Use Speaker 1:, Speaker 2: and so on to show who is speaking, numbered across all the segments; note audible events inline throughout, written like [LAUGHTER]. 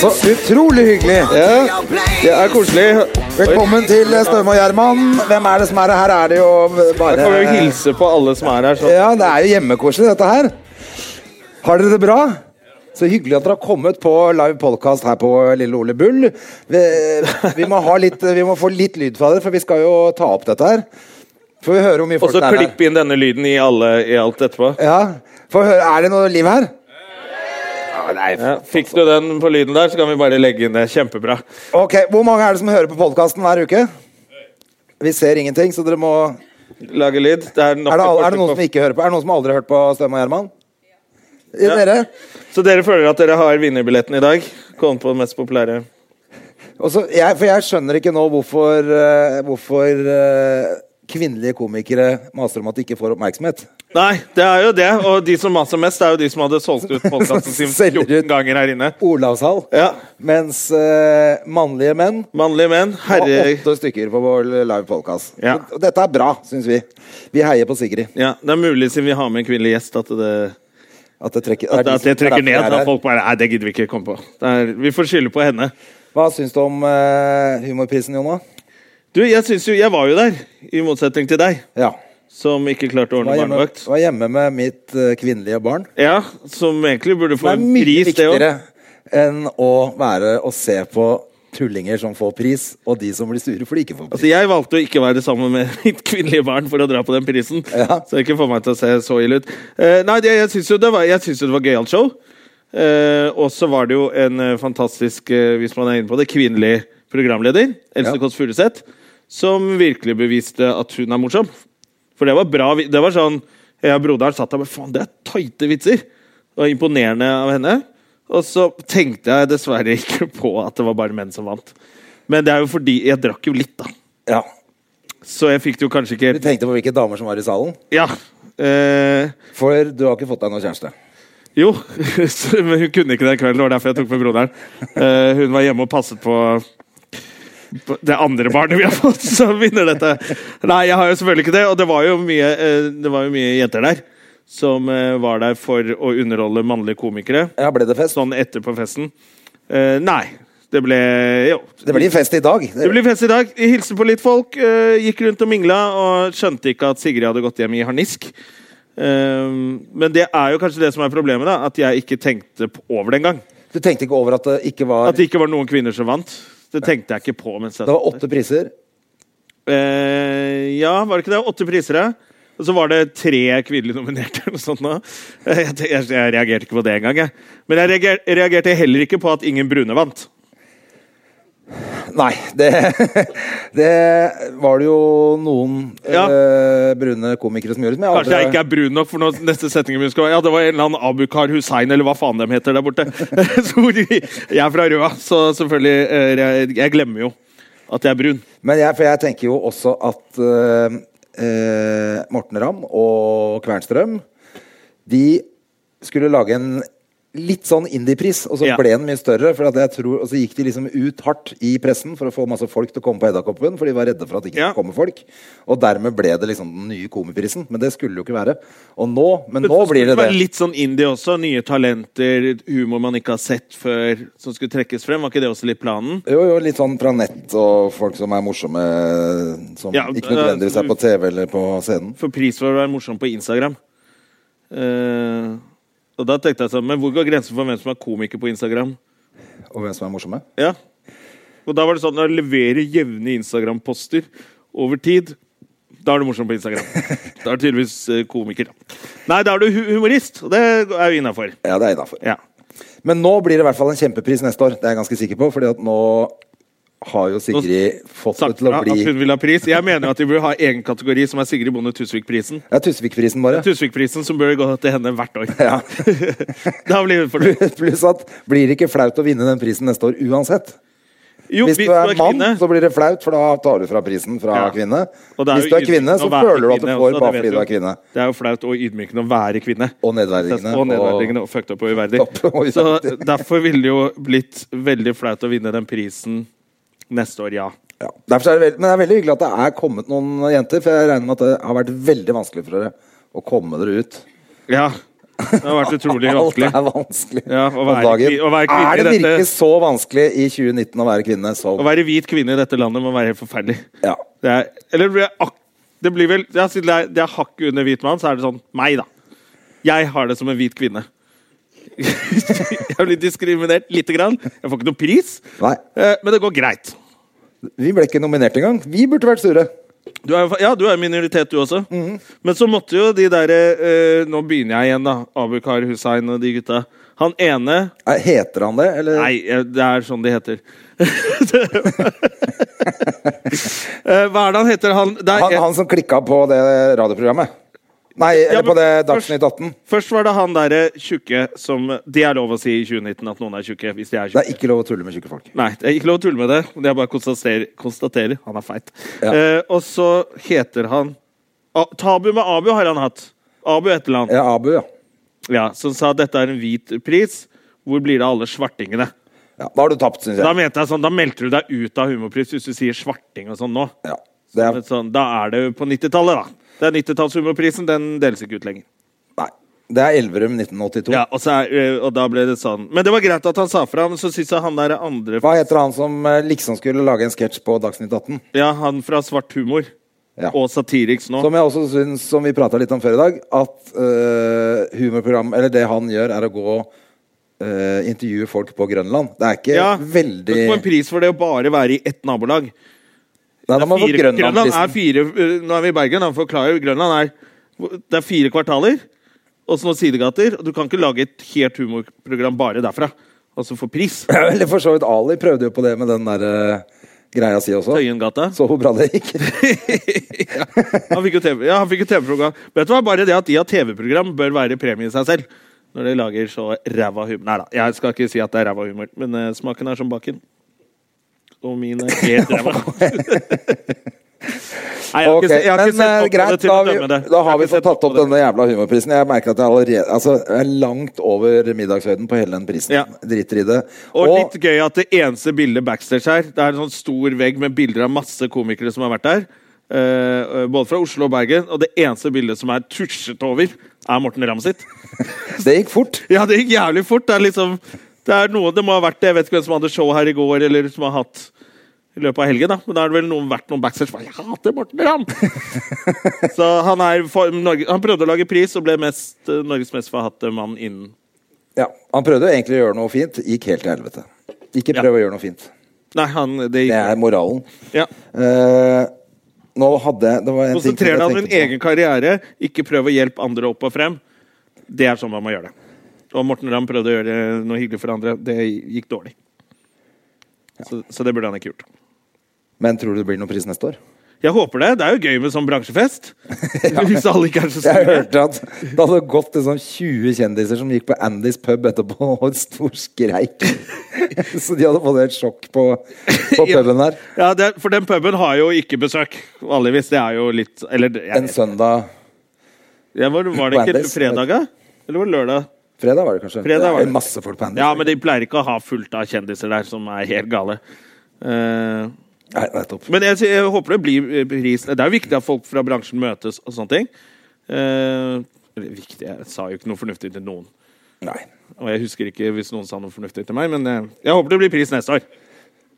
Speaker 1: Så utrolig hyggelig. Ja, det er koselig.
Speaker 2: Velkommen til Støme og Gjerman. Hvem er det som er her? Her er det jo bare
Speaker 1: Jeg får vel hilse på alle som er her. Så.
Speaker 2: Ja, det er jo hjemmekoselig, dette her. Har dere det bra? Så hyggelig at dere har kommet på live podcast her på Lille Ole Bull. Vi, vi, må, ha litt, vi må få litt lyd fra dere, for vi skal jo ta opp dette her. Får vi høre hvor mye
Speaker 1: Og
Speaker 2: folk
Speaker 1: så
Speaker 2: det er her.
Speaker 1: klipp inn denne lyden i, alle, i alt etterpå.
Speaker 2: Ja. Få høre, er det noe liv her? Ja, Nei,
Speaker 1: Ja, fikk du den på lyden der, så kan vi bare legge inn det. Kjempebra.
Speaker 2: Ok, Hvor mange er det som hører på podkasten hver uke? Vi ser ingenting, så dere må Er
Speaker 1: Lage lyd. Det er, nok
Speaker 2: det, al-
Speaker 1: å
Speaker 2: er det noen
Speaker 1: forske
Speaker 2: som ikke hører på? Er det noen som aldri har hørt på Stømme og Gjerman? I
Speaker 1: Ja.
Speaker 2: dere?
Speaker 1: på. Så dere føler at dere har vinnerbilletten i dag? Kom på den mest populære.
Speaker 2: Og så- jeg, for jeg skjønner ikke nå hvorfor, eh, hvorfor eh, kvinnelige komikere maser om at de ikke får oppmerksomhet.
Speaker 1: Nei, det er jo det. Og de som maser mest, er jo de som hadde solgt
Speaker 2: [LAUGHS]
Speaker 1: ut podkasten sin
Speaker 2: Selger ut.
Speaker 1: 14 ganger her inne.
Speaker 2: Olavshall.
Speaker 1: Ja.
Speaker 2: Mens eh, mannlige menn
Speaker 1: Mannlige menn.
Speaker 2: har
Speaker 1: Herre...
Speaker 2: åtte stykker på vår live podcast.
Speaker 1: Ja.
Speaker 2: Og Dette er bra, syns vi. Vi heier på Sigrid.
Speaker 1: Ja, det er mulig siden vi har med en kvinnelig gjest at det
Speaker 2: At det trekker,
Speaker 1: At, at det trekker ned.
Speaker 2: da,
Speaker 1: Da folk bare Nei, det gidder vi ikke komme på. Det er, vi får skylde på henne.
Speaker 2: Hva syns du om eh, humorprisen, Jonna?
Speaker 1: Du, jeg syns jo Jeg var jo der, i motsetning til deg,
Speaker 2: Ja.
Speaker 1: som ikke klarte å ordne
Speaker 2: Var hjemme,
Speaker 1: barnevakt.
Speaker 2: var hjemme med mitt eh, kvinnelige barn.
Speaker 1: Ja, som egentlig burde
Speaker 2: Det
Speaker 1: få
Speaker 2: er
Speaker 1: en
Speaker 2: mye
Speaker 1: pris, det òg.
Speaker 2: viktigere enn å være og se på tullinger som får pris, og de som blir sure fordi de ikke får pris.
Speaker 1: Altså, jeg valgte å ikke være sammen med [LAUGHS] mitt kvinnelige barn for å dra på den prisen.
Speaker 2: Ja.
Speaker 1: Så ikke få meg til å se så ille ut. Eh, nei, det, jeg syns jo det var, jeg synes jo det var gøyalt show. Eh, og så var det jo en eh, fantastisk, eh, hvis man er inne på det, kvinnelig programleder. Else
Speaker 2: Ja.
Speaker 1: Kåss Furuseth. Som virkelig beviste at hun er morsom. For det var bra. vi- Det var sånn Jeg og broderen satt der og bare Faen, det er tighte vitser! Det var imponerende av henne. Og så tenkte jeg dessverre ikke på at det var bare menn som vant. Men det er jo fordi Jeg drakk jo litt, da.
Speaker 2: Ja.
Speaker 1: Så jeg fikk det jo kanskje
Speaker 2: Du
Speaker 1: ikke
Speaker 2: tenkte på hvilke damer som var i salen?
Speaker 1: Ja. Eh,
Speaker 2: For du har ikke fått deg noen kjæreste.
Speaker 1: jo, [LAUGHS] så- men hun kunne ikke den kvelden. Det var derfor jeg tok med broderen. Eh, hun var hjemme og passet på på det andre barnet vi har fått, [LAUGHS] som vinner dette. Nei, jeg har jo selvfølgelig ikke det, og det var jo mye, eh, det var jo mye jenter der. Som eh, var der for å underholde mannlige komikere.
Speaker 2: Ja, ble det fest?
Speaker 1: Sånn etterpå festen. Eh, nei, det ble Jo.
Speaker 2: Det blir fest i dag.
Speaker 1: Det blir fest i dag. Vi hilste på litt folk. eh, gikk rundt og mingla og skjønte ikke at Sigrid hadde gått hjem i harnisk. Ehm, men det er jo kanskje det som er problemet, da, at jeg ikke tenkte p- over det engang.
Speaker 2: Du tenkte ikke over at det ikke var
Speaker 1: At det ikke var noen kvinner som vant. Det tenkte jeg ikke på. Mens jeg
Speaker 2: Det var åtte priser.
Speaker 1: Eh, ja, var det ikke det? Åtte priser, ja. Og så var det tre kvinnelige nominerte. eller noe sånt nå. Eh, Jeg, jeg, jeg reagerte ikke på det engang. jeg. Men jeg reager, reagerte heller ikke på at ingen brune vant.
Speaker 2: Nei, det [LAUGHS] Det var det jo noen
Speaker 1: Ja.
Speaker 2: eh, brune komikere som gjorde. Som jeg
Speaker 1: Kanskje jeg ikke er brun nok, for nå, neste setning min skal være Ja, det var en eller annen Abukar Hussein, eller hva faen de heter der borte. [LAUGHS] Så hvor de- jeg er fra Røa, så selvfølgelig eh, Jeg, jeg glemmer jo at jeg er brun.
Speaker 2: Men jeg, for jeg tenker jo også at eh, eh, Morten Ramm og Kvernstrøm De skulle lage en litt sånn indiepris, og så
Speaker 1: Ja.
Speaker 2: ble den mye større. For at jeg tror, og så gikk de liksom ut hardt i pressen for å få masse folk til å komme på Edderkoppen. For de var redde for at det ikke
Speaker 1: Ja.
Speaker 2: skulle komme folk. Og dermed ble det liksom den nye komiprisen. Men det skulle jo ikke være. Og nå, men nå blir det
Speaker 1: Det
Speaker 2: det.
Speaker 1: var litt sånn indie også. Nye talenter, humor man ikke har sett før, som skulle trekkes frem. Var ikke det også litt planen?
Speaker 2: Jo, jo, litt sånn fra nett og folk som er morsomme. eh, Som
Speaker 1: Ja, eh,
Speaker 2: ikke nødvendigvis er på TV eller på scenen.
Speaker 1: For pris for å være morsom på Instagram. Eh, og da tenkte jeg sånn Men hvor går grensen for hvem som er komiker på Instagram?
Speaker 2: Og hvem som er morsomme.
Speaker 1: Ja. Og da var det sånn å levere jevne Instagram-poster over tid. Da er du morsom på
Speaker 2: [LAUGHS]
Speaker 1: Instagram. Da er du tydeligvis eh, komiker. da. Nei, da er du hu- humorist, og det er jo innafor.
Speaker 2: Ja, det er innafor.
Speaker 1: Ja.
Speaker 2: Men nå blir det i hvert fall en kjempepris neste år. Det er jeg ganske sikker på, fordi at nå har jo Sigrid fått det
Speaker 1: Sagt
Speaker 2: til å
Speaker 1: fra at
Speaker 2: bli
Speaker 1: hun vil ha pris. Jeg mener at de burde ha egen kategori som er Sigrid Bonde Tusvik-prisen.
Speaker 2: Det er Tusvik-prisen, bare.
Speaker 1: Tusvik-prisen som bør gå til henne hvert år.
Speaker 2: Ja.
Speaker 1: [LAUGHS] Da blir vi fornøyd.
Speaker 2: [LAUGHS] Pluss at blir det ikke flaut å vinne den prisen neste år uansett.
Speaker 1: Jo,
Speaker 2: Hvis du er mann, så blir det flaut, for da tar du fra prisen fra
Speaker 1: Ja.
Speaker 2: kvinne.
Speaker 1: Og det
Speaker 2: Hvis
Speaker 1: jo
Speaker 2: du er kvinne,
Speaker 1: ydmykende
Speaker 2: så
Speaker 1: å være
Speaker 2: føler du at du
Speaker 1: kvinne
Speaker 2: får
Speaker 1: også,
Speaker 2: bare
Speaker 1: det
Speaker 2: fordi
Speaker 1: vet
Speaker 2: du er
Speaker 1: jo.
Speaker 2: kvinne.
Speaker 1: Det er jo flaut og ydmykende å være kvinne.
Speaker 2: Og nedverdigende.
Speaker 1: Og nedverdigende og fucked up og uverdig.
Speaker 2: Topp og uverdig.
Speaker 1: Så derfor ville det jo blitt veldig flaut å vinne den prisen neste år, ja.
Speaker 2: Ja. Derfor er det veld... Men det er veldig hyggelig at det er kommet noen jenter, for jeg regner med at det har vært veldig vanskelig for dere å komme dere ut.
Speaker 1: Ja. Det har vært
Speaker 2: [LAUGHS]
Speaker 1: utrolig
Speaker 2: Alt
Speaker 1: vanskelig.
Speaker 2: er vanskelig
Speaker 1: Ja, å
Speaker 2: om
Speaker 1: være
Speaker 2: dagen.
Speaker 1: kvi- å være kvinne
Speaker 2: er det
Speaker 1: i dette-
Speaker 2: virkelig så vanskelig i 2019 å være kvinne? Så...
Speaker 1: Å være hvit kvinne i dette landet må være helt forferdelig.
Speaker 2: Ja.
Speaker 1: Det er, eller det blir ak det blir vel ja, Siden det er, det er hakket under hvit mann, så er det sånn meg, da. Jeg har det som en hvit kvinne. [LAUGHS] jeg blir diskriminert lite grann. Jeg får ikke noen pris,
Speaker 2: Nei,
Speaker 1: eh, men det går greit.
Speaker 2: vi ble ikke nominert engang. Vi burde vært sure.
Speaker 1: Du er, jo fa- ja, du er minoritet, du også.
Speaker 2: Mhm.
Speaker 1: Men så måtte jo de derre eh, Nå begynner jeg igjen, da. Abukar Hussein og de gutta. Han ene
Speaker 2: Er- Heter han det, eller?
Speaker 1: Nei, eh, det er sånn de heter. [LAUGHS] Eh, Hva er det han heter? Han, det er,
Speaker 2: Han, han som klikka på det radioprogrammet? Nei, eller
Speaker 1: men
Speaker 2: på det
Speaker 1: først-
Speaker 2: Dagsnytt 18?
Speaker 1: Først var det han derre tjukke som Det er lov å si i 2019 at noen er tjukke hvis de er
Speaker 2: Det
Speaker 1: tjukke.
Speaker 2: er ikke lov å tulle med tjukke folk.
Speaker 1: Nei, det er ikke lov å tulle med det. Det er bare å konstatere, konstatere. Han er feit.
Speaker 2: Ja.
Speaker 1: Eh, og så heter han A Tabu med Abu har han hatt. Abu et eller annet.
Speaker 2: Ja, Abu, ja.
Speaker 1: Ja. som sa dette er en hvit pris. Hvor blir det av alle svartingene?
Speaker 2: ja. Da har du tapt, syns
Speaker 1: Da
Speaker 2: jeg.
Speaker 1: mente jeg sånn, da meldte du deg ut av humorpris hvis du sier svarting og sånn nå.
Speaker 2: Ja. Det er,
Speaker 1: Men Sånn, da er det jo på 90-tallet, da. Det er 90-tallshumorprisen. Den deles ikke ut lenger.
Speaker 2: nei. Det er Elverum 1982.
Speaker 1: Ja, og, så er, ø, og da ble det sånn. Men det var greit at han sa fra, men så syns jeg han der andre
Speaker 2: Hva heter han som eh, liksom skulle lage en sketsj på Dagsnytt 18?
Speaker 1: Ja, han fra Svart humor
Speaker 2: Ja.
Speaker 1: og Satiriks nå.
Speaker 2: Som jeg også syns, som vi prata litt om før i dag, at eh, humorprogram Eller det han gjør, er å gå og eh, intervjue folk på Grønland. Det er ikke
Speaker 1: ja, Du
Speaker 2: veldig
Speaker 1: kan få en pris for det å bare være i ett nabolag.
Speaker 2: Nei, da må man få
Speaker 1: Fire- Grønland er
Speaker 2: Grønlandprisen.
Speaker 1: fire ø, Nå er vi i Bergen, han forklarer jo. Grønland er Det er fire kvartaler og så noen sidegater. Og du kan ikke lage et helt humorprogram bare derfra. Og så få pris.
Speaker 2: [LAUGHS] Eller for så vidt Ali prøvde jo på det med den der eh, greia si også.
Speaker 1: Tøyengata.
Speaker 2: Så hvor bra det gikk.
Speaker 1: ja, han fikk jo TV ja, han fikk jo TV-program. Vet du hva, Bare det at de har TV-program, bør være premie i seg selv. Når de lager så ræva humor Nei da, jeg skal ikke si at det er ræva humor, men eh, smaken er som baken. Og min er helt
Speaker 2: [LAUGHS]
Speaker 1: ræva. Nei, jeg har
Speaker 2: Ok,
Speaker 1: ikke, se- jeg har ikke
Speaker 2: men eh,
Speaker 1: sett nok
Speaker 2: greit,
Speaker 1: greit, til
Speaker 2: da,
Speaker 1: å
Speaker 2: har
Speaker 1: dømme det.
Speaker 2: vi, da
Speaker 1: Jeg
Speaker 2: har vi
Speaker 1: ikke
Speaker 2: fått
Speaker 1: sett
Speaker 2: tatt
Speaker 1: nok
Speaker 2: opp
Speaker 1: på det.
Speaker 2: denne jævla humorprisen. Jeg merker at jeg allerede altså, jeg er langt over middagshøyden på hele den prisen.
Speaker 1: Ja.
Speaker 2: Driter i det.
Speaker 1: Og litt gøy at det eneste bildet backstage her Det er en sånn stor vegg med bilder av masse komikere som har vært der. eh, både fra Oslo og Bergen. Og det eneste bildet som er tusjet over, er Morten Ramm sitt. [LAUGHS]
Speaker 2: det gikk fort.
Speaker 1: Ja, det gikk jævlig fort. Det er liksom Det er noe det må ha vært det. Jeg vet ikke hvem som hadde show her i går, eller som har hatt i løpet av helgen, da. Men da har det vel noen vært noen backstage som bare, Jeg hater Morten [LAUGHS] Ramm! så han er for, Norge, Han prøvde å lage pris og ble mest, eh, Norges mest forhatte mann innen
Speaker 2: Ja, Han prøvde jo egentlig å gjøre noe fint, gikk helt til helvete. Ikke
Speaker 1: Ja.
Speaker 2: prøv å gjøre noe fint.
Speaker 1: Nei, han Det
Speaker 2: Det
Speaker 1: gikk
Speaker 2: er moralen.
Speaker 1: ja.
Speaker 2: Eh, nå hadde jeg det var en ting som
Speaker 1: Konsentrer deg om
Speaker 2: jeg
Speaker 1: din
Speaker 2: tenkte
Speaker 1: egen karriere, ikke prøv å hjelpe andre opp og frem. Det er sånn man må gjøre det. Og Morten Ramm prøvde å gjøre noe hyggelig for andre. Det gikk dårlig. Så, så det burde han ikke gjort.
Speaker 2: på. Men tror du det blir noen pris neste år? [LAUGHS]
Speaker 1: Jeg håper det. Det er jo gøy med sånn bransjefest. Hvis alle ikke er så
Speaker 2: [LAUGHS] Jeg
Speaker 1: sure.
Speaker 2: hørte at det hadde gått liksom 20 kjendiser som gikk på Andys pub etterpå og en stor skreik. [LAUGHS] Så de hadde fått helt sjokk på, på
Speaker 1: [LAUGHS] Ja.
Speaker 2: puben der.
Speaker 1: Ja, det, for den puben har jo ikke besøk, vanligvis. Det er jo litt Eller det- jeg,
Speaker 2: En søndag
Speaker 1: ja, var, var det ikke
Speaker 2: Brandes.
Speaker 1: fredag, da? Eller var det lørdag?
Speaker 2: Fredag var det kanskje?
Speaker 1: Fredag var
Speaker 2: det er
Speaker 1: det.
Speaker 2: masse folk på Andys.
Speaker 1: Ja, men de pleier ikke å ha fullt av kjendiser der som er helt gale. Eh,
Speaker 2: Nei, nettopp.
Speaker 1: men jeg, sy- jeg håper det blir eh, pris. Det er jo viktig at folk fra bransjen møtes og sånne ting. Eh, eller viktig Jeg sa jo ikke noe fornuftig til noen.
Speaker 2: Nei.
Speaker 1: Og jeg husker ikke hvis noen sa noe fornuftig til meg, men eh, jeg håper det blir pris neste år.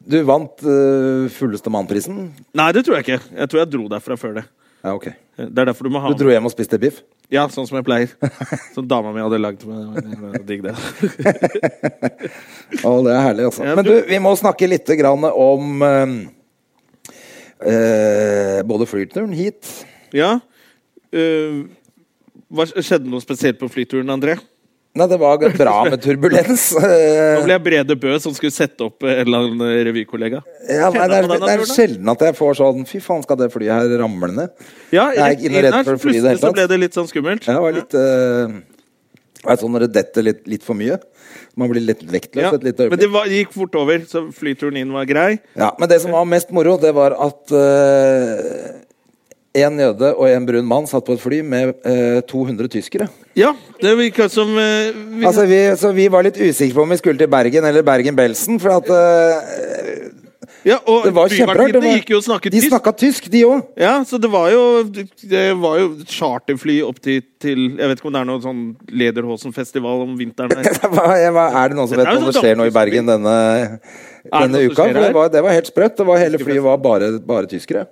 Speaker 2: Du vant eh, Fulleste mann-prisen.
Speaker 1: Nei, det tror jeg ikke. Jeg tror jeg dro derfra før det. Eh,
Speaker 2: Ja, ok.
Speaker 1: Det er derfor du må ha
Speaker 2: Du dro hjem og spiste biff?
Speaker 1: Ja, sånn som jeg
Speaker 2: [LAUGHS]
Speaker 1: pleier. Som dama mi hadde lagd til meg. Det var jævla Digg, det.
Speaker 2: Å, det er herlig, altså.
Speaker 1: Ja,
Speaker 2: Men du,
Speaker 1: du-
Speaker 2: vi må snakke litt grann om eh, eh, både flyturen hit
Speaker 1: Ja. eh, hva, skjedde noe spesielt på flyturen, André?
Speaker 2: Nei, det var bra med turbulens.
Speaker 1: [LAUGHS] Nå ble jeg Brede Bø som skulle sette opp eh, en eller annen revykollega.
Speaker 2: [LAUGHS] Ja, nei, det, er,
Speaker 1: Kjenner på den
Speaker 2: det er
Speaker 1: naturen, da?
Speaker 2: sjelden at jeg får sånn Fy faen, skal det flyet her ramle ned?
Speaker 1: Ja,
Speaker 2: Jeg er ikke noe redd
Speaker 1: innert,
Speaker 2: for å fly i det hele
Speaker 1: plutselig så
Speaker 2: tatt.
Speaker 1: ble det litt sånn skummelt.
Speaker 2: Ja, det var litt eh, det er sånn når det detter litt, litt for mye. Man blir litt vektløs
Speaker 1: Ja,
Speaker 2: et lite
Speaker 1: Men
Speaker 2: øyeblikk.
Speaker 1: det var, gikk fort over, så flyturen inn var grei.
Speaker 2: Ja, men det som var mest moro, det var at eh, en jøde og en brun mann satt på et fly med eh, 200 tyskere.
Speaker 1: Ja, det virka som eh, vi,
Speaker 2: Altså, vi, så vi var litt usikre på om vi skulle til Bergen eller Bergen-Belsen, for at eh,
Speaker 1: ja, Og
Speaker 2: det var kjemperart. det
Speaker 1: byvertinnene
Speaker 2: var-
Speaker 1: gikk jo og snakket
Speaker 2: De
Speaker 1: tysk.
Speaker 2: snakka tysk, de òg.
Speaker 1: Ja, så det var jo Det var jo charterfly opp til, til Jeg vet ikke om det er noen sånn Lederhosen-festival om vinteren
Speaker 2: [LAUGHS]
Speaker 1: her.
Speaker 2: [LAUGHS] Hva, hva, er det noen som
Speaker 1: Dette
Speaker 2: vet
Speaker 1: er jo
Speaker 2: om det
Speaker 1: sånn
Speaker 2: skjer noe i
Speaker 1: dampflyspill.
Speaker 2: Bergen denne,
Speaker 1: Er det
Speaker 2: denne
Speaker 1: noe som
Speaker 2: uka?
Speaker 1: skjer
Speaker 2: For det
Speaker 1: her?
Speaker 2: var, det var helt sprøtt. Det var, hele flyet var bare, bare tyskere.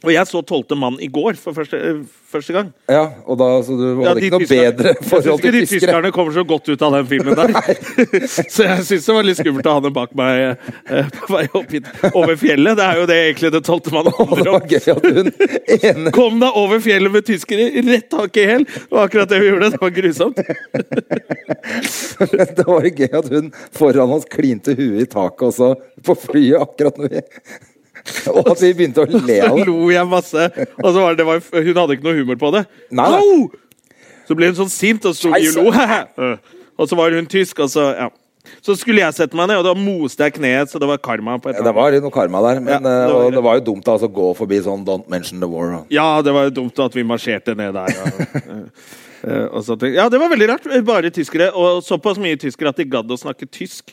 Speaker 1: Og jeg så Tolvte mann i går for første, eh, første gang.
Speaker 2: Ja, og da, Så du hadde
Speaker 1: de
Speaker 2: ikke noe
Speaker 1: tyskerne- [LAUGHS]
Speaker 2: bedre forhold til
Speaker 1: Jeg syns ikke de
Speaker 2: tyskere?
Speaker 1: tyskerne kommer så godt ut av den filmen der. [LAUGHS] så jeg syns det var litt skummelt å ha den bak meg eh, [LAUGHS] på vei opp hit over fjellet. Det er jo det egentlig det tolvte
Speaker 2: [LAUGHS] [LAUGHS]
Speaker 1: man
Speaker 2: Og det
Speaker 1: handler
Speaker 2: var
Speaker 1: om.
Speaker 2: gøy at hun ene [LAUGHS]
Speaker 1: Kom deg over fjellet med tyskere rett tak i hæl! Det var akkurat det vi gjorde. Det var grusomt.
Speaker 2: Det var gøy at hun foran oss klinte huet i taket også, på flyet, akkurat når vi Og at vi [LAUGHS] begynte å le
Speaker 1: [LAUGHS]
Speaker 2: av
Speaker 1: Så
Speaker 2: det.
Speaker 1: lo jeg masse. Og så var det, det var, hun hadde ikke noe humor på det.
Speaker 2: Nei, nei.
Speaker 1: Au! Så ble hun sånn sint, og så sto vi og lo. [LAUGHS] Eh, og så var hun tysk, og så ja. Så skulle jeg sette meg ned, og da moste jeg kneet, så det var karma. på et
Speaker 2: Det var noe karma der, men
Speaker 1: Ja, det
Speaker 2: eh,
Speaker 1: var
Speaker 2: og
Speaker 1: det.
Speaker 2: det var jo dumt da, altså, å gå forbi sånn 'don't mention the war'. da.
Speaker 1: Ja, det var jo dumt at vi marsjerte ned der.
Speaker 2: [LAUGHS]
Speaker 1: Og, eh, og sånne ting. ja, det var veldig rart. Bare tyskere. Og såpass mye tyskere at de gadd å snakke tysk.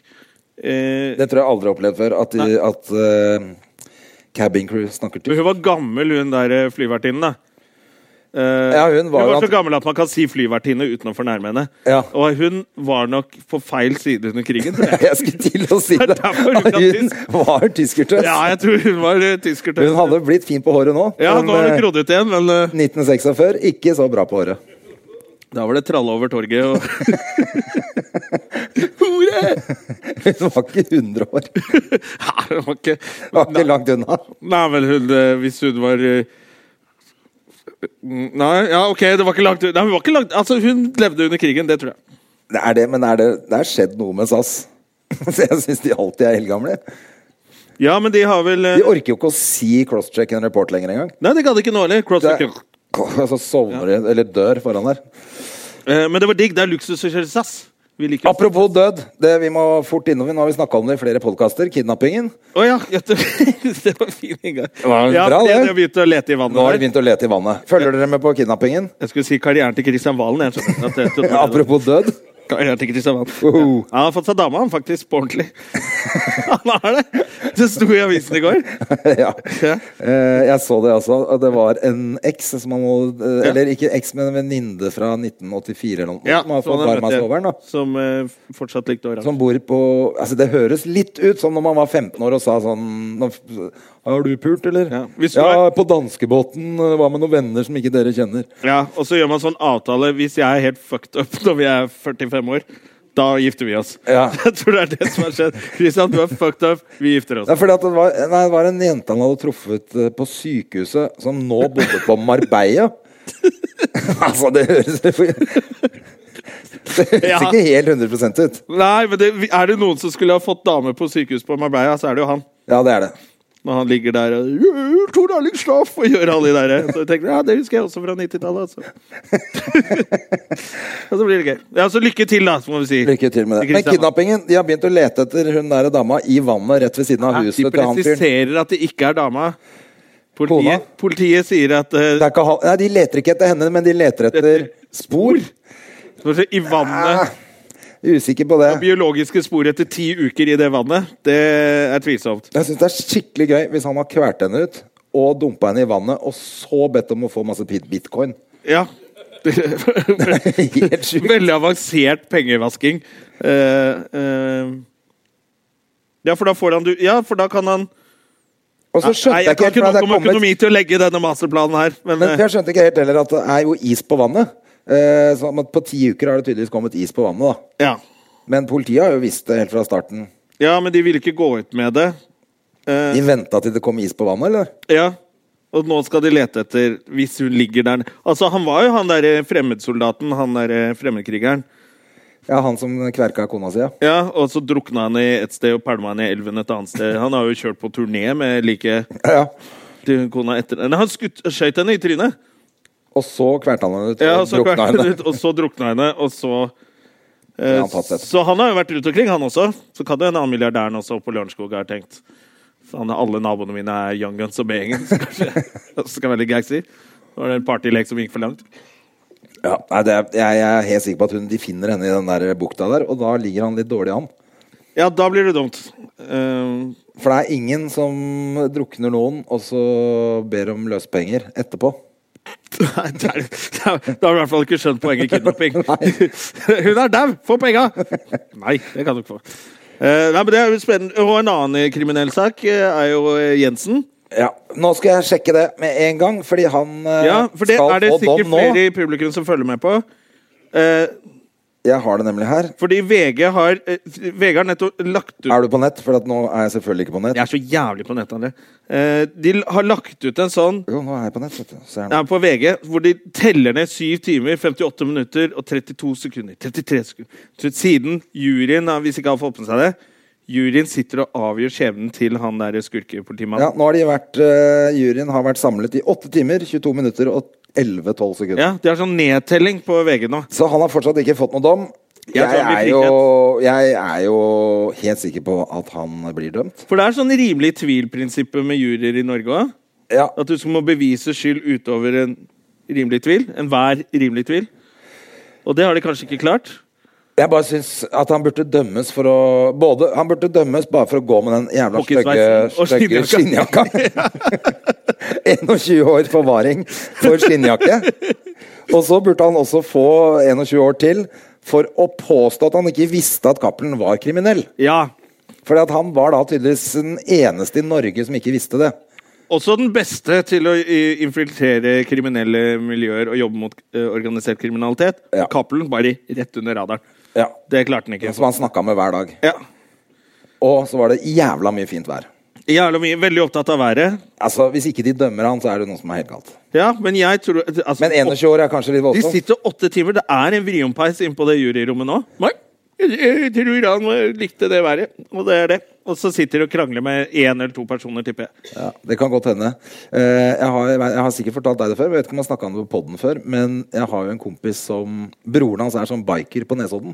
Speaker 1: Eh,
Speaker 2: Det tror jeg aldri har opplevd før. At, de, at eh, cabin crew snakker tysk.
Speaker 1: hun var gammel, hun der eh, flyvertinnen. da. Eh,
Speaker 2: Ja, hun var jo
Speaker 1: så
Speaker 2: at-
Speaker 1: gammel at man kan si flyvertinne uten å fornærme henne.
Speaker 2: Ja.
Speaker 1: Og hun var nok på feil side under krigen. tror jeg.
Speaker 2: [LAUGHS] Jeg skulle til å si
Speaker 1: Det er
Speaker 2: det.
Speaker 1: derfor hun kan
Speaker 2: Hun var tyskertøs.
Speaker 1: Ja, jeg tror hun var eh, tysker. til-
Speaker 2: Hun hadde blitt fin på håret nå.
Speaker 1: Ja, nå har
Speaker 2: men,
Speaker 1: hun groddet igjen, men eh,
Speaker 2: eh, 1946, ikke så bra på håret. [LAUGHS]
Speaker 1: da var det tralle over torget og
Speaker 2: Hun var ikke 100 år.
Speaker 1: [LAUGHS] Nei, det var ikke
Speaker 2: Var ikke langt unna.
Speaker 1: Nei, vel, hun, eh, hvis hun var eh, mm, Nei, ja, ok, det var ikke langt Nei, hun var ikke langt Altså, hun levde under krigen, det tror jeg.
Speaker 2: Det er det, men er det, det er skjedd noe med SAS. [LAUGHS] Så jeg syns de alltid er eldgamle.
Speaker 1: Ja, men de har vel eh,
Speaker 2: De orker jo ikke å si cross-check en report lenger engang.
Speaker 1: Nei, det gadd ikke nå heller.
Speaker 2: Det-
Speaker 1: Crossfit.
Speaker 2: Så sovner de, eller dør foran der.
Speaker 1: Eh, Men det var digg. Det er luksus å kjøre SAS. Vi liker Å
Speaker 2: Apropos død, det vi må fort innom. Nå har vi snakka om det i flere podkaster. Kidnappingen.
Speaker 1: ja, ja, [LAUGHS] det, det var fin inngang.
Speaker 2: var
Speaker 1: Ja,
Speaker 2: bra, det.
Speaker 1: jeg begynte å lete i vannet
Speaker 2: Nå har de
Speaker 1: der.
Speaker 2: begynt å lete i vannet. Følger dere med på kidnappingen?
Speaker 1: Jeg skulle si karrieren til Kristian Valen. Jeg skjønner at det, det,
Speaker 2: Apropos død.
Speaker 1: [LAUGHS]
Speaker 2: [LAUGHS]
Speaker 1: Karrieren til Kristian Valen. Ja.
Speaker 2: Wow.
Speaker 1: Han har fått seg dame, han, faktisk. På ordentlig. [LAUGHS] Han har det! Det sto i avisen i går.
Speaker 2: [LAUGHS] ja.
Speaker 1: Ja.
Speaker 2: Eh, jeg så det også. Og det var en eks som han må eh,
Speaker 1: Ja.
Speaker 2: Eller ikke eks, men en venninne fra 1984 eller noe.
Speaker 1: Ja,
Speaker 2: som har
Speaker 1: sånn
Speaker 2: fått
Speaker 1: er det, vet du.
Speaker 2: varmasoveren, da.
Speaker 1: Som eh, fortsatt likte åra.
Speaker 2: Som bor på Altså, det høres litt ut som når man var 15 år og sa sånn "Nå- Har du pult, eller?
Speaker 1: Ja.
Speaker 2: Ja,
Speaker 1: Hvis du er-
Speaker 2: på danskebåten. eh, Hva med noen venner som ikke dere kjenner?
Speaker 1: Ja, og så gjør man sånn avtale hvis jeg er helt fucked up når vi er 45 år. Da gifter vi oss.
Speaker 2: Ja.
Speaker 1: [LAUGHS] Jeg tror det er det som har skjedd. Christian, du er fucked up. Vi gifter oss.
Speaker 2: Det er fordi at det var, nei, det var en jente han hadde truffet eh, på sykehuset, som nå bodde på Marbella. [LAUGHS] altså, det høres Det høres
Speaker 1: Ja.
Speaker 2: ikke helt 100 ut.
Speaker 1: Nei, men det, er det noen som skulle ha fått dame på sykehus på Marbella, så er det jo han.
Speaker 2: Ja, det er det.
Speaker 1: Når han ligger der og «Ja, Tor Erling Slaff og gjør alle de der. Så jeg tenker ja, det husker jeg også fra
Speaker 2: [LAUGHS]
Speaker 1: 90-tallet. Altså. og så blir det gøy. Ja, Så lykke til, da, så må vi si.
Speaker 2: Lykke til med det. Men
Speaker 1: Christian.
Speaker 2: kidnappingen De har begynt å lete etter hun der dama i vannet rett ved siden av
Speaker 1: Nei,
Speaker 2: huset
Speaker 1: de
Speaker 2: til han fyren.
Speaker 1: presiserer at det ikke er dama.
Speaker 2: Kona?
Speaker 1: Politiet, politiet sier at
Speaker 2: Det
Speaker 1: uh,
Speaker 2: er ikke han- Nei, de leter ikke etter henne, men de leter etter spor.
Speaker 1: i vannet
Speaker 2: Usikker på det.
Speaker 1: Biologiske spor etter ti uker i det vannet, det er tvilsomt.
Speaker 2: Jeg syns det er skikkelig gøy hvis han har kvert henne ut og dumpa henne i vannet, og så bedt om å få masse bit- bitcoin. [LAUGHS]
Speaker 1: Ja. [LAUGHS]
Speaker 2: Helt sjukt.
Speaker 1: Veldig avansert pengevasking. Eh, eh, ja, for da får han du Ja, for da kan han
Speaker 2: Og så skjønte
Speaker 1: Nei,
Speaker 2: jeg
Speaker 1: jeg
Speaker 2: ikke
Speaker 1: kan
Speaker 2: helt for
Speaker 1: ikke
Speaker 2: det
Speaker 1: nok
Speaker 2: er
Speaker 1: om
Speaker 2: kommet-
Speaker 1: økonomi til å legge denne masterplanen her, men,
Speaker 2: Men
Speaker 1: eh,
Speaker 2: jeg skjønte ikke helt heller at det er jo is på vannet. Eh, Så at på ti uker har det tydeligvis kommet is på vannet, da.
Speaker 1: ja.
Speaker 2: Men politiet har jo visst det helt fra starten.
Speaker 1: ja, men de ville ikke gå ut med det. Eh,
Speaker 2: De venta til det kom is på vannet, eller?
Speaker 1: Ja. Og Og nå skal de lete etter hvis hun ligger der Altså, han var jo han derre fremmedsoldaten, han derre fremmedkrigeren.
Speaker 2: Ja, han som kverka kona si, ja. [LAUGHS]
Speaker 1: Ja, og så drukna han i et sted og pælma han i elven et annet sted. Han har jo kjørt på turné med like
Speaker 2: ja.
Speaker 1: til kona etter Nei, han skutt, skjøt henne i trynet!
Speaker 2: Og så kverte han henne ut.
Speaker 1: Ja,
Speaker 2: og
Speaker 1: og så
Speaker 2: drukna
Speaker 1: drukna
Speaker 2: henne.
Speaker 1: Ut, og så drukna henne, og så eh,
Speaker 2: Ja, antatt sett.
Speaker 1: Så han har jo vært rundt omkring, han også. Så kan det hende han milliardæren også oppe på Lørenskog har tenkt Faen, alle naboene mine er Young Guns og B-gjengen, så kanskje jeg [LAUGHS] skal være litt gangsy. Det var det en partylek som gikk for langt.
Speaker 2: [LAUGHS] Ja, nei, det er, jeg, jeg er helt sikker på at hun, de finner henne i den der bukta der, og da ligger han litt dårlig an.
Speaker 1: Ja, da blir det dumt. Eh,
Speaker 2: For det er ingen som drukner noen og så ber om løspenger etterpå.
Speaker 1: Nei, det er- det er- da har du i hvert fall ikke skjønt poenget i
Speaker 2: [LAUGHS]
Speaker 1: kidnapping. [LAUGHS] Hun er dau! Få penga! Nei, det kan du ikke få. Eh, nei, men det er jo spennende. Og en annen eh, kriminell sak eh, er jo eh, Jensen.
Speaker 2: Ja, Nå skal jeg sjekke det med en gang, fordi han eh,
Speaker 1: Ja, for det
Speaker 2: skal
Speaker 1: er det
Speaker 2: få
Speaker 1: sikkert
Speaker 2: dom nå.
Speaker 1: flere i publikum som følger med på. Eh,
Speaker 2: Jeg har det nemlig her.
Speaker 1: fordi VG har eh, VG har nettopp lagt ut
Speaker 2: Er du på nett? For at nå er jeg selvfølgelig ikke på nett.
Speaker 1: Jeg er så jævlig på nettet, André. Eh, de l- har lagt ut en sånn
Speaker 2: Jo, nå er jeg på nett, vet du. Se her nå.
Speaker 1: ja, på VG, hvor de teller ned 7 timer, 58 minutter og 32 sekunder. 33 sekunder. Så siden juryen, har- hvis ikke har fått med seg det Juryen sitter og avgjør skjebnen til han der
Speaker 2: Ja,
Speaker 1: skurkepolitimannen.
Speaker 2: nå har de vært eh, Juryen har vært samlet i 8 timer, 22 minutter og 11-12 sekunder.
Speaker 1: Ja, de har sånn nedtelling på VG nå.
Speaker 2: Så han har fortsatt ikke fått noen dom.
Speaker 1: Jeg
Speaker 2: Jeg
Speaker 1: tror han
Speaker 2: er,
Speaker 1: blir
Speaker 2: jo, jeg er jo helt sikker på at han blir dømt.
Speaker 1: For det er sånn rimelig tvilprinsippet med juryer i Norge òg.
Speaker 2: Ja,
Speaker 1: At du skal må bevise skyld utover en rimelig tvil. Enhver rimelig tvil. Og det har de kanskje ikke klart.
Speaker 2: Jeg bare syns at han burde dømmes for å både, Han burde dømmes bare for å gå med den jævla stygge
Speaker 1: Hockeysveisen og
Speaker 2: stygge
Speaker 1: skinnjakka.
Speaker 2: [LAUGHS] skinnjakka. 21 år forvaring for skinnjakke. Og så burde han også få 21 år til for å påstå at han ikke visste at Cappelen var kriminell.
Speaker 1: Ja.
Speaker 2: Fordi at han var da tydeligvis den eneste i Norge som ikke visste det.
Speaker 1: Også den beste til å i- infiltrere kriminelle miljøer og jobbe mot eh, organisert kriminalitet.
Speaker 2: Ja.
Speaker 1: Cappelen bare rett under radaren.
Speaker 2: Ja.
Speaker 1: Det klarte han ikke.
Speaker 2: Som han snakka med hver dag.
Speaker 1: Ja.
Speaker 2: Og så var det jævla mye fint vær.
Speaker 1: Jævla mye. Veldig opptatt av været.
Speaker 2: Altså, Hvis ikke de dømmer han, så er det noe som er helt galt.
Speaker 1: Ja, men jeg tror altså,
Speaker 2: Men 21 år er kanskje litt
Speaker 1: De
Speaker 2: voldsomt.
Speaker 1: sitter åtte timer. Det er en vriompeis inne på det juryrommet nå. Nei, jeg- jeg tror han likte det været, og det er det. Og så sitter de og krangler med én eller to personer, tipper jeg.
Speaker 2: Ja, det kan godt hende. Eh, jeg, har, jeg har sikkert fortalt deg det før, jeg vet ikke om jeg snakka om det på poden før, men jeg har jo en kompis som Broren hans er som biker på Nesodden.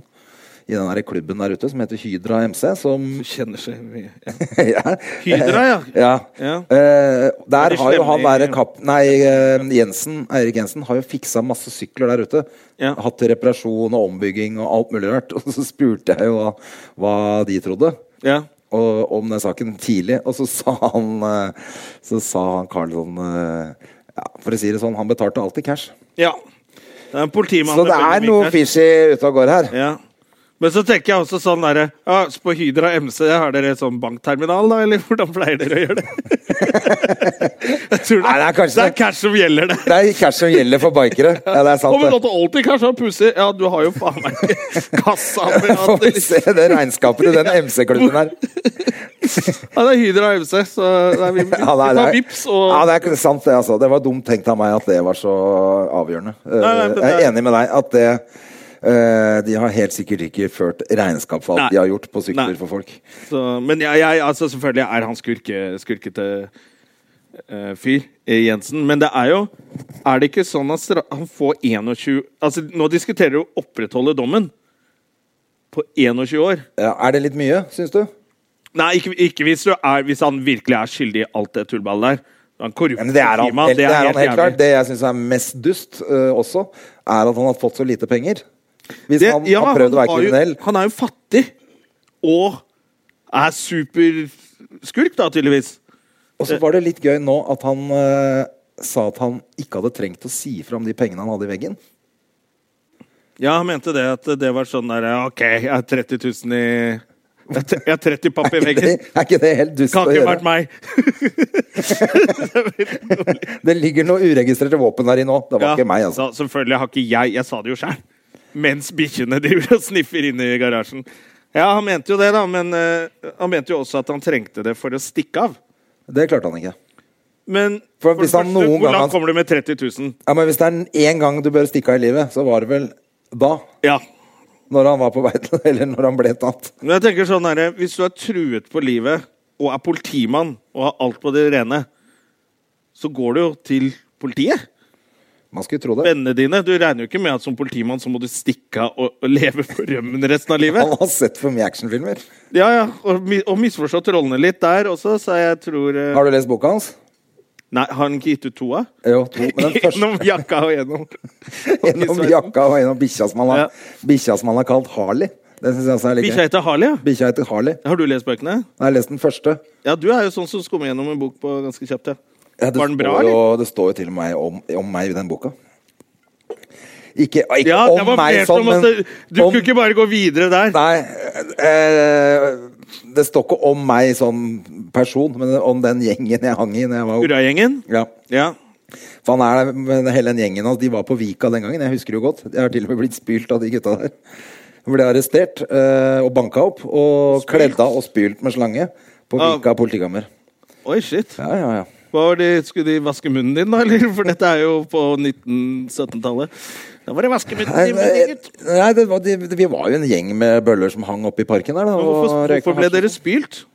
Speaker 2: I den der klubben der ute som heter Hydra MC. Som [LAUGHS]
Speaker 1: Du kjenner seg mye.
Speaker 2: ja.
Speaker 1: Hydra, ja.
Speaker 2: ja.
Speaker 1: Ja.
Speaker 2: Eh, der
Speaker 1: de
Speaker 2: har jo han
Speaker 1: slemme i-
Speaker 2: derre kapp... Nei, eh, Jensen, Eirik Jensen har jo fiksa masse sykler der ute.
Speaker 1: Ja.
Speaker 2: Hatt til reparasjon og ombygging og alt mulig rart. [LAUGHS] Og så spurte jeg jo hva, hva de trodde.
Speaker 1: Ja.
Speaker 2: og, om den saken tidlig, og så sa han eh, Så sa han Karlsson eh, ja, For å si det sånn, han betalte alltid cash.
Speaker 1: ja. Det er en politimann
Speaker 2: Så det
Speaker 1: følger
Speaker 2: er
Speaker 1: med
Speaker 2: noe
Speaker 1: her.
Speaker 2: fishy ute og går her.
Speaker 1: Ja. Men så tenker jeg også sånn derre ja, så På Hydra MC, har dere sånn bankterminal, da? Eller hvordan pleier dere å gjøre
Speaker 2: [LAUGHS]
Speaker 1: det? jeg tror det,
Speaker 2: Nei, det er kanskje
Speaker 1: det er
Speaker 2: det.
Speaker 1: cash som gjelder der.
Speaker 2: Det er cash som gjelder for bikere. Ja, det er
Speaker 1: Å, men
Speaker 2: sant, det.
Speaker 1: låter alltid cash og pussig. Ja, du har jo faen
Speaker 2: [LAUGHS]
Speaker 1: meg ikke
Speaker 2: Får vi
Speaker 1: kassaapparatet.
Speaker 2: se det regnskapet til den MC-klubben
Speaker 1: [LAUGHS]
Speaker 2: her.
Speaker 1: Ja, det er Hydra og MC, så det er vi, vi
Speaker 2: Ja, nei, det
Speaker 1: tar
Speaker 2: er-
Speaker 1: vips og
Speaker 2: ja, det er sant, det. altså Det var dumt tenkt av meg at det var så avgjørende. Eh,
Speaker 1: Nei, nei, men
Speaker 2: Jeg
Speaker 1: det-
Speaker 2: er enig med deg at det eh, De har helt sikkert ikke ført regnskap for alt
Speaker 1: Nei.
Speaker 2: de har gjort på sykler
Speaker 1: Nei.
Speaker 2: for folk.
Speaker 1: så, Men jeg, jeg, altså, selvfølgelig er han skurke, skurkete eh, fyr, eh, Jensen. Men det er jo Er det ikke sånn at stra han får 21 Altså, nå diskuterer du å opprettholde dommen på 21 år.
Speaker 2: Ja, er det litt mye, syns du?
Speaker 1: Nei, ikke, ikke hvis, du er, hvis han virkelig er skyldig i alt det tullballet der. Han korrupte
Speaker 2: Ja, men det er han,
Speaker 1: klima,
Speaker 2: helt, det er han helt
Speaker 1: jævlig.
Speaker 2: klart. Det jeg syns er mest dust øh, også, er at han har fått så lite penger. Hvis
Speaker 1: Det-
Speaker 2: han
Speaker 1: ja,
Speaker 2: har prøvd å være
Speaker 1: var jo-
Speaker 2: kriminell
Speaker 1: Han er jo fattig. Og er superskurk, da, tydeligvis.
Speaker 2: Og
Speaker 1: Eh.
Speaker 2: så var det litt gøy nå at han øh, sa at han ikke hadde trengt å si fra om de pengene han hadde i veggen.
Speaker 1: Ja, han mente det. At det var sånn der OK, jeg har 30 000 i Jeg har tre- jeg har 30 papp i
Speaker 2: Er ikke det,
Speaker 1: veggen.
Speaker 2: er ikke det helt dust å
Speaker 1: Kan ikke
Speaker 2: gjøre?
Speaker 1: vært meg.
Speaker 2: Det ligger noe uregistrerte våpen der i nå. Det var
Speaker 1: Ja,
Speaker 2: ikke meg, altså.
Speaker 1: da, selvfølgelig har ikke jeg Jeg sa det jo sjøl. Mens bikkjene driver og sniffer inne i garasjen. Ja, han mente jo det, da, men eh, han mente jo også at han trengte det for å stikke av.
Speaker 2: Det klarte han ikke.
Speaker 1: Men
Speaker 2: For
Speaker 1: for
Speaker 2: hvis
Speaker 1: det
Speaker 2: han
Speaker 1: første,
Speaker 2: noen
Speaker 1: hvor
Speaker 2: gang han-
Speaker 1: langt kommer du med 30 000?
Speaker 2: Ja, men hvis det er én gang du bør stikke av i livet, så var det vel da.
Speaker 1: Ja.
Speaker 2: Når han var på vei til [LAUGHS] Eller når han ble tatt.
Speaker 1: Men jeg tenker sånn herre Hvis du er truet på livet og er politimann og har alt på det rene, så går du jo til politiet.
Speaker 2: Man skulle tro det.
Speaker 1: Vennene dine. Du regner jo ikke med at som politimann så må du stikke av og, og leve på rømmen resten av
Speaker 2: Han
Speaker 1: livet.
Speaker 2: har sett for mye actionfilmer.
Speaker 1: Ja, ja. Og, mi- og misforstått rollene litt der også, så jeg tror eh,
Speaker 2: Har du lest boka hans?
Speaker 1: Nei, har han ikke gitt ut to av?
Speaker 2: Jo, to. Men
Speaker 1: [LAUGHS]
Speaker 2: den første
Speaker 1: Gjennom jakka og gjennom
Speaker 2: [LAUGHS] Gjennom jakka og gjennom bikkja som han har, bikkja som han har kalt Harley. Den synes jeg også er litt
Speaker 1: Bikkja
Speaker 2: gøy.
Speaker 1: heter Harley, ja.
Speaker 2: Bikkja heter Harley.
Speaker 1: Har du lest bøkene?
Speaker 2: Jeg har lest den første.
Speaker 1: Ja, du er jo sånn som skummer gjennom en bok på ganske kjapt. Ja.
Speaker 2: Ja, det
Speaker 1: Var den bra,
Speaker 2: står
Speaker 1: eller?
Speaker 2: jo, det står jo til og med om, om meg i den boka. Ikke, ikke
Speaker 1: Ja, det
Speaker 2: om
Speaker 1: var
Speaker 2: meg
Speaker 1: mer
Speaker 2: sånn,
Speaker 1: som
Speaker 2: men
Speaker 1: at det- Du
Speaker 2: om-
Speaker 1: kunne ikke bare gå videre der.
Speaker 2: Nei, eh, det står ikke om meg som person, men om den gjengen jeg hang i når jeg var ung.
Speaker 1: Hurragjengen?
Speaker 2: Ja.
Speaker 1: Ja.
Speaker 2: For han er, men hele den gjengen hans, de var på Vika den gangen, jeg husker det jo godt. Jeg har til og med blitt spylt av de gutta der. Jeg Ble arrestert eh, og banka opp, og kledd av og spylt med slange på
Speaker 1: Av-
Speaker 2: Vika politikammer.
Speaker 1: Oi, shit.
Speaker 2: Ja, ja, ja.
Speaker 1: Hva var det, skulle de vaske munnen din, da? [LAUGHS] Eller? For dette er jo på 1917-tallet. Da var det vaske munnen
Speaker 2: Nei,
Speaker 1: din, min
Speaker 2: men-
Speaker 1: gutt.
Speaker 2: nei det var, de, vi var jo en gjeng med bøller som hang oppe i parken der. Da,
Speaker 1: Men
Speaker 2: og
Speaker 1: Hvorfor,
Speaker 2: røyka
Speaker 1: hvorfor ble
Speaker 2: hasj.
Speaker 1: dere spylt?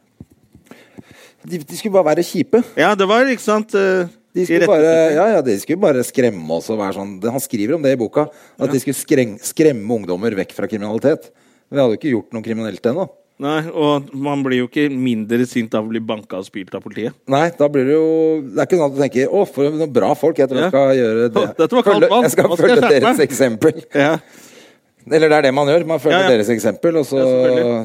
Speaker 2: de, de skulle bare være kjipe.
Speaker 1: Ja, det var, ikke sant eh,
Speaker 2: De
Speaker 1: i
Speaker 2: skulle,
Speaker 1: rette-
Speaker 2: bare, ja, ja, de skulle bare skremme oss og være sånn det- Han skriver om det i boka. At de skulle skreng, skremme ungdommer vekk fra kriminalitet. Vi hadde jo ikke gjort noe kriminelt ennå.
Speaker 1: Nei, og man blir jo ikke mindre sint av å bli banka og spylt av politiet.
Speaker 2: Nei, da blir det jo Det er ikke sånn at du tenker Å, for noen bra folk. Jeg tror jeg
Speaker 1: Ja.
Speaker 2: skal gjøre det.
Speaker 1: Å, dette var kaldt vann.
Speaker 2: jeg skal
Speaker 1: Nå skal jeg
Speaker 2: følge
Speaker 1: skjerpe
Speaker 2: deres
Speaker 1: meg.
Speaker 2: eksempel.
Speaker 1: Ja.
Speaker 2: Eller det er det man gjør. Man følger
Speaker 1: Ja, ja.
Speaker 2: deres eksempel, og så
Speaker 1: Ja,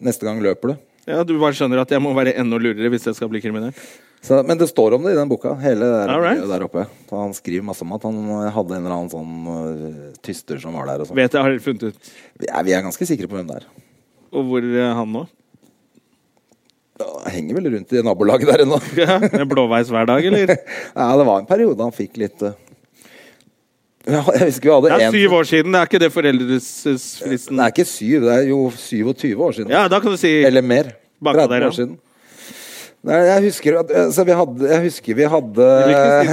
Speaker 2: Neste gang løper du.
Speaker 1: ja, du bare skjønner at jeg må være enda lurere hvis jeg skal bli kriminell.
Speaker 2: Så, men det står om det i den boka, hele det der,
Speaker 1: All right.
Speaker 2: der oppe. Så han skriver masse om at han eh, hadde en eller annen sånn eh, tyster som var der og sånn.
Speaker 1: Vet jeg, har dere funnet ut.
Speaker 2: Vi, er- vi er ganske sikre på hvem det er.
Speaker 1: Og hvor er han nå?
Speaker 2: Ja, henger vel rundt i nabolaget der ennå.
Speaker 1: Ja, med blåveis hver dag, eller?
Speaker 2: [LAUGHS] ja, [LAUGHS] det var en periode han fikk litt eh, ja, Jeg husker vi
Speaker 1: Det
Speaker 2: hadde
Speaker 1: er
Speaker 2: en
Speaker 1: syv år siden, det er ikke det foreldresfristen
Speaker 2: Det er ikke syv, det er jo 27 år siden.
Speaker 1: Ja, da kan du si
Speaker 2: Eller mer.
Speaker 1: Baka
Speaker 2: 30
Speaker 1: der, ja.
Speaker 2: år siden. Nei, jeg husker at eh, så vi hadde, Jeg husker vi hadde
Speaker 1: Vil ikke si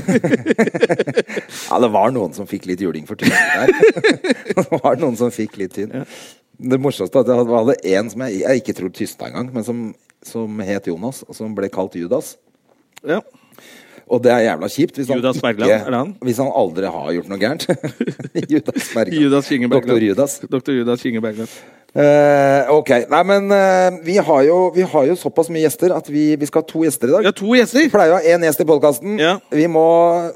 Speaker 1: noe.
Speaker 2: [LAUGHS] Ja, det var noen som fikk litt juling for tynn der. [LAUGHS] det var noen som fikk litt tynn. Det morsomste var at jeg hadde- hadde en som jeg, jeg ikke tror tysta engang, men som, som het Jonas, og som ble kalt Judas.
Speaker 1: Ja.
Speaker 2: Og det er jævla kjipt hvis han,
Speaker 1: Judas Bergland, er det han?
Speaker 2: hvis han aldri har gjort noe gærent. [LAUGHS] Judas Bergland.
Speaker 1: Judas Kinge Bergland.
Speaker 2: Doktor Judas.
Speaker 1: Dr. Judas Kinge Bergland.
Speaker 2: Eh, ok. Nei, men eh, vi, har jo, vi har jo såpass mye gjester at vi, vi skal ha to gjester i dag.
Speaker 1: Vi har to gjester!
Speaker 2: Vi pleier å ha én gjest i podkasten.
Speaker 1: Ja.
Speaker 2: Vi, må,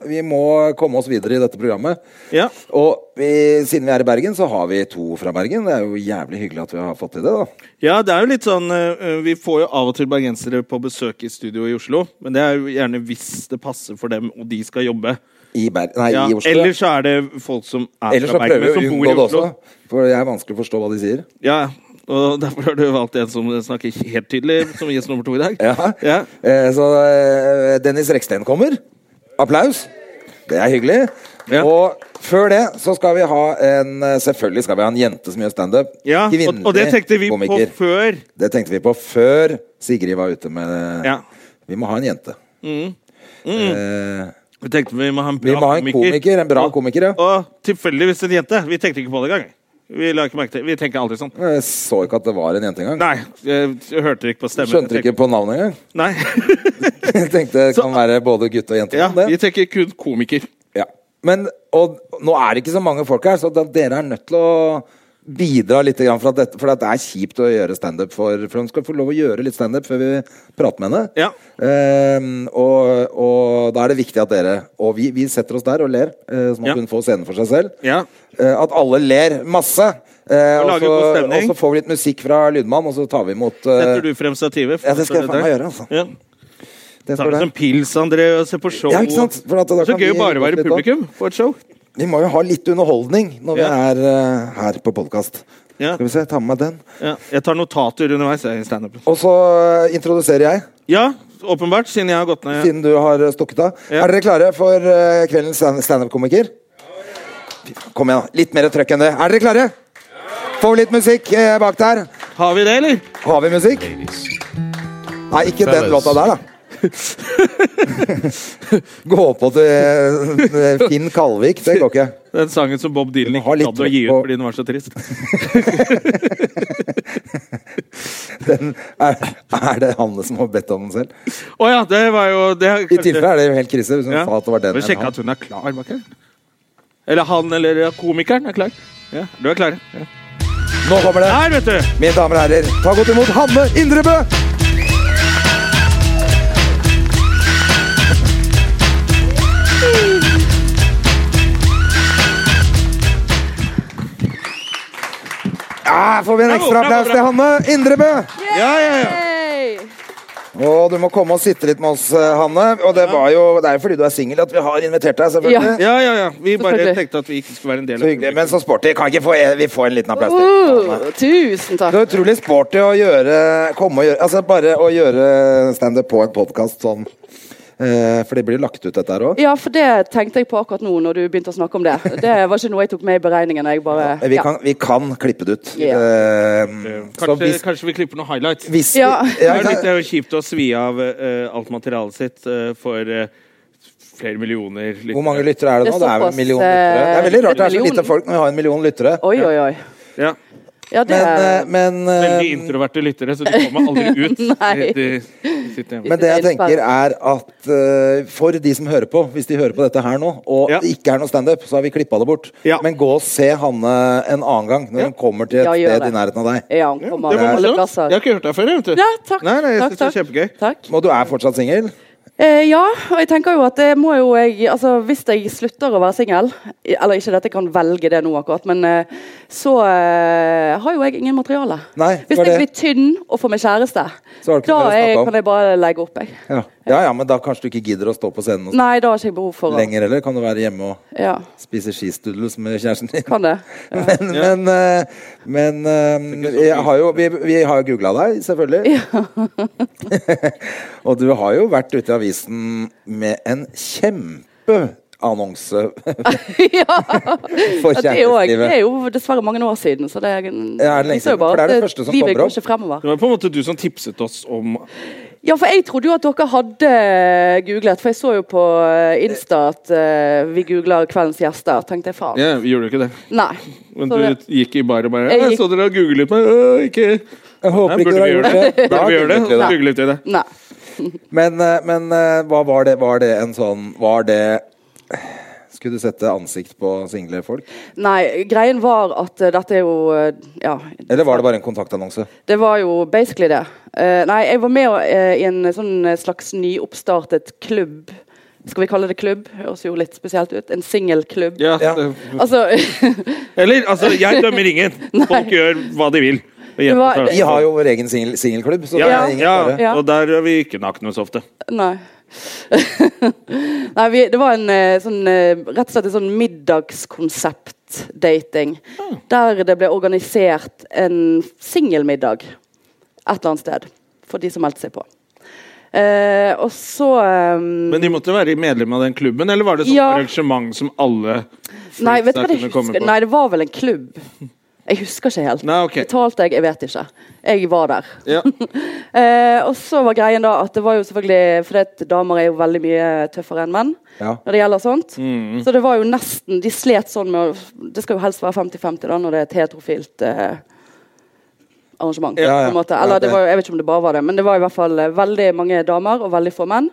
Speaker 2: vi må komme oss videre i dette programmet.
Speaker 1: Ja.
Speaker 2: Og vi, siden vi er i Bergen, så har vi to fra Bergen. Det er jo jævlig hyggelig at vi har fått til det, da.
Speaker 1: Ja, det er jo litt sånn eh, Vi får jo av og til bergensere på besøk i studio i Oslo. Men det er jo gjerne hvis det passer for dem, og de skal jobbe.
Speaker 2: I, Ber nei,
Speaker 1: Ja,
Speaker 2: i Oslo.
Speaker 1: ellers så er det folk som er
Speaker 2: Ellers så
Speaker 1: fra Bergen,
Speaker 2: prøver vi å
Speaker 1: men som bor i
Speaker 2: unngå det
Speaker 1: Oslo.
Speaker 2: også. For det er vanskelig å forstå hva de sier.
Speaker 1: Ja, og derfor har du valgt en som snakker helt tydelig som gjest nummer to i dag.
Speaker 2: Ja. Eh, så eh, Dennis Reksten kommer. Applaus. Det er hyggelig.
Speaker 1: Ja.
Speaker 2: Og før det så skal vi ha en eh, Selvfølgelig skal vi ha en jente som gjør standup.
Speaker 1: Ja, og, og det
Speaker 2: Kvinnelig
Speaker 1: tenkte vi
Speaker 2: komiker.
Speaker 1: på før.
Speaker 2: Det tenkte vi på før Sigrid var ute med
Speaker 1: Ja. Mm.
Speaker 2: Vi må ha en jente. Eh,
Speaker 1: Vi tenkte vi må ha en bra
Speaker 2: vi må ha en komiker, en bra
Speaker 1: Og-
Speaker 2: komiker, ja.
Speaker 1: Og tilfeldigvis en jente. Vi tenkte ikke på det engang. Vi, la ikke merke til- vi tenker aldri sånn.
Speaker 2: Jeg så ikke at det var en jente engang.
Speaker 1: Nei, jeg, jeg hørte ikke på stemmen.
Speaker 2: Skjønte ikke
Speaker 1: Jeg
Speaker 2: på navnet engang. [LAUGHS]
Speaker 1: tenkte- Nei.
Speaker 2: Jeg tenkte det
Speaker 1: Så-
Speaker 2: kan være både gutt og jente.
Speaker 1: ja,
Speaker 2: men det-
Speaker 1: vi tenker kun komiker.
Speaker 2: Ja. Men og, nå er det ikke så mange folk her, så da, dere er nødt til å bidra litt. grann For, at dette, for at det er kjipt å gjøre standup for For hun skal få lov å gjøre litt standup før vi prater med henne.
Speaker 1: Ja.
Speaker 2: Ehm, og, og da er det viktig at dere Og vi, vi setter oss der og ler, eh, sånn at
Speaker 1: Ja.
Speaker 2: hun får scenen for seg selv.
Speaker 1: Ja.
Speaker 2: Eh, at alle ler masse. Eh,
Speaker 1: Og
Speaker 2: og,
Speaker 1: lager
Speaker 2: så,
Speaker 1: god
Speaker 2: og
Speaker 1: stemning.
Speaker 2: så får vi litt musikk fra lydmann, og så tar vi imot eh,
Speaker 1: Setter du frem stativet?
Speaker 2: ja, det skal jeg
Speaker 1: For-
Speaker 2: faen meg gjøre, altså.
Speaker 1: Ja.
Speaker 2: det
Speaker 1: Tar
Speaker 2: står
Speaker 1: du
Speaker 2: der.
Speaker 1: en pils, André, og ser på show?
Speaker 2: Ja, ikke sant? For at da
Speaker 1: Så
Speaker 2: kan vi
Speaker 1: gøy å bare
Speaker 2: gå
Speaker 1: være
Speaker 2: litt opp.
Speaker 1: publikum på et show.
Speaker 2: Vi må jo ha litt underholdning når vi
Speaker 1: Ja.
Speaker 2: er eh, her på podkast.
Speaker 1: Ja.
Speaker 2: Skal vi se, ta med meg den.
Speaker 1: Ja. Jeg tar notater underveis jeg, i standupen.
Speaker 2: Og så eh, introduserer jeg,
Speaker 1: Ja, åpenbart, siden jeg har gått ned.
Speaker 2: siden du har eh, stukket av.
Speaker 1: Ja.
Speaker 2: Er dere klare for eh, kveldens stand- standup-komiker? Fy faen, Kom igjen, da. Litt mer trøkk enn det. Er dere klare? Får vi litt musikk eh, bak der?
Speaker 1: Har vi det, eller?
Speaker 2: Har vi musikk? Nei, ikke den låta der, da. Gå på til eh, Finn Kalvik, det går ikke.
Speaker 1: Den sangen som Bob Dylan
Speaker 2: Du må ha
Speaker 1: ikke
Speaker 2: litt
Speaker 1: gadd å
Speaker 2: trykk
Speaker 1: gi ut
Speaker 2: på-
Speaker 1: fordi den var så trist.
Speaker 2: Den er, er det Hanne som har bedt om den selv?
Speaker 1: Å ja, det var jo det,
Speaker 2: I tilfelle er det jo helt krise. Hvis hun
Speaker 1: Ja.
Speaker 2: sa at det var den
Speaker 1: Må
Speaker 2: eller
Speaker 1: sjekke
Speaker 2: han.
Speaker 1: at hun er klar, var ikke det? Eller han eller komikeren er klar. Ja, du er klar. Ja.
Speaker 2: Nå kommer det!
Speaker 1: Her, vet du!
Speaker 2: Mine damer og herrer, ta godt imot Hanne Indrebø! Ja, får vi en ekstra
Speaker 1: Bravo, bravo,
Speaker 2: applaus til
Speaker 1: bravo.
Speaker 2: Hanne Indrebø!
Speaker 1: Ja, ja, ja.
Speaker 2: Og du må komme og sitte litt med oss, eh, Hanne. Og det, var jo, det er jo fordi du er singel at vi har invitert deg, selvfølgelig.
Speaker 1: ja, ja, ja. Vi bare
Speaker 3: Selvfølgelig.
Speaker 1: tenkte at vi ikke skulle være en del
Speaker 2: Så
Speaker 1: av
Speaker 2: hyggelig, men så sporty. Kan ikke få, vi får en liten applaus til? Hanne.
Speaker 3: Uh, tusen takk.
Speaker 2: Det er utrolig sporty å gjøre, komme og gjøre Altså bare å gjøre standup på en podkast sånn. Eh, for det blir jo lagt ut, dette her òg.
Speaker 3: Ja, for det tenkte jeg på akkurat nå når du begynte å snakke om det. Det var ikke noe jeg tok med i beregningen. Jeg bare,
Speaker 2: Vi, kan- vi kan klippe det ut.
Speaker 3: Ja.
Speaker 2: Eh, så
Speaker 1: Kanskje,
Speaker 2: hvis,
Speaker 1: kanskje vi klipper noen highlights.
Speaker 2: hvis
Speaker 3: Ja.
Speaker 1: Det er litt
Speaker 2: ja,
Speaker 1: det er jo kjipt å svi av eh, alt materialet sitt eh, for eh, flere millioner lyttere.
Speaker 2: Hvor mange lyttere er det nå?
Speaker 3: Det
Speaker 2: Det er
Speaker 3: er
Speaker 2: vel en
Speaker 3: såpass, eh,
Speaker 2: million lyttere. Det er veldig rart det er så
Speaker 3: million.
Speaker 2: lite folk når vi har en million lyttere.
Speaker 3: Oi, oi, oi.
Speaker 1: Ja.
Speaker 3: Ja, det,
Speaker 2: Men, eh, men, eh,
Speaker 1: Veldig introverte lyttere, så de kommer
Speaker 3: [LAUGHS]
Speaker 1: aldri ut.
Speaker 3: Nei.
Speaker 1: De, de sitter hjemme.
Speaker 2: men det jeg tenker er at eh, for de som hører på, hvis de hører på dette her nå, og
Speaker 1: Ja.
Speaker 2: det ikke er noe standup, så har vi klippa det bort.
Speaker 1: Ja.
Speaker 2: Men gå og se Hanne en annen gang, når hun kommer til et
Speaker 3: Ja, gjør
Speaker 2: sted
Speaker 3: det.
Speaker 2: i nærheten av deg.
Speaker 3: ja, han
Speaker 1: Ja,
Speaker 3: kommer
Speaker 1: det var
Speaker 3: alle
Speaker 1: morsomt. Jeg
Speaker 3: plasser.
Speaker 1: har ikke hørt deg før. jeg, Vet du.
Speaker 3: Ja, takk.
Speaker 1: Nei, nei, jeg
Speaker 3: takk,
Speaker 1: synes det er kjempegøy.
Speaker 3: Takk.
Speaker 2: Og du er fortsatt singel?
Speaker 3: Eh, ja, og jeg tenker jo at det må jo jeg Altså, hvis jeg slutter å være singel, i- eller ikke dette jeg kan velge det nå akkurat, men eh, så eh, har jo jeg ingen materiale.
Speaker 2: Nei, det
Speaker 3: hvis
Speaker 2: var
Speaker 3: jeg blir
Speaker 2: det.
Speaker 3: tynn og får meg kjæreste,
Speaker 2: Så har du ikke
Speaker 3: da
Speaker 2: mer å snakke
Speaker 3: er,
Speaker 2: om.
Speaker 3: kan jeg bare legge opp, jeg.
Speaker 2: Ja. ja, ja, men da kanskje du ikke gidder å stå på scenen og
Speaker 3: Nei, da har ikke jeg behov for å
Speaker 2: lenger heller. Kan du være hjemme og
Speaker 3: Ja,
Speaker 2: spise skistudels med kjæresten din?
Speaker 3: kan det. Ja.
Speaker 2: [LAUGHS] Men, men, eh, men
Speaker 1: sånn
Speaker 2: eh, jeg har jo, vi, vi har jo googla deg, selvfølgelig. [LAUGHS] og du har jo vært ute i avisen med en
Speaker 3: [LAUGHS]
Speaker 2: kjempeannonse
Speaker 3: [LAUGHS]
Speaker 2: [LAUGHS]
Speaker 3: ja.
Speaker 2: for
Speaker 3: Ja, Det er, jo, det er
Speaker 2: kjærlighetslivet.
Speaker 3: jo dessverre mange år siden, så det er,
Speaker 2: Ja, er det lenge
Speaker 3: viser jo
Speaker 2: siden? For
Speaker 3: bare
Speaker 2: det er
Speaker 3: at
Speaker 2: det første som
Speaker 3: livet
Speaker 2: kommer
Speaker 3: går
Speaker 2: opp.
Speaker 3: ikke fremover.
Speaker 1: Det var på en måte du som tipset oss om
Speaker 3: Ja, for jeg trodde jo at dere hadde eh, googlet, for jeg så jo på eh, Insta at eh, vi googler kveldens gjester. Tenkte jeg faen.
Speaker 1: Ja, vi gjorde jo ikke det.
Speaker 3: Nei.
Speaker 1: Men
Speaker 3: Så
Speaker 1: du
Speaker 3: det-
Speaker 1: gikk i bar og bare
Speaker 3: Jeg
Speaker 1: «Ja, Jeg
Speaker 3: gikk-
Speaker 1: så dere har googlet meg. Øh, ikke
Speaker 2: Jeg
Speaker 1: Nei,
Speaker 2: håper ikke du
Speaker 1: Burde vi
Speaker 2: har
Speaker 1: gjøre
Speaker 2: gjort
Speaker 1: det?
Speaker 2: det.
Speaker 1: Burde vi gjøre det?
Speaker 2: Da googlet vi det.
Speaker 1: Googlet vi det.
Speaker 3: Nei.
Speaker 2: Men, eh, men eh, hva var det? Var det en sånn Var det Skulle du sette ansikt på single folk?
Speaker 3: Nei, greien var at eh, dette er jo eh, Ja.
Speaker 2: Eller var det bare en kontaktannonse?
Speaker 3: Det var jo basically det. Eh, nei, jeg var med eh, i en sånn eh, slags nyoppstartet klubb. Skal vi kalle det klubb? Høres jo litt spesielt ut. En singelklubb.
Speaker 1: Ja.
Speaker 2: Ja.
Speaker 1: det-
Speaker 3: Altså [LAUGHS]
Speaker 1: Eller, altså, jeg dømmer ingen. Folk gjør hva de vil. Og jenter
Speaker 3: var-
Speaker 1: tar det.
Speaker 2: Vi har jo vår egen singel- singelklubb, så det
Speaker 1: ja,
Speaker 2: er ingen
Speaker 1: ja,
Speaker 2: fare.
Speaker 3: Ja.
Speaker 1: og der er vi ikke nakne så ofte.
Speaker 3: Nei. Nei, vi, det var en eh, sånn eh, rett og slett en sånn middagskonsept-dating. Der det ble organisert en singelmiddag et eller annet sted for de som meldte seg på. Eh, og så eh,
Speaker 1: Men de måtte være medlem av den klubben, eller var det sånn
Speaker 3: Ja.
Speaker 1: arrangement som alle
Speaker 3: Nei, vet du hva
Speaker 1: der
Speaker 3: jeg
Speaker 1: kunne komme
Speaker 3: husker?
Speaker 1: på?
Speaker 3: Nei, det var vel en klubb. Jeg husker ikke helt.
Speaker 1: Nei, ok.
Speaker 3: Betalte jeg, jeg vet ikke. Jeg var der.
Speaker 1: Ja.
Speaker 3: [LAUGHS] Eh, og så var greien da at det var jo selvfølgelig For det, damer er jo veldig mye tøffere enn menn
Speaker 2: Ja. Mm.
Speaker 3: når det gjelder sånt. Så det var jo nesten De slet sånn med å Det skal jo helst være 50-50 da når det er et heterofilt eh, arrangement.
Speaker 2: Ja, ja.
Speaker 3: på en måte.
Speaker 2: Ja,
Speaker 3: Eller
Speaker 2: det-
Speaker 3: det var, jo- jeg vet ikke om det bare var det, men det var i hvert fall eh, veldig mange damer og veldig få menn.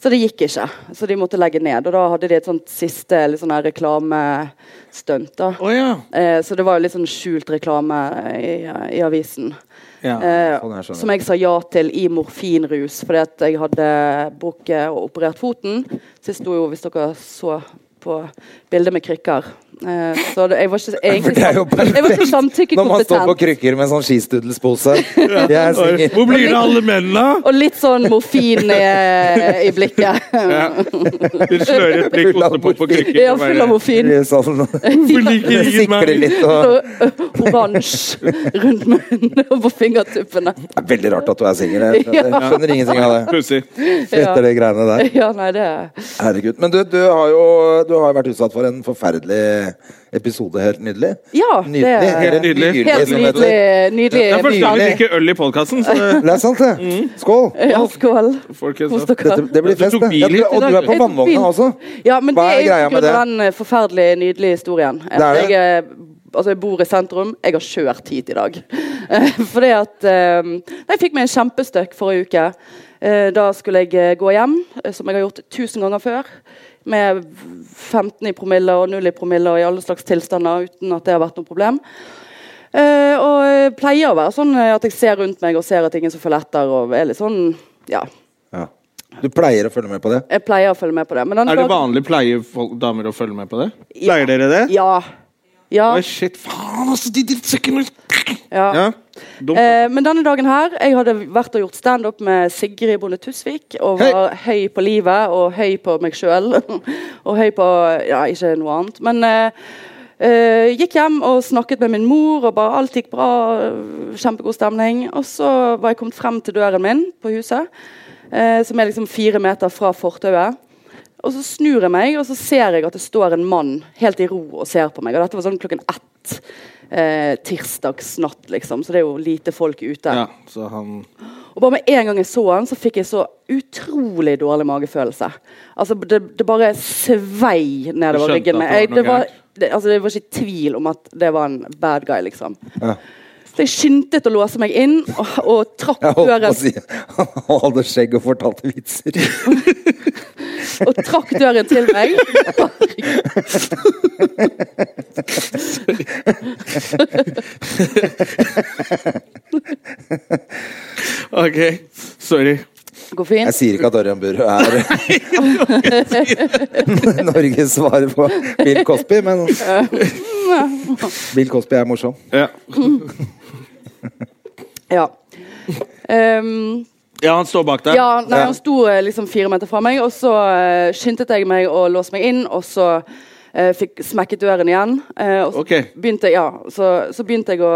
Speaker 3: Så det gikk ikke. Så de måtte legge ned. Og da hadde de et sånt siste litt sånn her reklamestunt. da.
Speaker 1: Å ja.
Speaker 3: Eh, så det var jo litt sånn skjult reklame i, i avisen.
Speaker 1: ja.
Speaker 3: Eh,
Speaker 2: sånn her skjønner jeg.
Speaker 3: som jeg sa ja til i morfinrus, fordi at jeg hadde brukket og operert foten. Så jeg sto jo, hvis dere så på bildet med krykker eh, Så det, jeg
Speaker 2: [LAUGHS]
Speaker 3: var ikke egentlig
Speaker 2: Det er jo
Speaker 3: Jeg var ikke
Speaker 2: perfekt når man står på
Speaker 3: samtykkekompetent.
Speaker 2: krykker med en sånn skistudelspose. Jeg er singel.
Speaker 1: Hvor blir det av alle mennene?
Speaker 3: Og litt sånn morfin i, eh, i blikket.
Speaker 1: Ja. Du slører et blikk
Speaker 2: Full av
Speaker 1: ostepop og krykker.
Speaker 3: Jeg er full av morfin.
Speaker 2: Sånn,
Speaker 1: Hvorfor liker ingen
Speaker 2: sikler
Speaker 1: meg?
Speaker 2: litt og
Speaker 3: Og eh, oransje rundt munnen og på fingertuppene.
Speaker 2: det er Veldig rart at du er singel. Jeg skjønner- jeg skjønner ingenting av det.
Speaker 1: Pussig.
Speaker 2: Etter de greiene der.
Speaker 3: Ja, nei, det
Speaker 2: Herregud. Men du, du har jo du har jo vært utsatt for en forferdelig episode. Helt nydelig.
Speaker 3: Ja, det
Speaker 2: nydelig.
Speaker 3: er-
Speaker 2: Helt
Speaker 1: Nydelig.
Speaker 2: nydelig.
Speaker 3: Helt
Speaker 2: som det heter.
Speaker 3: nydelig. nydelig
Speaker 1: Det er første gang vi
Speaker 2: nydelig.
Speaker 1: drikker øl i podkasten,
Speaker 3: [LAUGHS]
Speaker 1: så det-
Speaker 2: Det er sant, det. Skål.
Speaker 3: Ja, skål.
Speaker 1: folkens
Speaker 3: Kos
Speaker 1: da.
Speaker 2: Dette,
Speaker 3: dere.
Speaker 2: det blir
Speaker 1: Mm. Du
Speaker 2: fest,
Speaker 1: tok
Speaker 2: det.
Speaker 1: bil hit i
Speaker 2: og du er
Speaker 1: dag.
Speaker 2: på
Speaker 3: Jeg tok bil.
Speaker 2: vannvogna også.
Speaker 3: Ja, men
Speaker 2: Hva er
Speaker 3: det er
Speaker 2: greia
Speaker 3: jo
Speaker 2: med
Speaker 3: pga. den eh, forferdelige, nydelige historien.
Speaker 2: Det er det.
Speaker 3: Jeg, eh, altså, jeg bor i sentrum. Jeg har kjørt hit i dag. [LAUGHS] Eh, Fordi at eh, nei, Jeg fikk meg en kjempestøkk forrige uke. Eh, Da skulle jeg eh, gå hjem, eh, som jeg har gjort tusen ganger før. Med 15 i promille og 0 i promille og i alle slags tilstander uten at det har vært noe problem. Eh, og jeg pleier å være sånn eh, at jeg ser rundt meg og ser at ingen som følger etter. og er litt sånn, ja.
Speaker 2: Ja. Du pleier å følge med på det.
Speaker 3: Jeg pleier å følge med på det. Men denne
Speaker 1: Er det
Speaker 3: dagen-
Speaker 1: vanlig pleier folk, damer å følge med på det?
Speaker 3: Ja.
Speaker 1: Pleier dere det?
Speaker 3: Ja. Ja.
Speaker 1: Oi, shit, faen, altså, de drittsekkene!
Speaker 3: ja.
Speaker 1: Ja. Dumt.
Speaker 3: Eh, men denne dagen her Jeg hadde vært og gjort standup med Sigrid Bonde Tusvik. Og var høy på livet og høy på meg sjøl. [LAUGHS] og høy på Ja, ikke noe annet. Men eh, eh, gikk hjem og snakket med min mor, og bare alt gikk bra. øh, Kjempegod stemning. Og så var jeg kommet frem til døren min på huset, eh, som er liksom fire meter fra fortauet. Og så snur jeg meg, og så ser jeg at det står en mann helt i ro og ser på meg. Og dette var sånn klokken ett eh, tirsdagsnatt, liksom, så det er jo lite folk ute.
Speaker 1: Ja, så han
Speaker 3: Og bare med en gang jeg så han, så fikk jeg så utrolig dårlig magefølelse. Altså, det, det bare svei nedover
Speaker 1: Du skjønte
Speaker 3: ryggen. min.
Speaker 1: at det
Speaker 3: Jeg,
Speaker 1: var
Speaker 3: det,
Speaker 1: noe
Speaker 3: var,
Speaker 1: gærent.
Speaker 3: det, altså, det var ikke tvil om at det var en bad guy, liksom.
Speaker 2: Ja.
Speaker 3: Så jeg skyndte å låse meg inn, og, og trakk
Speaker 2: Jeg holdt på
Speaker 3: døren
Speaker 2: å si [LAUGHS] Han hadde skjegg og fortalte vitser.
Speaker 3: og trakk døren til meg.
Speaker 1: [LAUGHS] OK, sorry.
Speaker 3: Går fint.
Speaker 2: Jeg sier ikke at Ørjan Burøe
Speaker 3: [LAUGHS]
Speaker 2: er [LAUGHS] Norges svar på Bill Cosby, men Bill Cosby er morsom.
Speaker 1: Ja.
Speaker 3: Ja. Ehm,
Speaker 1: ja, han står bak der.
Speaker 3: ja, nei,
Speaker 2: Ja.
Speaker 3: han sto eh, liksom fire meter fra meg, og så eh, skyndte jeg meg å låse meg inn, og så eh, fikk smekket døren igjen. eh, og så,
Speaker 1: Ok.
Speaker 3: begynte, jeg- ja, så, så begynte jeg å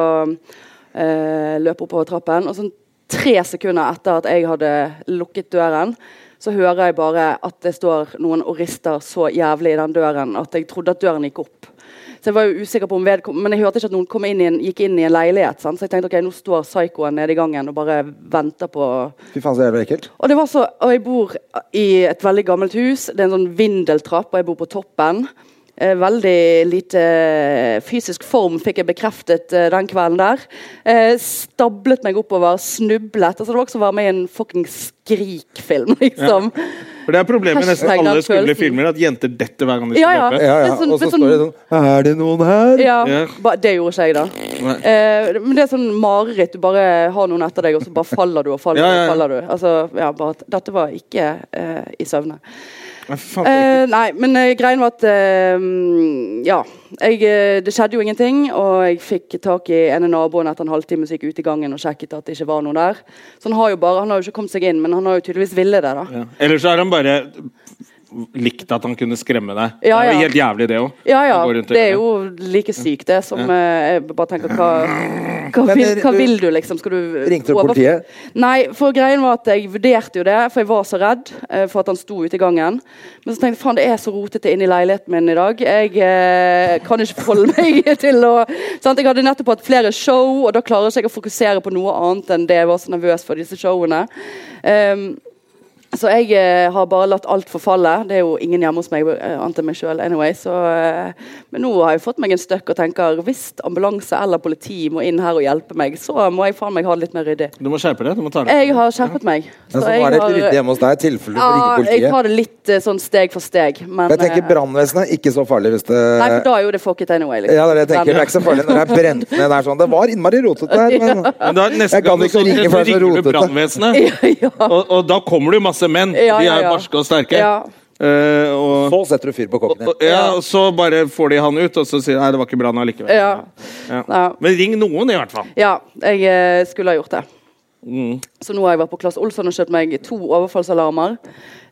Speaker 3: eh, løpe oppover trappen, og sånn tre sekunder etter at jeg hadde lukket døren, så hører jeg bare at det står noen og rister så jævlig i den døren at jeg trodde at døren gikk opp. Så jeg var jo usikker på om vedkom Men jeg hørte ikke at noen kom inn i en, gikk inn i en leilighet. Sant? Så jeg tenkte ok, nå står psykoen nede i gangen og bare venter på
Speaker 2: Fy faen, så jævlig ekkelt.
Speaker 3: og det var så, og jeg bor i et veldig gammelt hus. Det er en sånn vindeltrapp, og jeg bor på toppen. Eh, veldig lite eh, fysisk form fikk jeg bekreftet eh, den kvelden der. Eh, stablet meg oppover, snublet. Altså, det var også å være med i en fuckings skrikfilm, [LAUGHS] liksom.
Speaker 1: For Det er problemet med nesten
Speaker 3: Hashtag
Speaker 1: alle
Speaker 3: den
Speaker 1: skumle
Speaker 3: følelsen.
Speaker 1: filmer, at jenter detter hver gang de
Speaker 3: Ja,
Speaker 1: skal
Speaker 3: ja.
Speaker 1: løpe.
Speaker 2: Ja, ja.
Speaker 3: Det er sånn-
Speaker 2: Og så
Speaker 3: det er
Speaker 2: står det
Speaker 3: sånn-
Speaker 2: sånn Er det noen her?
Speaker 3: Ja,
Speaker 1: Ja.
Speaker 3: ba, det gjorde ikke jeg, da.
Speaker 1: Nei.
Speaker 3: Eh, men det er sånn mareritt. Du bare har noen etter deg, og så bare faller du og faller,
Speaker 1: Ja, ja, ja.
Speaker 3: og faller du. Altså, ja, bare, at dette var ikke eh, i søvne.
Speaker 1: Nei, for faen,
Speaker 3: Eh, nei, men eh, greien var at eh, Ja. Jeg, eh, det skjedde jo ingenting, og jeg fikk tak i en av naboene etter en halvtime som gikk ut i gangen og sjekket at det ikke var noe der. Så han har jo bare, han har jo ikke kommet seg inn, men han har jo tydeligvis villet det. da.
Speaker 1: Ja. Eller så har han bare likt at han kunne skremme deg. Det
Speaker 3: Ja,
Speaker 1: er
Speaker 3: ja.
Speaker 1: jo helt jævlig, det òg.
Speaker 3: Ja ja, det er jo like sykt, det, som eh, Jeg bare tenker hva, hva,
Speaker 2: Men,
Speaker 3: vil,
Speaker 2: eh,
Speaker 3: hva
Speaker 2: du-
Speaker 3: vil du, liksom? Skal du
Speaker 2: Ringte du
Speaker 3: over-
Speaker 2: politiet?
Speaker 3: Nei, for greien var at jeg vurderte jo det, for jeg var så redd eh, for at han sto ute i gangen. Men så tenkte jeg faen, det er så rotete inne i leiligheten min i dag. Jeg eh, kan ikke forholde meg [LAUGHS] til å sant? Jeg hadde nettopp hatt flere show, og da klarer ikke jeg å fokusere på noe annet enn det jeg var så nervøs for disse showene. Ehm, så jeg eh, har bare latt alt forfalle. Det er jo ingen hjemme hos meg, eh, annet enn meg sjøl. Anyway, så, eh, men nå har jeg fått meg en støkk og tenker hvis ambulanse eller politi må inn her og hjelpe meg, så må jeg faen meg ha det litt mer ryddig.
Speaker 1: Du må skjerpe deg. Du må ta det.
Speaker 3: Jeg har skjerpet meg.
Speaker 2: Ja, så nå er det helt ryddig hjemme hos deg, i tilfelle du må ringe
Speaker 3: ja, jeg
Speaker 2: politiet.
Speaker 3: tar det litt eh, sånn steg for steg. Men,
Speaker 2: Jeg tenker
Speaker 3: eh,
Speaker 2: brannvesenet er ikke så farlig hvis det
Speaker 3: Nei, for da er jo det fucket anyway. liksom.
Speaker 2: Ja, det er det jeg tenker. Det er ikke så farlig når det er brent ned der sånn. Det var innmari rotete
Speaker 3: [LAUGHS]
Speaker 2: her, men
Speaker 1: Men da, neste
Speaker 2: Jeg kan
Speaker 1: gang du
Speaker 2: ikke
Speaker 1: står-
Speaker 2: ringe,
Speaker 1: så
Speaker 2: for det er så
Speaker 1: ringer
Speaker 2: rotete.
Speaker 1: du brannvesenet,
Speaker 3: [LAUGHS]
Speaker 1: [LAUGHS]
Speaker 3: ja, ja.
Speaker 1: og, og da kommer det jo masse menn.
Speaker 3: Ja,
Speaker 1: de
Speaker 3: ja,
Speaker 1: er
Speaker 3: ja.
Speaker 1: barske og sterke.
Speaker 3: Ja.
Speaker 1: Eh, og,
Speaker 2: så setter du fyr på kokken din.
Speaker 1: og, ja, og så bare får de han ut, og så sier de nei, det var ikke brann allikevel.
Speaker 3: Ja,
Speaker 1: Ja.
Speaker 3: ja.
Speaker 1: Men ring noen, i hvert fall.
Speaker 3: ja jeg eh, skulle ha gjort det.
Speaker 1: Mm.
Speaker 3: Så nå har jeg vært på Klass Olsson og kjøpt meg to overfallsalarmer.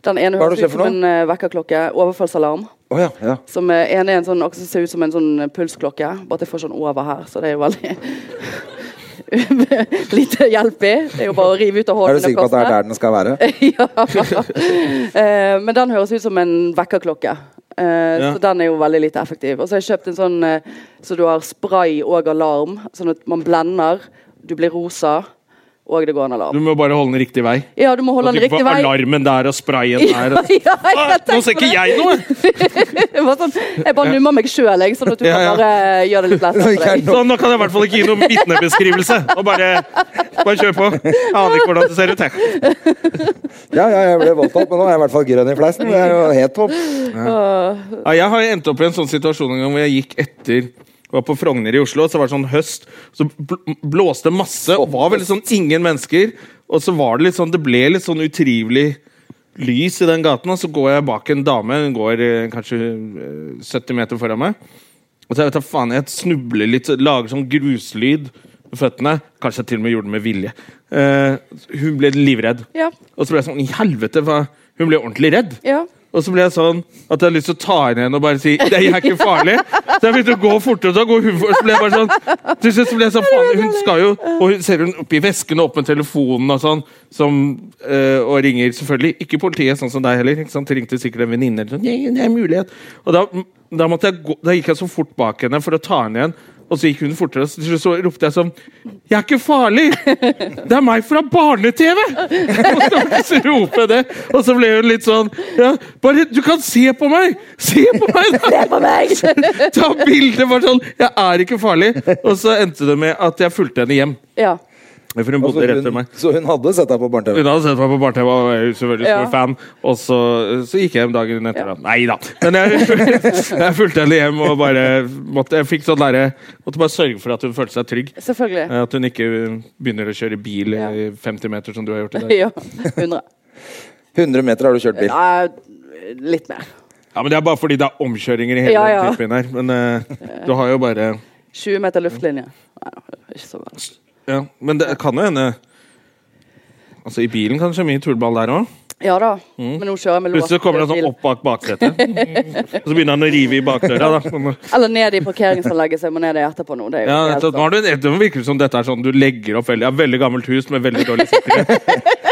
Speaker 3: Den ene
Speaker 2: Hva har du
Speaker 3: høres
Speaker 2: kjøpt
Speaker 3: ut
Speaker 2: for
Speaker 3: som en eh, vekkerklokke. Overfallsalarm.
Speaker 2: Å ja, ja.
Speaker 3: Som eh, en er en sånn akse ser ut som en sånn eh, pulsklokke, bare at jeg får sånn over her. Så det er jo veldig [LAUGHS] lite hjelp i. Det er jo bare å rive ut av
Speaker 2: Er du
Speaker 3: hånden
Speaker 2: sikker på
Speaker 3: [LAUGHS]
Speaker 2: at det er der den skal være?
Speaker 3: ja. Eh, Men den høres ut som en vekkerklokke. Eh,
Speaker 1: Ja.
Speaker 3: Så den er jo veldig lite effektiv. Og så har jeg kjøpt en sånn eh, så du har spray og alarm, sånn at man blender, du blir rosa, og det går en alarm.
Speaker 1: Du må bare holde den riktig vei.
Speaker 3: Ja, du må holde den
Speaker 1: Trykke
Speaker 3: riktig
Speaker 1: på
Speaker 3: vei. [LAUGHS]
Speaker 1: alarmen der og sprayen
Speaker 3: Ja,
Speaker 1: der.
Speaker 3: ja, [LAUGHS] jeg
Speaker 1: Ah, nå
Speaker 3: tenkte
Speaker 1: ser
Speaker 3: på
Speaker 1: ikke
Speaker 3: det.
Speaker 1: jeg noe!
Speaker 3: Jeg bare, sånn, jeg bare nummer meg sjøl, jeg, sånn at du
Speaker 1: Ja,
Speaker 3: kan
Speaker 1: ja.
Speaker 3: bare gjøre det litt lettere for deg.
Speaker 1: Så [LAUGHS] nå kan jeg i hvert fall ikke gi noen vitnebeskrivelse. Nå bare, bare kjør på. Jeg aner ikke hvordan det ser ut, jeg.
Speaker 2: [LAUGHS] Ja, ja, jeg ble voldtatt, men nå er jeg i hvert fall grønn i fleisen. Det er jo helt topp.
Speaker 1: Ja, jeg har endt opp i en sånn situasjon en gang hvor jeg gikk etter var på Frogner i Oslo, så var det sånn høst, så bl blåste det masse, og var veldig sånn ingen mennesker, og så var det litt sånn, det ble litt sånn utrivelig lys i den gaten, og så går jeg bak en dame, hun går eh, kanskje eh, 70 meter foran meg, og så jeg vet da faen, jeg snubler litt, så lager sånn gruslyd med føttene, kanskje jeg til og med gjorde det med vilje. Eh, hun ble livredd.
Speaker 3: Ja.
Speaker 1: Og så ble jeg sånn, i helvete, hva? Hun ble ordentlig redd.
Speaker 3: Ja.
Speaker 1: Og så ble jeg sånn at jeg hadde lyst til å ta henne igjen og bare si det er ikke farlig. Så jeg begynte å gå fortere, og så går hun for, så ble jeg bare sånn Til slutt så ble jeg sånn, faen, hun skal jo Og hun ser hun oppi vesken og opp med telefonen og sånn, som, eh, og ringer selvfølgelig ikke politiet, sånn som deg heller. Ikke sant? Ringte sikkert en venninne eller sånn. «Nei, det er en mulighet. Og da, da, måtte jeg gå, da gikk jeg så fort bak henne for å ta henne igjen. Og så gikk hun fortere, og så, til slutt så ropte jeg sånn Jeg er ikke farlig! Det er meg fra barne-TV! [LAUGHS] Og så måtte jeg rope det. Og så ble hun litt sånn ja, Bare Du kan se på meg! Se på meg! da!» [LAUGHS]
Speaker 3: For meg! [LAUGHS]
Speaker 1: Ta bilde! Bare sånn Jeg er ikke farlig! Og så endte det med at jeg fulgte henne hjem.
Speaker 3: Ja.
Speaker 1: For
Speaker 2: Og
Speaker 1: hun bodde
Speaker 2: Så
Speaker 1: rett ved
Speaker 2: hun,
Speaker 1: meg.
Speaker 2: så hun hadde sett deg på barne-TV?
Speaker 1: Hun hadde sett meg på barne-TV og var jo selvfølgelig stor
Speaker 3: Ja.
Speaker 1: fan. Og så, så gikk jeg hjem dagen etter. da. Nei da! Men jeg, [LAUGHS] jeg fulgte henne hjem og bare måtte, jeg fikk sånn derre- måtte bare sørge for at hun følte seg trygg.
Speaker 3: Selvfølgelig.
Speaker 1: Eh, At hun ikke begynner å kjøre bil
Speaker 3: Ja.
Speaker 1: i 50 meter, som du har gjort i dag.
Speaker 3: [LAUGHS] Ja. 100.
Speaker 2: 100 meter har du kjørt bil.
Speaker 3: Nei, litt mer.
Speaker 1: Ja, men Det er bare fordi det er omkjøringer i hele
Speaker 3: Ja, ja.
Speaker 1: den typen her. Men eh, du har jo bare
Speaker 3: 20 meter luftlinje. Nei, ikke så verst.
Speaker 1: ja, Men det kan jo hende Altså, I bilen kanskje mye tullball der òg.
Speaker 3: Ja da, men nå kjører jeg med
Speaker 1: Mm. Plutselig kommer det
Speaker 3: låst
Speaker 1: sånn opp bak baksetet. Og
Speaker 3: [LAUGHS]
Speaker 1: så begynner han å rive i bakdøra. da. Men,
Speaker 3: Eller ned i parkeringsanlegget, så jeg må ned der etterpå nå. Det er jo
Speaker 1: Ja,
Speaker 3: ikke helt
Speaker 1: nettopp. nå har du, det virker det som dette er sånn du legger opp veldig, ja, veldig gammelt hus med veldig dårlig
Speaker 3: [LAUGHS]
Speaker 1: sikkerhet.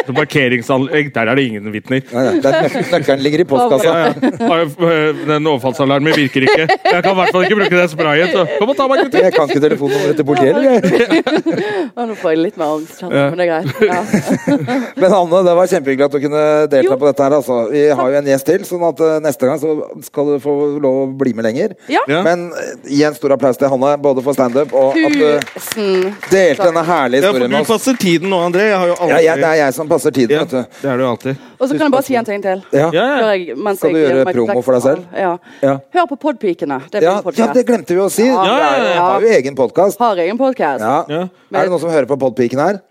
Speaker 1: Så Parkeringsanlegg, der er det ingen vitner.
Speaker 2: Nei, nei, der [LAUGHS] nøk- Nøkkelen ligger i postkassa.
Speaker 1: Ja, ja. eh, Den overfallsalarmen virker ikke. Jeg kan i hvert fall ikke bruke det sprayet. Så kom og ta meg en tur!
Speaker 2: Jeg kan ikke telefonnummeret til politiet. eller jeg?
Speaker 3: [LAUGHS] sånn. Å, Nå får jeg litt mer angst, kjenner
Speaker 1: Ja.
Speaker 3: jeg, men det er
Speaker 1: [LAUGHS]
Speaker 3: greit. Ja.
Speaker 2: Men Anne, det var kjempehyggelig at du kunne delta
Speaker 3: Jo.
Speaker 2: på dette. her altså. Vi har jo en gjest til, sånn at eh, neste gang så skal du få lov å bli med lenger.
Speaker 3: Ja.
Speaker 1: Ja.
Speaker 2: Men eh, gi en stor applaus til Hanne, både for standup og at
Speaker 1: eh,
Speaker 2: du
Speaker 3: Tusen
Speaker 2: delte denne herlige
Speaker 1: Ja, for
Speaker 2: historien
Speaker 1: du
Speaker 2: med oss.
Speaker 1: passer tiden nå, André. Jeg har jo
Speaker 2: Ja,
Speaker 1: aldri
Speaker 2: jeg, det er jeg som passer tiden,
Speaker 1: Ja,
Speaker 2: vet du.
Speaker 1: det er du alltid.
Speaker 3: Og så kan jeg bare si en ting til.
Speaker 2: Ja. Ja,
Speaker 1: ja.
Speaker 3: Før jeg- mens
Speaker 2: Skal du
Speaker 3: jeg gir
Speaker 2: gjøre
Speaker 3: meg
Speaker 2: promo for deg selv?
Speaker 3: Ja.
Speaker 2: Ja.
Speaker 3: Hør på Podpikene. Det er
Speaker 2: Ja,
Speaker 3: min podcast.
Speaker 2: det glemte vi å si.
Speaker 3: Ja,
Speaker 1: ja, ja, ja.
Speaker 2: Vi har jo egen podkast.
Speaker 3: Har egen podkast.
Speaker 2: Ja.
Speaker 1: Ja.
Speaker 2: Er det noen som hører på Podpiken her?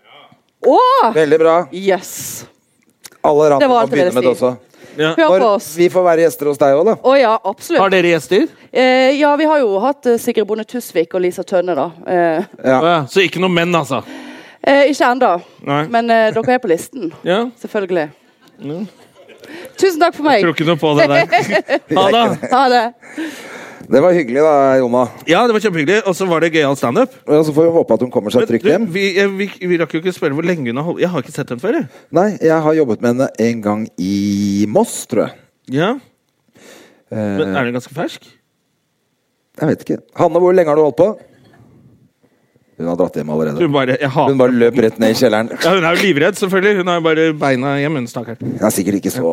Speaker 3: Å!
Speaker 2: Veldig bra.
Speaker 3: Yes!
Speaker 2: Alle
Speaker 3: Det
Speaker 2: randene
Speaker 3: var
Speaker 2: må
Speaker 3: alt jeg
Speaker 2: begynne med det
Speaker 3: ville si.
Speaker 2: også.
Speaker 3: Hør
Speaker 2: Når
Speaker 3: på oss.
Speaker 2: vi får være gjester hos deg òg, da.
Speaker 3: Å ja, absolutt.
Speaker 1: Har dere gjester?
Speaker 3: Eh, ja, vi har jo hatt eh, Sigrid Bonde Tusvik og Lisa Tønne, da. Eh,
Speaker 2: Ja.
Speaker 1: Å ja, Så ikke noen menn, altså?
Speaker 3: eh, ikke ennå,
Speaker 1: Nei.
Speaker 3: men eh, dere er på listen.
Speaker 1: Ja.
Speaker 3: Selvfølgelig. Tusen takk for meg.
Speaker 1: Tror ikke noe på det der. [LAUGHS] Ha det.
Speaker 3: Ha det.
Speaker 2: Det var hyggelig, da, Jonna.
Speaker 1: Ja, det var kjempehyggelig. Og så var det gøyal standup.
Speaker 2: Og så får vi håpe at hun kommer seg
Speaker 1: Men
Speaker 2: trygt
Speaker 1: du,
Speaker 2: hjem.
Speaker 1: Vi, jeg- vi, vi rakk jo ikke spørre hvor lenge hun har holdt Jeg har ikke sett henne før, jeg.
Speaker 2: Nei, jeg har jobbet med henne en gang i Moss, tror jeg.
Speaker 1: Ja.
Speaker 2: Eh,
Speaker 1: Men er hun ganske fersk?
Speaker 2: jeg vet ikke. Hanne, hvor lenge har du holdt på? Hun har dratt hjem allerede.
Speaker 1: Hun bare, jeg
Speaker 2: Hun
Speaker 1: hater
Speaker 2: bare løp rett ned i kjelleren.
Speaker 1: ja, Hun er jo livredd, selvfølgelig. Hun har jo bare beina hjemme, hun stakkaren.
Speaker 2: Det er sikkert ikke så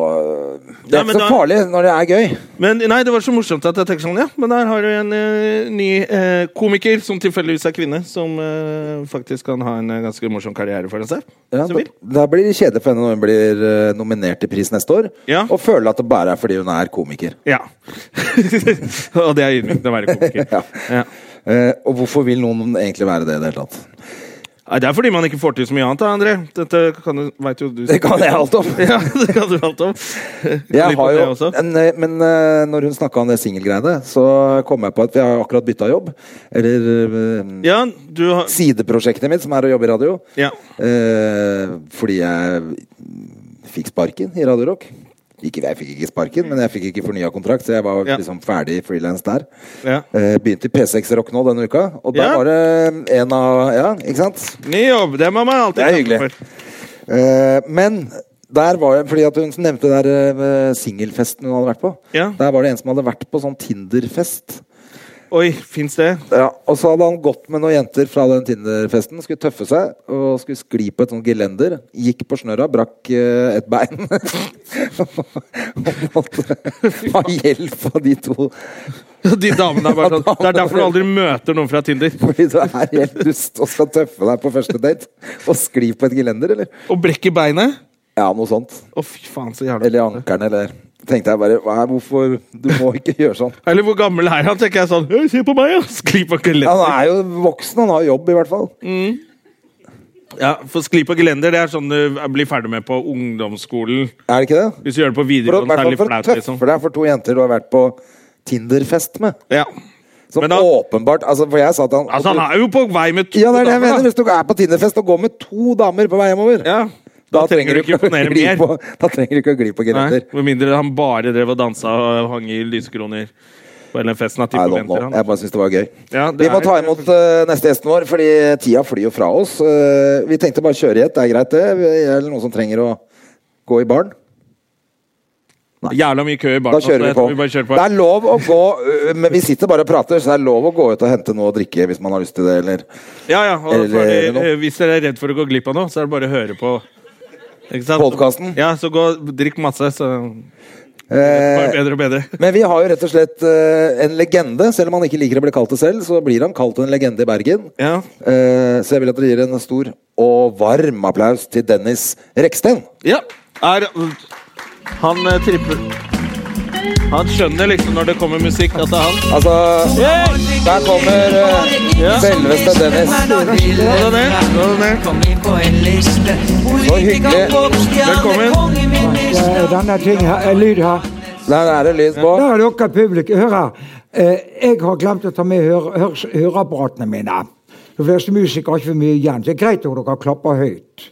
Speaker 2: Det
Speaker 1: Nei,
Speaker 2: er ikke
Speaker 1: men
Speaker 2: så
Speaker 1: da-
Speaker 2: farlig når det er gøy.
Speaker 1: Men nei, det var så morsomt at jeg tenker sånn, ja. Men der har du en eh, ny eh, komiker, som tilfeldigvis er kvinne, som eh, faktisk kan ha en eh, ganske morsom karriere foran seg.
Speaker 2: Ja,
Speaker 1: Så vil.
Speaker 2: da- da blir det kjedelig for henne når hun blir eh, nominert til pris neste år,
Speaker 1: Ja.
Speaker 2: og føler at det bare er fordi hun er komiker.
Speaker 1: Ja. [LAUGHS] og det er ydmykende å være komiker.
Speaker 2: [LAUGHS] Ja.
Speaker 1: Ja.
Speaker 2: Eh, og hvorfor vil noen egentlig være det i det hele tatt?
Speaker 1: Nei, Det er fordi man ikke får til så mye annet, da, André. Dette kan du, vet jo du
Speaker 2: Det kan jeg alt om!
Speaker 1: [LAUGHS] Ja, det kan du alt om.
Speaker 2: [LAUGHS] Jeg
Speaker 1: Litt på
Speaker 2: har
Speaker 1: det
Speaker 2: jo,
Speaker 1: også.
Speaker 2: en, eh, men eh, når hun snakka om det singelgreiene, så kom jeg på at vi har akkurat bytta jobb. Eller eh,
Speaker 1: Ja, du har
Speaker 2: sideprosjektet mitt, som er å jobbe i radio.
Speaker 1: Ja.
Speaker 2: Eh, fordi jeg fikk sparken i Radio Rock. Ikke, jeg fikk ikke sparken, men jeg fikk ikke fornya kontrakt, så jeg var
Speaker 1: Ja.
Speaker 2: liksom ferdig frilans der.
Speaker 1: Ja.
Speaker 2: Eh, begynte i P6 Rock nå denne uka, og der
Speaker 1: Ja.
Speaker 2: var det en av Ja, ikke sant?
Speaker 1: Ny jobb! Det må man alltid
Speaker 2: Det er
Speaker 1: takke
Speaker 2: hyggelig. Eh, men Der var det, fordi at Hun nevnte der eh, singelfesten hun hadde vært på.
Speaker 1: Ja.
Speaker 2: Der var det en som hadde vært på sånn Tinderfest.
Speaker 1: Oi, fins det? [LAUGHS]
Speaker 2: Ja, og Så hadde han gått med noen jenter fra den Tinder-festen. Skulle tøffe seg og skulle skli på et sånt gelender. Gikk på snørra, brakk eh, et bein. [LAUGHS] og måtte ha hjelp av de to.
Speaker 1: De damene
Speaker 2: [LAUGHS]
Speaker 1: er bare sånn. Det er derfor du aldri møter noen fra Tinder.
Speaker 2: Fordi du er helt dust og skal tøffe deg på første date. Og skli på et gelender, eller?
Speaker 1: Og brekker beinet.
Speaker 2: Ja, noe sånt.
Speaker 1: Å, fy faen, så jævla
Speaker 2: Eller ankeren, eller Tenkte jeg bare Nei, hvorfor Du må ikke gjøre sånn.
Speaker 1: Eller hvor gammel er han? tenker jeg sånn. «Hei, Se på meg, ja! [LAUGHS] Skli på
Speaker 2: Han
Speaker 1: gelender.
Speaker 2: er jo voksen, han har jo jobb, i hvert fall.
Speaker 1: Ja, for skli på gelender det er sånn du blir ferdig med på ungdomsskolen.
Speaker 2: Er det ikke det?
Speaker 1: Hvis du gjør det på
Speaker 2: For å, i
Speaker 1: videregående,
Speaker 2: hvert
Speaker 1: så er
Speaker 2: fall
Speaker 1: det litt
Speaker 2: for å
Speaker 1: flaut. liksom.
Speaker 2: tøffe deg for to jenter du har vært på Tinder-fest med.
Speaker 1: Ja.
Speaker 2: Som
Speaker 1: Men da-
Speaker 2: åpenbart altså For jeg sa til han
Speaker 1: Altså, han er jo på vei med to
Speaker 2: Ja, det er det jeg
Speaker 1: damer,
Speaker 2: mener.
Speaker 1: da.
Speaker 2: Hvis du er på Tinder-fest og går med to damer på vei hjemover,
Speaker 1: Ja. Da trenger du ikke imponere
Speaker 2: gli
Speaker 1: mer.
Speaker 2: på, da trenger du ikke å gli på
Speaker 1: Nei,
Speaker 2: gelender.
Speaker 1: Med mindre han bare drev og dansa og hang i lysekroner på hele festen. At de
Speaker 2: I don't know.
Speaker 1: forventer han.
Speaker 2: Jeg bare syns det var gøy.
Speaker 1: Ja, det
Speaker 2: vi må
Speaker 1: er-
Speaker 2: ta imot eh, neste gjesten vår, fordi tida flyr jo fra oss. Eh, vi tenkte bare kjøre i ett, det er greit det? Eller noen som trenger å gå i baren?
Speaker 1: Jævla mye kø i
Speaker 2: Da
Speaker 1: baren.
Speaker 2: kjører vi
Speaker 1: altså,
Speaker 2: på.
Speaker 1: jeg tror bare kjører
Speaker 2: Det er lov å gå eh, Men vi sitter bare og prater, så det er lov å gå ut og hente noe å drikke hvis man har lyst til det, eller
Speaker 1: Ja, ja. Og
Speaker 2: Eller-
Speaker 1: for,
Speaker 2: eller noe.
Speaker 1: eh, hvis dere er redd for å gå glipp av noe, så er det bare å høre på Ikke sant?
Speaker 2: Podcasten.
Speaker 1: Ja, så gå, drikk masse, så bare
Speaker 2: eh,
Speaker 1: bedre og bedre.
Speaker 2: Men vi har jo rett og slett eh, en legende. Selv om han ikke liker å bli kalt det selv, så blir han kalt en legende i Bergen.
Speaker 1: Ja.
Speaker 2: Eh, så jeg vil at dere gir en stor og varm applaus til Dennis Reksten.
Speaker 1: ja. Er, han eh, tripper Han skjønner liksom når det kommer musikk, at det er han.
Speaker 2: Altså, der kommer eh,
Speaker 1: Ja.
Speaker 2: selveste Dennis.
Speaker 1: Nå er det ned, nå er det ned.
Speaker 2: Så hyggelig.
Speaker 1: Velkommen.
Speaker 4: Det er denne ting her, eh, lyd her.
Speaker 2: Der er det lys på.
Speaker 4: Der er dere publikum. Hør her. Eh, jeg har glemt å ta med hør, hørs- høreapparatene mine. De fleste musikere har ikke for mye igjen. så Det er greit om dere klapper høyt.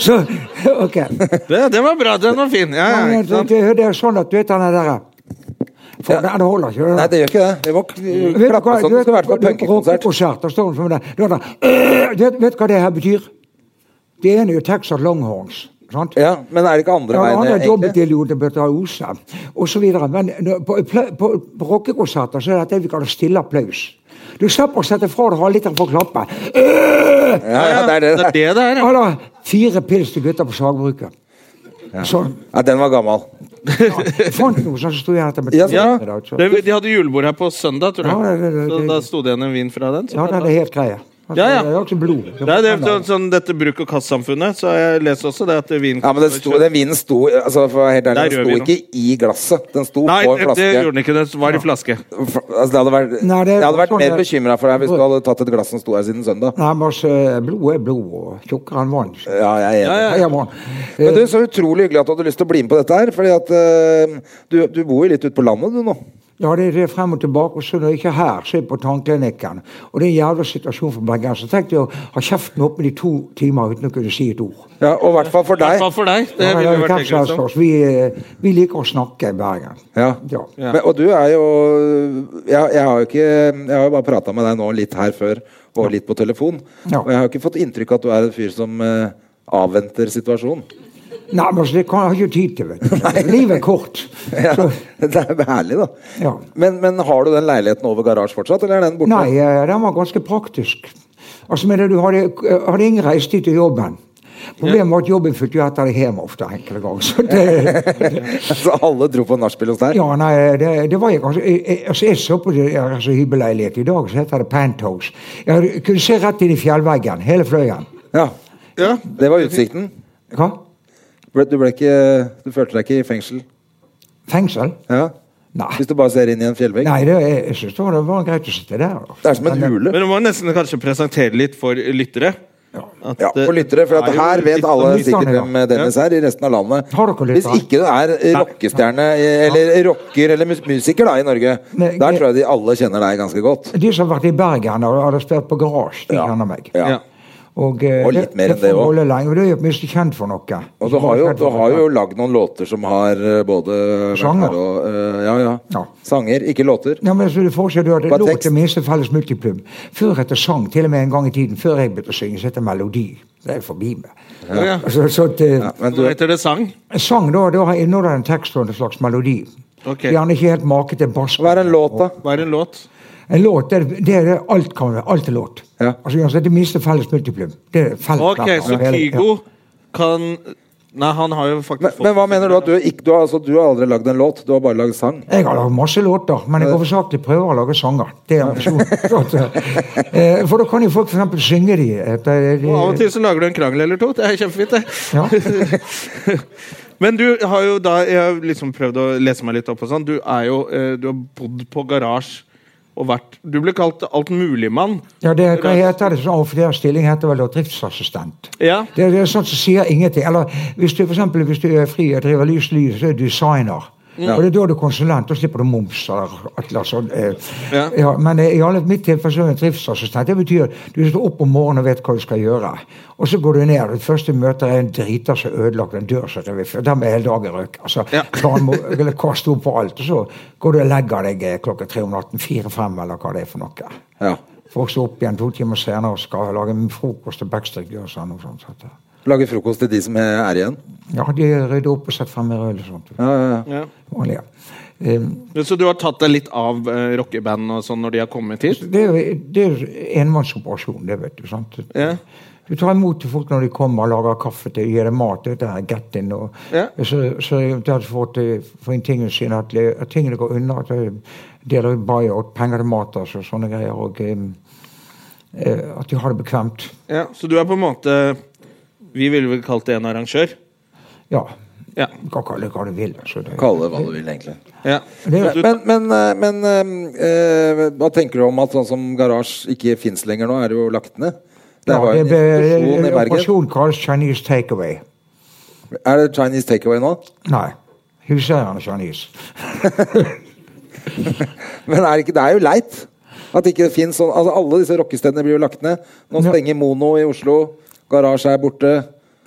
Speaker 4: Så, [LAUGHS] ok.
Speaker 1: Det, det var bra. Den var fin. Ja, ja, ikke
Speaker 4: Men, det,
Speaker 1: sant?
Speaker 4: det, det er sånn at du vet den der For den holder ikke.
Speaker 2: Nei, det gjør ikke det. Vi må
Speaker 4: Vet du
Speaker 2: k-
Speaker 4: hva-
Speaker 2: klappe sånn. Det
Speaker 4: du vet-
Speaker 2: skulle vært på
Speaker 4: du-
Speaker 2: punkekonsert.
Speaker 4: rockekonsert, da står hun som den. Du vet, den- Eh, vet, vet du hva det her betyr? Det ene er jo Texas Longhorns. sant?
Speaker 2: Ja, men er det ikke andre
Speaker 4: Ja, han
Speaker 2: veien,
Speaker 4: hadde
Speaker 2: egentlig?
Speaker 4: dobbeltilgjorde Bøtterose osv. Men nå, på, pla- på, på rockekonserter så er dette det vi kaller stille applaus. Du slipper å sette fra deg halvliteren for å klappe. Eh,
Speaker 2: Ja, ja, det er det.
Speaker 1: Det er det det er. ja.
Speaker 4: Eller fire pils til gutta på sagbruket. Sånn.
Speaker 2: Ja, den var gammel.
Speaker 4: Jeg Fant noe sånt som sto igjen etter
Speaker 2: Ja,
Speaker 4: med
Speaker 1: Ja,
Speaker 4: i dag, så-
Speaker 1: det, de hadde julebord her på søndag, tror
Speaker 4: Ja, det-
Speaker 1: jeg.
Speaker 4: det- det-
Speaker 1: Så da sto det igjen en vin fra den. så
Speaker 4: Ja, den er helt grei. Altså,
Speaker 1: Ja, ja.
Speaker 4: Det er jo ikke blod.
Speaker 1: Nei, det er sånn, sånn dette bruk- og kastsamfunnet, så har jeg lest også det at vin
Speaker 2: Ja, men den, sto, den vinen sto altså, for å være helt ærlig,
Speaker 1: Der
Speaker 2: den
Speaker 1: gjør
Speaker 2: sto
Speaker 1: vi
Speaker 2: ikke i glasset. Den sto
Speaker 1: Nei,
Speaker 2: på en
Speaker 1: det
Speaker 2: flaske.
Speaker 1: gjorde den ikke. Det var i flaske.
Speaker 2: F- Altså, det hadde vært,
Speaker 4: Nei, det er
Speaker 2: jeg hadde vært
Speaker 4: sånn
Speaker 2: mer
Speaker 4: det-
Speaker 2: bekymra for deg hvis du hadde tatt et glass som sto her siden søndag.
Speaker 4: Nei, men altså, blod er blod, og tjukkere enn vann.
Speaker 2: Ja, jeg er enig.
Speaker 4: Ja, ja, vann.
Speaker 2: Men du, Så utrolig hyggelig at du hadde lyst til å bli med på dette her. Fordi at eh, du, du bor jo litt ute på landet du nå.
Speaker 4: Ja, det, det er frem og tilbake. Og så når jeg ikke er her, så er jeg på tannklinikken. Og det er en jævla situasjon for bergensere. Tenk deg å ha kjeften åpen i to timer uten å kunne si et ord.
Speaker 2: Ja, og i hvert fall for
Speaker 1: I hvert
Speaker 2: deg.
Speaker 1: fall for deg. Det
Speaker 4: Ja,
Speaker 1: ville
Speaker 4: ja,
Speaker 1: vært
Speaker 4: hvem som
Speaker 1: ekkelt,
Speaker 4: helst
Speaker 1: sånn.
Speaker 4: av oss. vi, eh, vi liker å snakke i Bergen.
Speaker 2: Ja.
Speaker 4: Ja.
Speaker 2: Men, og du er jo Jeg, jeg har jo ikke Jeg har jo bare prata med deg nå litt her før, og litt på telefon.
Speaker 4: Ja.
Speaker 2: Og jeg har jo ikke fått inntrykk av at du er en fyr som eh, avventer situasjonen. [LAUGHS]
Speaker 4: Nei, men altså, det kan jeg har ikke tid til, vet du. Livet er kort.
Speaker 2: [LAUGHS] Ja,
Speaker 4: Så,
Speaker 2: det er herlig, da.
Speaker 4: Ja.
Speaker 2: Men, men har du den leiligheten over garasje fortsatt, eller er den borte?
Speaker 4: nei, eh, den var ganske praktisk. Altså, men du hadde, hadde ingen reisetid til jobben. Problemet var at jobben fulgte jo etter deg hjem ofte enkelte ganger. Så det,
Speaker 2: [LAUGHS] Så alle dro på nachspiel hos deg?
Speaker 4: Ja, nei, det, det var jeg ganske jeg, jeg- altså, jeg så på det, jeg, altså, hybelleilighet i dag, så heter det penthouse. Jeg kunne se rett inn i fjellveggen, hele fløyen.
Speaker 2: Ja.
Speaker 1: Ja.
Speaker 2: Det var utsikten.
Speaker 4: Hva?
Speaker 2: Ble- Du, ble ikke, du følte deg ikke i fengsel?
Speaker 4: Fengsel?
Speaker 2: Ja.
Speaker 4: Nei.
Speaker 2: Hvis du bare ser inn i en fjellvegg?
Speaker 4: Nei, det, jeg, jeg synes det var, det var greit å sitte der. da. eh,
Speaker 2: Det er som en hule.
Speaker 1: Men du må nesten kanskje presentere litt for lyttere. At,
Speaker 2: Ja, for
Speaker 1: eh,
Speaker 2: lyttere, for at
Speaker 1: det er jo
Speaker 2: her vet
Speaker 1: litt
Speaker 2: alle
Speaker 1: sånn-
Speaker 4: lytterne,
Speaker 2: sikkert
Speaker 4: ja.
Speaker 2: hvem eh, Dennis er i resten av landet.
Speaker 4: Har dere
Speaker 2: Hvis
Speaker 4: lyttere?
Speaker 2: ikke du er eh, rockestjerne eh, eller rocker eller mus- musiker da i Norge,
Speaker 4: Nei,
Speaker 2: der
Speaker 4: jeg-
Speaker 2: tror jeg de alle kjenner deg ganske godt.
Speaker 4: De som har vært i Bergen og hadde spilt på garasje, de
Speaker 2: Ja.
Speaker 4: kjenner meg.
Speaker 2: Ja.
Speaker 1: Ja.
Speaker 4: Og, eh,
Speaker 2: Og litt mer enn det
Speaker 4: får
Speaker 2: også.
Speaker 4: holde lenge, og det er jo minst kjent for noe.
Speaker 2: Og du har jo, du har jo lagd noen låter som har eh, både vært
Speaker 4: Sanger.
Speaker 2: her Og, eh, ja, ja.
Speaker 4: Ja.
Speaker 2: Sanger, ikke låter.
Speaker 4: Ja, men så du får se, du hadde
Speaker 2: Hva
Speaker 4: lov
Speaker 2: tekst?
Speaker 4: til minste felles multiplum. Før etter sang, til og med en gang i tiden, før jeg begynte å synge, så het det melodi. det er forbi meg.
Speaker 1: Ja.
Speaker 4: Så, så at, eh,
Speaker 2: Men du,
Speaker 1: Nå heter det sang.
Speaker 4: Sang, da, da inneholder en tekst og en slags melodi.
Speaker 1: Ok.
Speaker 4: Gjerne ikke helt make til bass.
Speaker 2: hva er en låt, da?
Speaker 1: Hva er en låt?
Speaker 4: En låt, det, er- det er det alt kan være. Alt er låt.
Speaker 2: Ja.
Speaker 4: Altså, uansett, det minste felles multiplum. Det er felles
Speaker 1: Ok,
Speaker 4: plater.
Speaker 1: så
Speaker 4: Hele- ja.
Speaker 1: Kygo kan Nei, han har jo faktisk
Speaker 2: Men, men hva mener du at du ikke Du har, altså, du har aldri lagd en låt, du har bare lagd sang.
Speaker 4: Jeg har lagd masse låter, men jeg oversakelig prøver å lage sanger. Det er
Speaker 1: [LAUGHS]
Speaker 4: ambisjonen. Så at, eh, For da kan jo folk f.eks. synge de. eh, det-
Speaker 1: Og av og
Speaker 4: de-
Speaker 1: til så lager du en krangel eller to. Det er kjempefint, det.
Speaker 4: Ja.
Speaker 1: [LAUGHS] Men du har jo da Jeg har liksom prøvd å lese meg litt opp og sånn. Du er jo eh, Du har bodd på garasje og vært Du ble kalt altmuligmann.
Speaker 4: Ja, det, hva heter det? Sånn, for det er stilling heter vel da driftsassistent.
Speaker 1: Ja.
Speaker 4: Det, er- det er sånt som sier ingenting. Eller hvis du, for eksempel, hvis du er fri og driver lys lyd, så er du designer. Og det er da du er konsulent, da slipper du moms eller et eller annet sånt. eh.
Speaker 1: Ja.
Speaker 4: Ja, men eh, i alle mitt tilfelle så er jeg en driftsassistent. Det betyr at du står opp om morgenen og vet hva du skal gjøre. Og så går du ned, og det første du møter er en driter som er ødelagt, en dør som er revet, og dermed er hele dagen røyk. Altså,
Speaker 1: Ja.
Speaker 4: planen må, eller kaste opp på alt, og så går du og legger deg eh, klokka tre om natten, fire-fem, eller hva det er for noe.
Speaker 2: Ja.
Speaker 4: Folk står opp igjen to timer senere og skal lage frokost til Backstreet Girls. eller noe sånt, så at,
Speaker 2: Lage frokost til de som er igjen.
Speaker 4: Ja, de rydder opp og setter frem mer øl og sånt.
Speaker 2: Ja, ja, ja.
Speaker 1: Ja.
Speaker 4: Vanlig, ja. Eh,
Speaker 1: Men Så du har tatt deg litt av eh, rockeband og sånn når de har kommet hit?
Speaker 4: Det er jo det er enmannsoperasjon, det, vet du. sant?
Speaker 1: Ja.
Speaker 4: Du tar imot folk når de kommer og lager kaffe til gir dem mat. dette her, get in, og
Speaker 1: Ja.
Speaker 4: Så, så eventuelt får til- får inn tingene sine, at, le- at tingene går unna. at de Deler ut buyout, penger til mat altså, sånne greier. og eh, eh, At de har det bekvemt.
Speaker 1: ja. Så du er på en måte Vi ville vel kalt det en arrangør?
Speaker 4: Ja.
Speaker 1: Ja.
Speaker 4: Du kan kalle det hva du vil. altså. Det,
Speaker 2: Kalle det hva du vil, egentlig.
Speaker 1: ja.
Speaker 4: det,
Speaker 1: Du-
Speaker 2: Men, men, eh, men eh, eh, hva tenker du om at sånn som garasje ikke fins lenger nå? Er det jo lagt ned? Det
Speaker 4: ja,
Speaker 2: var
Speaker 4: det
Speaker 2: en
Speaker 4: ble
Speaker 2: institusjon i Bergen.
Speaker 4: operasjon kalles Chinese takeaway.
Speaker 2: Er det Chinese takeaway nå?
Speaker 4: Nei. Huseieren er Chinese.
Speaker 2: Men er det, ikke, det er jo leit. At det ikke finnes sånn altså Alle disse rockestedene blir jo lagt ned. Nå
Speaker 4: Ja.
Speaker 2: stenger Mono i Oslo. Garasje er borte.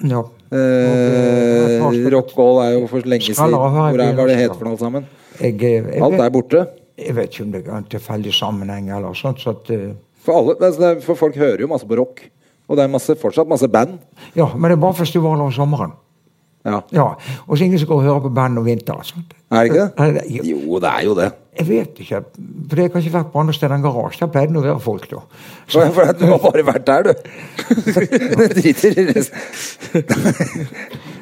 Speaker 4: Ja. eh,
Speaker 2: Eh, Rockall Eh, er jo for lenge
Speaker 4: Skal
Speaker 2: siden.
Speaker 4: ha her
Speaker 2: Hvor er, hva er det
Speaker 4: i
Speaker 2: het
Speaker 4: Oslo.
Speaker 2: for noe alt sammen?
Speaker 4: Jeg, eh, jeg,
Speaker 2: Alt er borte.
Speaker 4: Jeg vet ikke om det er en tilfeldig sammenheng eller sånt. Så at, eh,
Speaker 2: For, alle, altså det er- for folk hører jo masse på rock. Og det er masse, fortsatt masse band.
Speaker 4: ja, men det er bare festivaler om sommeren.
Speaker 2: Ja.
Speaker 4: Ja, Og så ingen som går og hører på band om vinteren. sant?
Speaker 2: Er det ikke det?
Speaker 4: Nei, det- jo,
Speaker 2: Jo, det er jo
Speaker 4: [LAUGHS]
Speaker 2: det.
Speaker 4: Jeg vet ikke. For det har ikke vært på andre steder enn garasje. Der pleide det å være folk, da.
Speaker 2: For, for at du har bare vært der,
Speaker 4: [LAUGHS]
Speaker 2: du. Du driter i resten.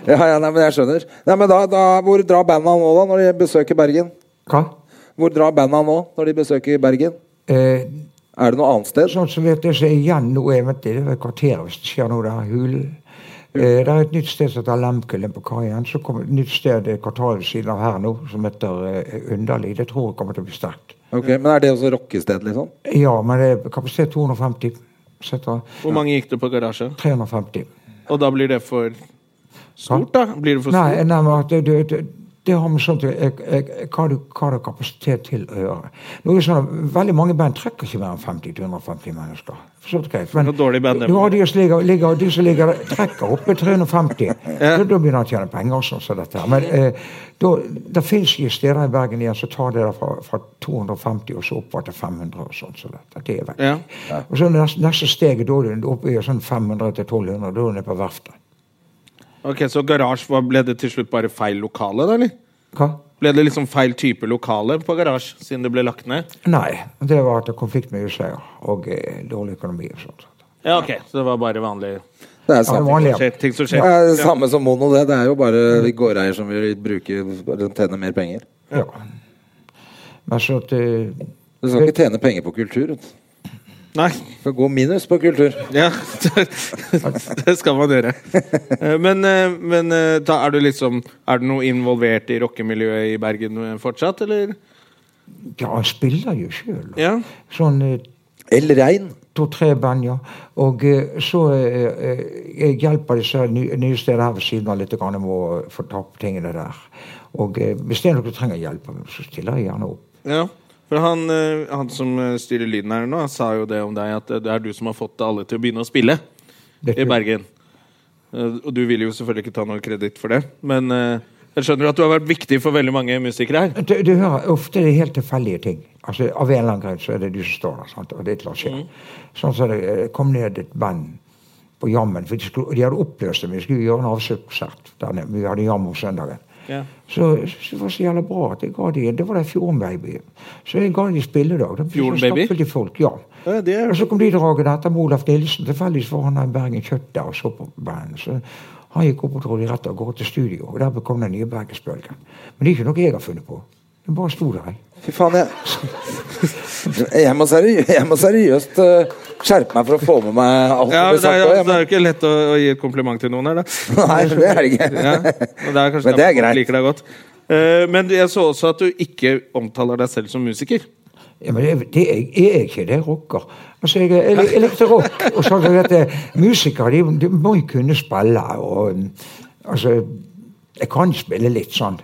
Speaker 2: Ja, ja, nei, men jeg skjønner. Nei, men da, da, hvor drar banda nå, da, når de besøker Bergen?
Speaker 4: Hva?
Speaker 2: Hvor drar banda nå, når de besøker Bergen?
Speaker 4: Eh,
Speaker 2: Er det noe annet sted?
Speaker 4: sånn som vet jeg så er igjen nå er vet, du, Det er et kvarter hvis det skjer noe der. Hulen. Eh, det er et nytt sted som heter Lemkullen på kaien. Så kommer et nytt sted et kvartal ved siden av her nå som heter eh, Underlig. Det tror jeg kommer til å bli sterkt.
Speaker 2: Ok, Men er det også rockested, liksom?
Speaker 4: Ja, men det er kapasitet 250. Setter
Speaker 1: Hvor mange gikk du på garasje?
Speaker 4: 350.
Speaker 1: Og da blir det for stort, da? Blir det for
Speaker 4: Nei,
Speaker 1: stort?
Speaker 4: nei men at det, det, det, det har med sånt jeg, jeg, jeg- hva, du, hva du har kapasitet til å gjøre. Nå er det sånn at Veldig mange band trekker ikke mer enn 50-250 mennesker. Forstår du greit? Men
Speaker 1: Det er dårlig band, det.
Speaker 4: du har de som ligger, ligger, de som ligger trekker oppe
Speaker 1: [LAUGHS]
Speaker 4: 350.
Speaker 1: Ja.
Speaker 4: Da, da begynner han å tjene penger og sånn som dette. her. Men eh, da, det fins ikke steder i Bergen igjen som tar det der fra, fra 250 og så oppover til 500 og sånn som dette. Det er vekk.
Speaker 1: Ja.
Speaker 4: Og så neste, neste steget, da er du oppe i sånn 500 til 1200, da er du nede på verftet.
Speaker 1: Ok, Så garasje hva- ble det til slutt bare feil lokale, da? eller?
Speaker 4: Hva?
Speaker 1: Ble det liksom feil type lokale på garasje siden det ble lagt ned?
Speaker 4: Nei, det var at det er konflikt med huseier og eh, dårlig økonomi og sånt.
Speaker 1: Ja, ok. Så det var bare vanlige
Speaker 2: Det er
Speaker 4: Ja, det
Speaker 2: samme,
Speaker 4: er vanlig, ja.
Speaker 1: skjer, ting som
Speaker 2: det
Speaker 1: skjer?
Speaker 2: er det samme som Mono, det. Det er jo bare vi gårdeier som vil bruke bare tjene mer penger.
Speaker 4: ja. Men så at eh,
Speaker 2: Du skal ikke tjene penger på kultur. vet du.
Speaker 1: Nei.
Speaker 2: Du skal gå minus på kultur.
Speaker 1: Ja, det skal man gjøre. Eh, Men, eh, men eh, da er du liksom Er du noe involvert i rockemiljøet i Bergen eh, fortsatt, eller?
Speaker 4: Ja, han spiller jo sjøl.
Speaker 1: Ja.
Speaker 4: Sånn eh,
Speaker 2: El Rein.
Speaker 4: to-tre band, ja. Og eh, så eh, eh, jeg hjelper disse her nye, nye steder her ved siden av litt grann med å få ta opp tingene der. Og eh, hvis det er noe du trenger hjelp av, så stiller jeg gjerne opp.
Speaker 1: Ja. For han, eh, han som eh, styrer lyden her nå, han sa jo det om deg, at eh, det er du som har fått alle til å begynne å spille
Speaker 4: Det tror
Speaker 1: i
Speaker 4: jeg.
Speaker 1: Bergen. Eh, Og du vil jo selvfølgelig ikke ta noe kreditt for det, men eh, jeg skjønner at du har vært viktig for veldig mange musikere her.
Speaker 4: Du, du hører ofte det er helt tilfeldige ting. Altså, Av en eller annen grunn så er det du som står der, sant? og det lar skje. Sånn som det eh, kom ned et band på jammen. For de, skulle, de hadde oppløst det, men de skulle gjøre en avskjedskonsert. der nede. Vi hadde jam om søndagen.
Speaker 1: Ja.
Speaker 4: Så, så det var så jævla bra at jeg ga de, Det var da Fjorden-baby. Så jeg ga de spilledag. Det ble
Speaker 1: Fjorden
Speaker 4: så
Speaker 1: Baby?
Speaker 4: stappfullt i folk, ja.
Speaker 1: Ja, det er-
Speaker 4: Og så kom de dragende etter med Olaf Nilsen. Tilfeldigvis var han her i Bergen kjøtt der og så på bandet. Så han gikk opp og dro de rett av gårde til studio, og der kom den nye bergensbølgen. Men det er ikke noe jeg har funnet på. Den bare sto der. jeg.
Speaker 2: Fy faen, jeg [LAUGHS] Jeg må, seri jeg må seriøst eh, skjerpe meg for å få med meg alt
Speaker 1: Ja,
Speaker 2: som blir sagt.
Speaker 1: det, er,
Speaker 2: også, jeg
Speaker 1: det er
Speaker 2: må-
Speaker 1: jo ikke lett å, å gi et kompliment til noen her, da.
Speaker 2: [LAUGHS] Nei, det er det ikke.
Speaker 1: Ja, og det er kanskje
Speaker 2: Men det er
Speaker 1: derfor folk
Speaker 2: greit.
Speaker 1: Liker deg godt. Eh, men jeg så også at du ikke omtaler deg selv som musiker.
Speaker 4: Ja, men det, det er, er ikke det rocker. Altså, jeg, jeg, jeg likte rock. Og så du vet jeg, Musikere de, de må jo kunne spille. og um, altså, Jeg kan spille litt sånn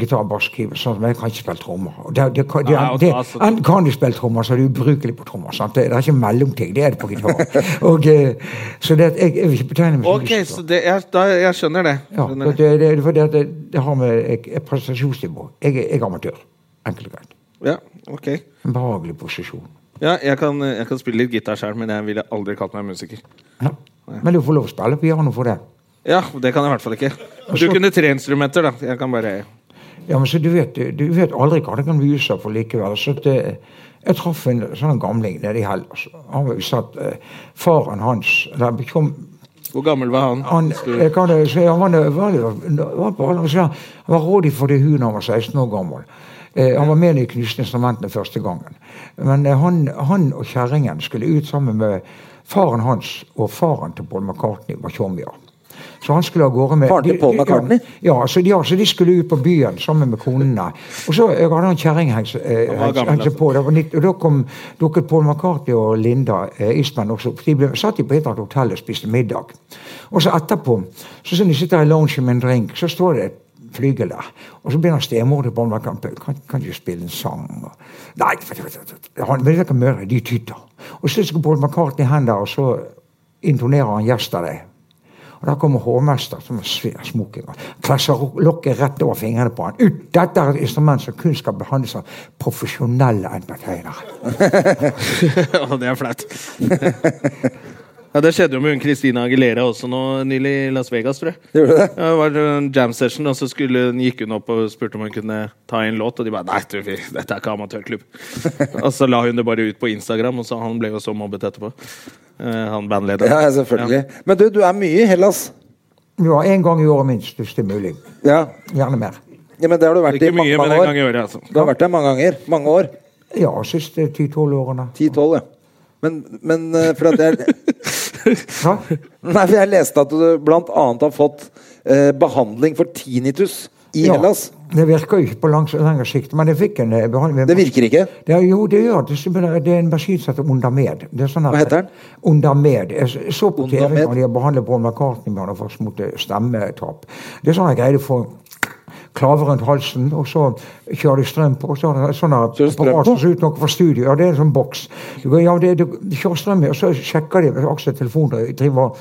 Speaker 4: gitar, bass, keyboard, sånn, men jeg kan ikke spille trommer. Og det, det, kan- det,
Speaker 1: Nei,
Speaker 4: det,
Speaker 1: altså-
Speaker 4: Enten kan du spille trommer, så er du ubrukelig på trommer. Sant? Det, det er ikke mellomting. Det er det på gitar. [LAUGHS] Og, eh, så det, at jeg, jeg vil ikke betegne meg som
Speaker 1: Ok, så det, jeg, da, jeg skjønner det.
Speaker 4: Ja,
Speaker 1: Skjønner
Speaker 4: det,
Speaker 1: det.
Speaker 4: det, det, for det, det, det har med jeg, jeg, prestasjonsnivå Jeg, er- jeg er amatør. Enkelt og greit.
Speaker 1: Ja, ok.
Speaker 4: En behagelig posisjon.
Speaker 1: Ja, jeg kan, jeg kan spille litt gitar sjøl, men jeg ville aldri kalt meg musiker.
Speaker 4: Ja. Men du får lov å spille piano for det.
Speaker 1: Ja, det kan jeg i hvert fall ikke. Du
Speaker 4: så-
Speaker 1: kunne tre instrumenter, da. Jeg kan bare
Speaker 4: Ja, men så du vet, du vet aldri hva det kan vise for likevel. Så det, jeg traff en sånn gamling nede i Hellas. Han var utsatt, eh, Faren hans eller han kom,
Speaker 1: Hvor gammel var han?
Speaker 4: han, jeg kan, jo si, han, var, nø- var, var på, alle- så han var rådig for det hun da han var 16 år gammel. Eh, han var med i De knusende instrumentene første gangen. Men eh, han, han og kjerringen skulle ut sammen med faren hans og faren til Paul McCartney var tjommier. Så han skulle av gårde med
Speaker 2: Faren til Paul
Speaker 4: de- de-
Speaker 2: McCartney?
Speaker 4: Ja, ja, så de, ja, så de skulle ut på byen sammen med konene. Og så eh, hadde han kjerring hengt seg eh,
Speaker 1: Han var
Speaker 4: hengt-
Speaker 1: gammel,
Speaker 4: hengt seg
Speaker 1: altså.
Speaker 4: på. Det var nitt- og da kom, dukket Paul McCartney og Linda eh, Eastman også opp. De ble, satt de på et eller annet hotell og spiste middag. Og så etterpå, så siden de sitter i loungen med en drink, så står det et flygel der. Og så begynner stemor til Paul McCartney kan, kan du spille en sang? Og, Nei, han, men det kan møre, de tyter. Og så skal Paul McCartney hen der, og så intonerer han 'Yesterday'. Og da kommer hovmester som har svær smoking og klasser lokket rett over fingrene på han. Ut, dette er et instrument som kun skal behandles av profesjonelle entertainere.
Speaker 1: [LAUGHS] Å, det er
Speaker 2: [LAUGHS]
Speaker 1: flaut. Ja, Det skjedde jo med hun Christina Aguilera også nå nylig i Las Vegas, tror jeg.
Speaker 2: Gjorde du det?
Speaker 1: Ja, det var en jam session, og så skulle, hun- gikk hun opp og spurte om hun kunne ta en låt. Og de bare Nei, du, vi, dette er ikke
Speaker 2: [LAUGHS]
Speaker 1: amatørklubb. og så la hun det bare ut på Instagram, og så han ble jo så mobbet etterpå. Eh, han bandlederen.
Speaker 2: Ja, selvfølgelig. Men du, du er mye i Hellas.
Speaker 4: Vi var én gang i året minst, hvis det er mulig.
Speaker 2: Ja,
Speaker 4: Gjerne mer.
Speaker 2: ja men det har du
Speaker 1: Ja.
Speaker 2: vært i
Speaker 1: Ikke
Speaker 2: mange,
Speaker 1: mye, men
Speaker 2: mange
Speaker 1: en
Speaker 2: år.
Speaker 1: gang i året, altså.
Speaker 2: Du har vært der mange ganger. Mange år.
Speaker 4: Ja, siste 10-12 årene.
Speaker 2: 10-12, ja. Men, men eh, for at jeg
Speaker 1: [LAUGHS]
Speaker 4: Hva?
Speaker 2: [LAUGHS] Nei, for jeg leste at du blant annet har fått eh, behandling for tinnitus i
Speaker 4: Ja,
Speaker 2: Hellas.
Speaker 4: Det virker jo ikke på langs, lengre sikt, men jeg fikk en eh, behandling.
Speaker 2: Det virker ikke.
Speaker 4: Det er, jo, det gjør det. Så Det er en maskin som heter Ondamed. Det er sånn her-
Speaker 2: Hva heter den?
Speaker 4: Ondamed. Jeg s- så på TV
Speaker 2: Ondamed?
Speaker 4: når de har behandlet Paul McCartney med han har først mot eh, stemmetap. Det er sånn jeg greide å få klave rundt halsen, og så kjører de strøm på. og så er det sånn sånne
Speaker 2: Kjører strøm på?
Speaker 4: apparat som ser ut noe fra studio. Ja, det er en sånn boks. Du går, ja, det, du kjører strøm i, og så sjekker de med aksetelefoner. de driver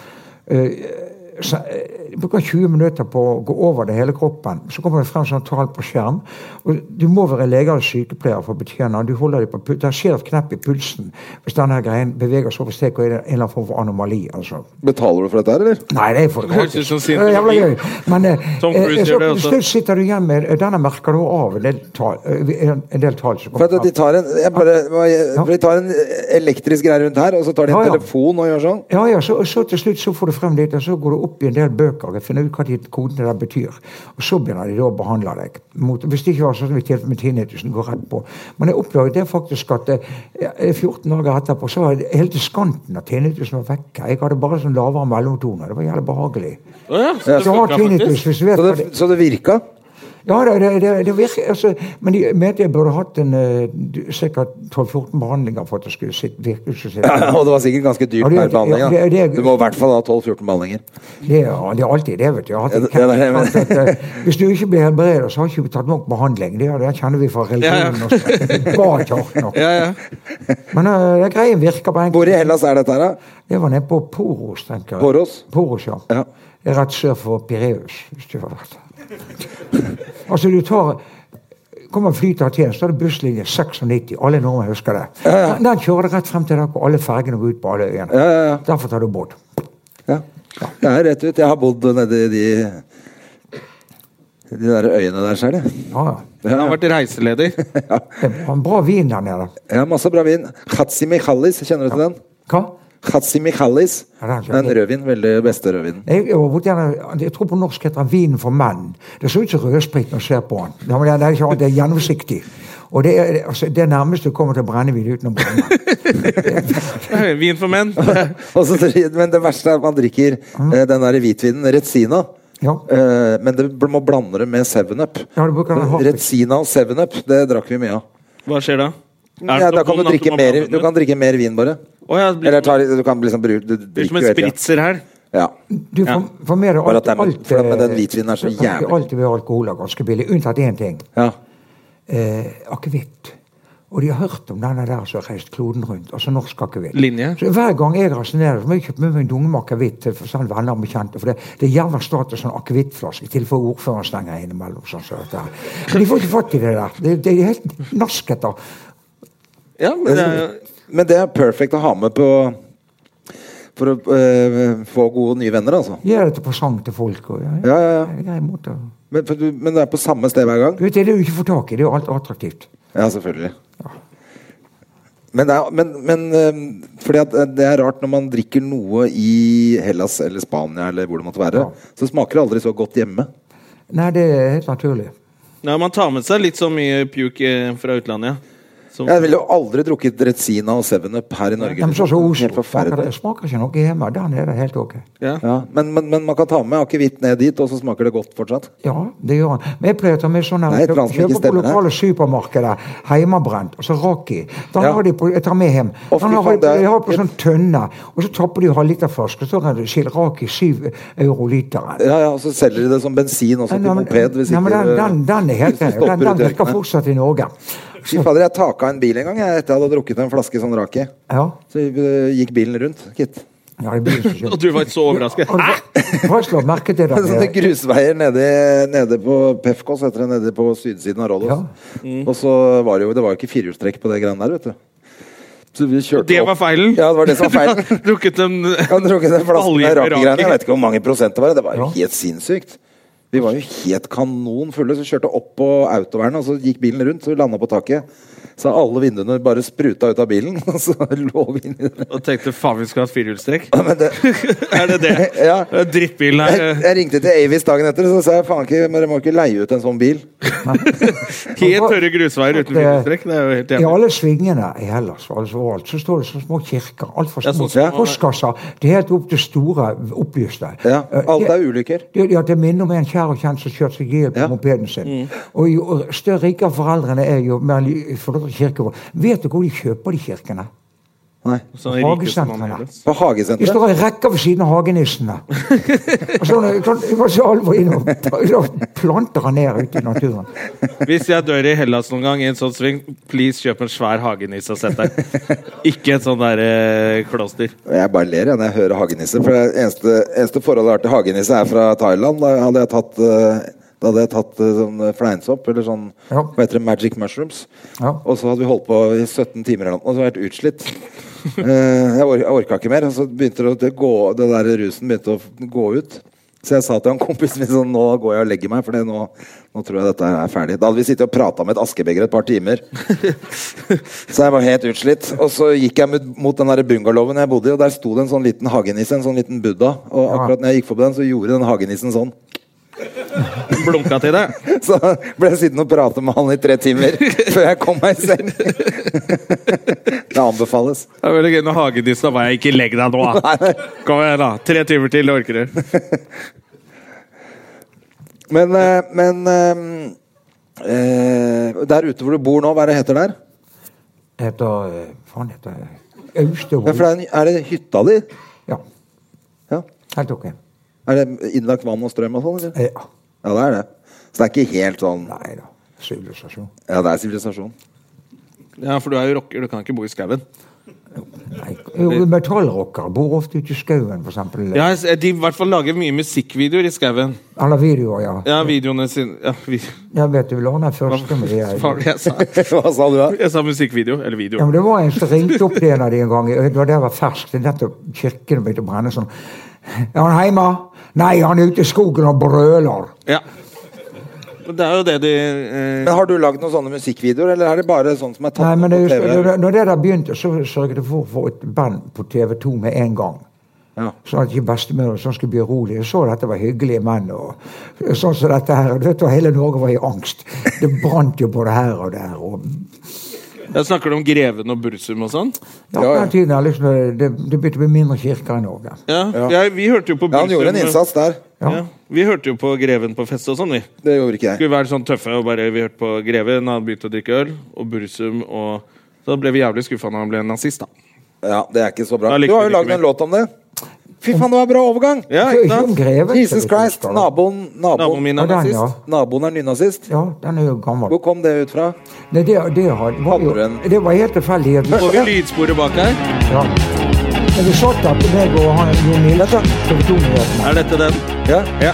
Speaker 4: eh, så, eh, de bruker 20 minutter på å gå over det hele kroppen. Så kommer det frem sånn tall på skjerm. og Du må være lege eller sykepleier for å betjene den. Du holder deg på pul- Der skjer et knepp i pulsen hvis denne her greien beveger seg over strek og er en eller annen form for anomali. altså.
Speaker 2: Betaler du for dette her, eller?
Speaker 4: Nei, det er for
Speaker 1: Høres ut som
Speaker 4: Det er jævla gøy. Men eh,
Speaker 1: Tom Cruise
Speaker 4: eh, så
Speaker 1: gjør det
Speaker 4: til
Speaker 1: også.
Speaker 4: slutt sitter du igjen med Denne merker du av en del tall. eh, En, en del tall som
Speaker 2: For
Speaker 4: kommer
Speaker 2: at de
Speaker 4: frem.
Speaker 2: tar en, jeg bare, for de tar en eh, elektrisk greie rundt her, og så tar de en
Speaker 4: Ja, ja.
Speaker 2: telefon og gjør sånn.
Speaker 4: Ja, ja, så, så til slutt så får du frem litt, og så går du opp i en del bøker og finner ut hva de kodene der betyr. Og så begynner de da å behandle deg. Mot, hvis det ikke var sånn som i tilfellet med tinnitusen, går rett på. Men jeg oppdaget det faktisk at eh, eh, 14 dager etterpå så var det- hele diskanten av tinnitusen var vekk. Jeg hadde bare sånn lavere mellomtoner. Det var jævlig behagelig.
Speaker 1: Å ja,
Speaker 2: Ja,
Speaker 1: så det
Speaker 4: Du har
Speaker 1: funker faktisk.
Speaker 4: tinnitus hvis du vet
Speaker 2: Så
Speaker 4: hva
Speaker 2: det, så det virka?
Speaker 4: Ja, det, det, det, det virker altså, Men de mente jeg burde hatt en eh, du- sikkert 12-14 behandlinger for at det skulle sitte, virkelig skulle sitte.
Speaker 2: Ja, [CLEARS THROAT] og det var sikkert ganske dyrt
Speaker 4: Ja, det-
Speaker 2: per behandling.
Speaker 4: ja,
Speaker 2: da.
Speaker 4: det- det-
Speaker 2: Du må i hvert fall ha 12-14 behandlinger.
Speaker 4: Det er, det er alltid det, vet du. Jeg har hatt en
Speaker 2: Ja, det- ja,
Speaker 4: kjent-
Speaker 2: det-
Speaker 4: at, eh, hvis du ikke blir helbredet, så har ikke du tatt nok behandling. Det, er- det kjenner vi fra religionen
Speaker 1: Ja,
Speaker 4: også. Bare ikke hardt nok.
Speaker 1: Ja, ja.
Speaker 4: Men eh, det greien virker på
Speaker 2: Hvor i
Speaker 4: enkelte.
Speaker 2: Hellas er dette her, da?
Speaker 4: Det var nede på Poros, tenker jeg.
Speaker 2: Poros?
Speaker 4: Poros, ja.
Speaker 2: Ja.
Speaker 4: Det er rett sør for Pireus, hvis du har vært der. altså, du tar Kommer fly til Aten, så er det busslinje 96. Alle nordmenn husker det. Den- Den kjører rett frem til der hvor alle fergene går ut på alle øyene.
Speaker 2: Ja, ja, ja.
Speaker 4: Derfor tar du båt.
Speaker 2: Ja. Det er rett ut. Jeg har bodd nedi de de der øyene der sjøl, jeg.
Speaker 4: Ja, ja.
Speaker 1: Han har vært
Speaker 2: [LAUGHS]
Speaker 1: reiseleder.
Speaker 2: Ja.
Speaker 4: Det var en bra vin der nede.
Speaker 2: Jeg har masse bra vin. Hatsi Michalis, kjenner du til den?
Speaker 4: Hva?
Speaker 2: Hatsi Michalis.
Speaker 4: Ja, den har jeg
Speaker 2: Den
Speaker 4: kjøpt.
Speaker 2: rødvin, [LAUGHS] veldig beste rødvinen.
Speaker 4: Jeg, jeg, var borti den- jeg tror på norsk heter den 'Vinen for menn'. Det ser ut som rødsprit når du ser på den. Ja, men Det det er, ikke- det er gjennomsiktig. Og det er altså, det er nærmest du kommer til brennevin uten å brenne.
Speaker 1: Vin for menn.
Speaker 2: Og så- men det verste er at man drikker
Speaker 4: Mm.
Speaker 2: eh, den der hvitvinen Retsina.
Speaker 4: Ja.
Speaker 2: Eh, men det bl- må blande det med 7-Up.
Speaker 4: Ja, du bruker den hardt.
Speaker 2: Retsina og 7-Up, det drakk vi mye av.
Speaker 1: Hva skjer da?
Speaker 2: Ja, da kan du, drikke mer, du kan drikke mer vin, bare.
Speaker 1: sånn Å ja, det blir,
Speaker 2: Eller ta, litt- du kan liksom bruke Du
Speaker 1: blir
Speaker 2: drikker
Speaker 1: som en
Speaker 2: jo hele tiden.
Speaker 1: spritzer her.
Speaker 2: Ja.
Speaker 4: Du, for, for meg er det
Speaker 2: Bare at
Speaker 4: alt,
Speaker 2: det er-
Speaker 4: alt,
Speaker 2: for at med den
Speaker 4: eh,
Speaker 2: hvitvinen er så
Speaker 4: alt-
Speaker 2: jævlig.
Speaker 4: Alt ved alkohol er ganske billig, unntatt én ting.
Speaker 2: ja.
Speaker 4: Eh, akevitt. Og de har hørt om denne der som har reist kloden rundt. Altså norsk akevitt.
Speaker 1: Linje.
Speaker 4: Så Hver gang jeg rasjonerer, så må jeg kjøpe med meg en dunge med akevitt til for sånn venner og bekjente. For det, det er jævla status sånn akevittflaske i tilfelle ordføreren stenger innimellom. Sånn, som dette her. Men de får ikke fatt i det der. Det, det er helt naskete.
Speaker 1: Ja, men det er jo
Speaker 2: Men det er perfekt å ha med på For å eh, få gode nye venner, altså.
Speaker 4: Gir det til presang til folk. Og, ja,
Speaker 2: Ja, ja, ja.
Speaker 4: Det er en grei måte. å-
Speaker 2: Men, for du, men det er på samme sted hver gang?
Speaker 4: Du vet, det er det du ikke får tak i. Det er jo alt attraktivt.
Speaker 2: Ja, selvfølgelig. Men, det er, men, men øhm, fordi at øh, det er rart når man drikker noe i Hellas eller Spania, eller hvor det måtte være,
Speaker 4: Ja.
Speaker 2: så smaker det aldri så godt hjemme.
Speaker 4: Nei, det er helt naturlig.
Speaker 1: Nei, Man tar med seg litt så mye puke eh, fra utlandet, ja. Som,
Speaker 2: Jeg ville jo aldri drukket Retsina og Seven Up her i Norge.
Speaker 4: De sånn som så
Speaker 2: Helt
Speaker 4: Oslo smaker,
Speaker 2: forferdelig.
Speaker 4: det smaker ikke noe hjemme. Der nede er det helt ok.
Speaker 1: ja.
Speaker 2: Ja, men, men, men man kan ta med akevitt ned dit, og så smaker det godt fortsatt.
Speaker 4: Ja, det gjør han. Men jeg pleier å ta med sånn her
Speaker 2: Nei, et eller annet som ikke
Speaker 4: Kjøper på
Speaker 2: stemmer her.
Speaker 4: lokale supermarkeder. Heimebrent. Altså raki. Da
Speaker 2: Ja.
Speaker 4: har de på, jeg tar med hjem.
Speaker 2: Å, fy
Speaker 4: Den har,
Speaker 2: faen, det
Speaker 4: de
Speaker 2: er-
Speaker 4: har på sånn tønne, og så tapper de halvliterflaske. Så står det skil raki syv euro literen.
Speaker 2: Ja, altså, ja, Og så selger de det som bensin også til
Speaker 4: Nei, men-
Speaker 2: moped. Hvis
Speaker 4: nei, men
Speaker 2: ikke
Speaker 4: den, den, den er
Speaker 2: [LAUGHS] hvis du
Speaker 4: helt den,
Speaker 2: stopper
Speaker 4: den, den
Speaker 2: ute i
Speaker 4: virker
Speaker 2: ørkenen.
Speaker 4: fortsatt i Norge.
Speaker 2: Fy fader, jeg taka en bil en gang jeg, etter jeg hadde drukket en flaske sånn raki.
Speaker 4: Ja.
Speaker 2: Så øh, gikk bilen rundt, gitt.
Speaker 4: ja det
Speaker 1: [LAUGHS]
Speaker 4: blir ikke
Speaker 1: Og du var ikke så overrasket.
Speaker 4: Har du- har du slått
Speaker 2: [LAUGHS]
Speaker 4: merke til det?
Speaker 2: Sånne
Speaker 4: der?
Speaker 2: grusveier nede, nede på Pefkos, heter det, nede på sydsiden av Rådås.
Speaker 1: Mm.
Speaker 2: Og så var det jo Det var jo ikke firehjulstrekk på det greiene der, vet du. Så vi kjørte
Speaker 1: Det
Speaker 2: opp-
Speaker 1: var feilen?
Speaker 2: Ja, det var det som var
Speaker 1: [LAUGHS] Du
Speaker 2: feilen.
Speaker 1: har drukket en
Speaker 2: Jeg hadde drukket en flaske
Speaker 1: Olje
Speaker 2: med
Speaker 1: med
Speaker 2: rakegreiene. Jeg
Speaker 1: raking.
Speaker 2: vet ikke hvor mange prosent det var. Det var jo
Speaker 4: Ja.
Speaker 2: helt sinnssykt. Vi var jo helt kanon fulle, så kjørte opp på autovernet, og så gikk bilen rundt, så vi landa på taket. Så alle vinduene bare spruta ut av bilen, [LAUGHS] og så lå vi inni det.
Speaker 1: Og tenkte faen, vi skulle hatt firehjulstrekk.
Speaker 2: Ja, men det
Speaker 1: [LAUGHS] Er det det?
Speaker 2: [LAUGHS] Ja.
Speaker 1: Det er Drittbilen
Speaker 2: jeg,
Speaker 1: her. eh,
Speaker 2: jeg ringte til Avis dagen etter og sa jeg, faen ikke, dere må ikke leie ut en sånn bil.
Speaker 1: Helt tørre grusveier uten
Speaker 4: Det-
Speaker 1: firehjulstrekk. Det er jo helt
Speaker 4: I
Speaker 1: jævlig.
Speaker 4: alle svingene i Hellas og altså overalt, så står det så små kirker. Altfor
Speaker 1: Ja, sånn
Speaker 4: små
Speaker 1: som-
Speaker 4: ja, postkasser. Det er helt opp til store, opplyste.
Speaker 2: Ja,
Speaker 4: Eh,
Speaker 2: alt
Speaker 4: det-
Speaker 2: er ulykker.
Speaker 4: Det, ja, det minner om en kjær og kjent som kjørte seg i hjel på
Speaker 2: Ja. Mm.
Speaker 4: mopeden sin. Og jo større rike foreldrene er, jo mer li- får dere kirkegård. Vet du hvor de kjøper de kirkene?
Speaker 2: Nei.
Speaker 1: Sånn rike som
Speaker 4: Hagesentrene.
Speaker 1: han er, ass.
Speaker 2: På
Speaker 4: De
Speaker 2: Hagesenteret?
Speaker 4: står i rekker ved siden av
Speaker 2: [LAUGHS]
Speaker 4: hagenissene. Og sånn, sånn, det var så alvor inn og og planter han ned ute i naturen.
Speaker 1: Hvis jeg dør i Hellas noen gang i en sånn sving, please kjøp en svær hagenisse
Speaker 2: [LAUGHS]
Speaker 1: og sett deg. Ikke et sånn derre kloster.
Speaker 2: Jeg bare ler jeg, når jeg hører hagenisse. For det eneste, eneste forholdet jeg har til hagenisse, er fra Thailand. Da hadde jeg tatt eh, da hadde jeg tatt eh, sånn eh, fleinsopp, eller sånn
Speaker 4: Ja.
Speaker 2: Hva heter det? Magic mushrooms.
Speaker 4: Ja.
Speaker 2: Og så hadde vi holdt på i 17 timer eller noe, og så var jeg helt utslitt. Eh, jeg, or jeg orka ikke mer. Og så begynte det, å- det, gå, det der rusen begynte å f- gå ut. Så jeg sa til han kompisen min sånn Nå går jeg og legger meg, for det nå, nå tror jeg dette her er ferdig. Da hadde vi sittet og prata med et askebeger et par timer. Så jeg var helt utslitt. Og så gikk jeg mot- mot den der bungalowen jeg bodde i, og der sto det en sånn liten hagenisse, en sånn liten buddha. Og akkurat når jeg gikk forbi den, så gjorde den hagenissen sånn.
Speaker 1: Blunka til deg.
Speaker 2: [LAUGHS] Så ble jeg sittende og prate med han i tre timer [LAUGHS] før jeg kom meg i seng. [LAUGHS] Det anbefales.
Speaker 1: Det er veldig gøy når hagenissen bare Ikke legg deg nå, da! Kom igjen, da. Tre timer til, det orker du.
Speaker 2: Men, eh, men eh, eh, Der ute hvor du bor nå, hva er det heter der?
Speaker 4: Det heter eh, Faen, det heter
Speaker 2: Ja, for det
Speaker 4: Austevoll.
Speaker 2: er, en, er det hytta di?
Speaker 4: Ja,
Speaker 2: Ja.
Speaker 4: helt ok.
Speaker 2: Er det innlagt vann og strøm og sånn? eller?
Speaker 4: Eh, Ja.
Speaker 2: Ja, det er det. Så det er ikke helt sånn
Speaker 4: Nei da. Sivilisasjon.
Speaker 2: Ja, det er sivilisasjon. [LAUGHS]
Speaker 1: Ja, for du er jo rocker, du kan ikke bo i skauen.
Speaker 4: Nei, jo, Metallrockere bor ofte ute i skauen, for eksempel.
Speaker 1: Ja, de i hvert fall lager mye musikkvideoer i skauen.
Speaker 4: Eller videoer, ja.
Speaker 1: Ja, videoene sine ja, vi,
Speaker 4: Jeg vet du vil ordne en første med det.
Speaker 1: Hva var det jeg sa?
Speaker 2: Hva sa du da?
Speaker 1: Jeg sa musikkvideo. Eller
Speaker 4: Ja,
Speaker 1: video.
Speaker 4: men det var en som ringte opp til en av de en gang. Det var det jeg var fersk. Det er nettopp kirken begynte å brenne sånn. Er han hjemme? Nei, han er ute i skogen og brøler.
Speaker 1: Ja. Men det er jo det de eh,
Speaker 2: Men Har du lagd noen sånne musikkvideoer, eller er det bare sånn som er tatt
Speaker 4: Nei, men det,
Speaker 2: på TV?
Speaker 4: når det der begynte, så sørget jeg for å få et band på TV 2 med en gang.
Speaker 2: Ja.
Speaker 4: Sånn at ikke bestemor og sånn skulle bli urolig. Jeg så dette var hyggelige menn. og sånn som dette her, du vet, og Hele Norge var i angst. Det brant jo både her og der. og...
Speaker 1: Jeg snakker om Greven og Bursum og sånn.
Speaker 2: Ja,
Speaker 4: Ja, på
Speaker 2: ja.
Speaker 4: den tiden er liksom, det, det begynte å bli mindre kirker i Norge.
Speaker 1: Ja. Jeg, vi hørte jo på
Speaker 2: Ja, han gjorde en
Speaker 1: Bursum,
Speaker 2: innsats der.
Speaker 1: Ja. Vi hørte jo på Greven på fest og sånn, vi.
Speaker 2: Det gjorde ikke jeg.
Speaker 1: Skulle være sånn tøffe og bare Vi hørte på Greven, han begynte å drikke øl, og Bursum og Så da ble vi jævlig skuffa når han ble nazist, da.
Speaker 2: Ja, Det er ikke så bra.
Speaker 1: Da likte
Speaker 2: Du har jo
Speaker 1: du ikke
Speaker 2: lagd en
Speaker 1: mye.
Speaker 2: låt om det. Fy faen, det var en bra overgang!
Speaker 1: Ja,
Speaker 4: Så
Speaker 1: ikke
Speaker 4: ikke om
Speaker 1: sant?
Speaker 4: greven. så
Speaker 2: Jesus
Speaker 4: vidt jeg
Speaker 2: Christ,
Speaker 4: husker, da.
Speaker 2: naboen
Speaker 1: Naboen
Speaker 2: Naboen,
Speaker 1: min
Speaker 4: Ja,
Speaker 1: er
Speaker 4: den,
Speaker 1: nazist.
Speaker 4: ja.
Speaker 2: naboen er nynazist.
Speaker 4: Ja, den er jo gammel.
Speaker 2: Hvor kom det ut fra?
Speaker 4: Nei, det, det, har- var, jo,
Speaker 2: Hadde den-
Speaker 4: det var helt tilfeldig. at vi-
Speaker 1: Får vi lydsporet bak her?
Speaker 4: Ja. Men vi satt der, meg og han, Jon Nilsen, TV 2-nyhetene.
Speaker 1: Er dette den?
Speaker 2: Ja,
Speaker 1: Ja.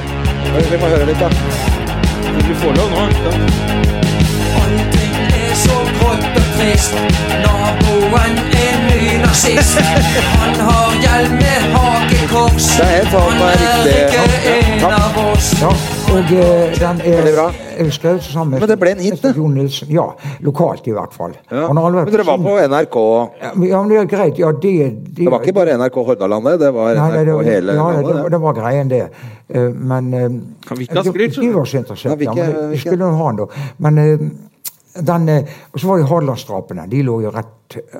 Speaker 2: Vi må høre litt, da.
Speaker 1: Du får lov nå. ikke sant?
Speaker 5: Allting er så grått og trist. Naboen er ny nazist. Han har hjelm med hakekors.
Speaker 2: Det er helt sånn,
Speaker 5: Han
Speaker 2: det er
Speaker 5: er
Speaker 2: riktig.
Speaker 5: ikke
Speaker 2: Ja,
Speaker 5: en
Speaker 2: ja.
Speaker 5: av oss.
Speaker 4: Ja, og eh, den er,
Speaker 2: Veldig bra.
Speaker 4: er skrevet sammen med
Speaker 2: Men det ble en hit, det.
Speaker 4: Jon Nilsen. Ja, lokalt i hvert fall.
Speaker 2: Ja.
Speaker 4: Han har aldri
Speaker 2: Men
Speaker 4: vært
Speaker 2: dere var på
Speaker 4: person-
Speaker 2: NRK
Speaker 4: Ja, men- ja, men det er greit. Ja, det,
Speaker 2: Det var ikke bare NRK Hordalandet, det var
Speaker 4: Nei, nei, det,
Speaker 2: NRK hele
Speaker 4: ja, det,
Speaker 2: landet.
Speaker 4: det,
Speaker 2: det.
Speaker 4: var greien, det. Eh, Men eh,
Speaker 1: Kan vi ikke ha
Speaker 4: det-
Speaker 1: skryt, skjønner
Speaker 4: De
Speaker 1: du?
Speaker 4: var så interessert.
Speaker 2: Nei, vi
Speaker 4: ja,
Speaker 2: ikke-
Speaker 4: men det-
Speaker 2: vi
Speaker 4: vi
Speaker 2: ikke.
Speaker 4: skulle jo ha den, da. Men eh, den eh, Og så var det Hadelandsdrapene. De lå jo rett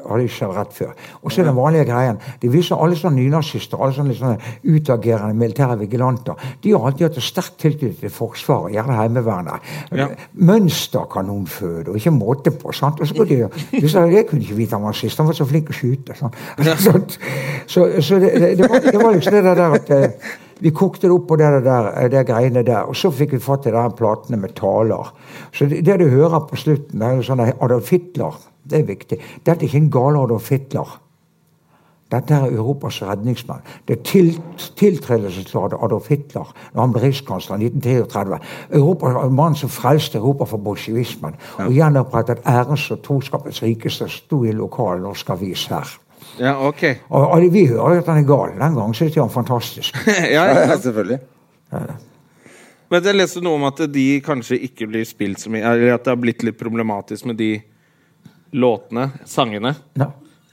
Speaker 4: hadde ikke skjedd rett før. Og så er den vanlige greien. De viser alle sånne nynazister, alle sånne, litt sånne utagerende militære vigilanter. De har alltid hatt en sterk tilknytning til Forsvaret, gjerne Heimevernet.
Speaker 1: Ja.
Speaker 4: Mønsterkanonføde og ikke måte på. sant? Og så går de, de sa, Jeg kunne ikke vite han var sist, han var så flink å skyte. Sånn. [LAUGHS] Sånt. Så, så det, det, det, var, det var liksom det der at eh, vi kokte det opp på det der, eh, det greiene der. Og så fikk vi fatt i de her platene med taler. Så det, det du hører på slutten, det er jo sånn Adolf Hitler. Det er viktig. Dette er ikke en gal Adolf Hitler. Dette er Europas redningsmann. Det er til, tiltredelsesladet Adolf Hitler når han ble rikskansler i 1933. Europa, Mannen som frelste Europa fra bolsjevismen og gjenopprettet ærens og troskapets rikeste, sto i lokal norsk avis her.
Speaker 1: Ja, ok. [LAUGHS]
Speaker 4: Og, og Vi hører jo at han er gal. Den gangen syntes jeg han var fantastisk.
Speaker 1: ja, ikke
Speaker 2: Ja,
Speaker 1: sant?
Speaker 2: selvfølgelig.
Speaker 1: Men jeg leste noe om at de kanskje ikke blir spilt så mye, eller at det har blitt litt problematisk med de låtene, sangene,
Speaker 4: Nei.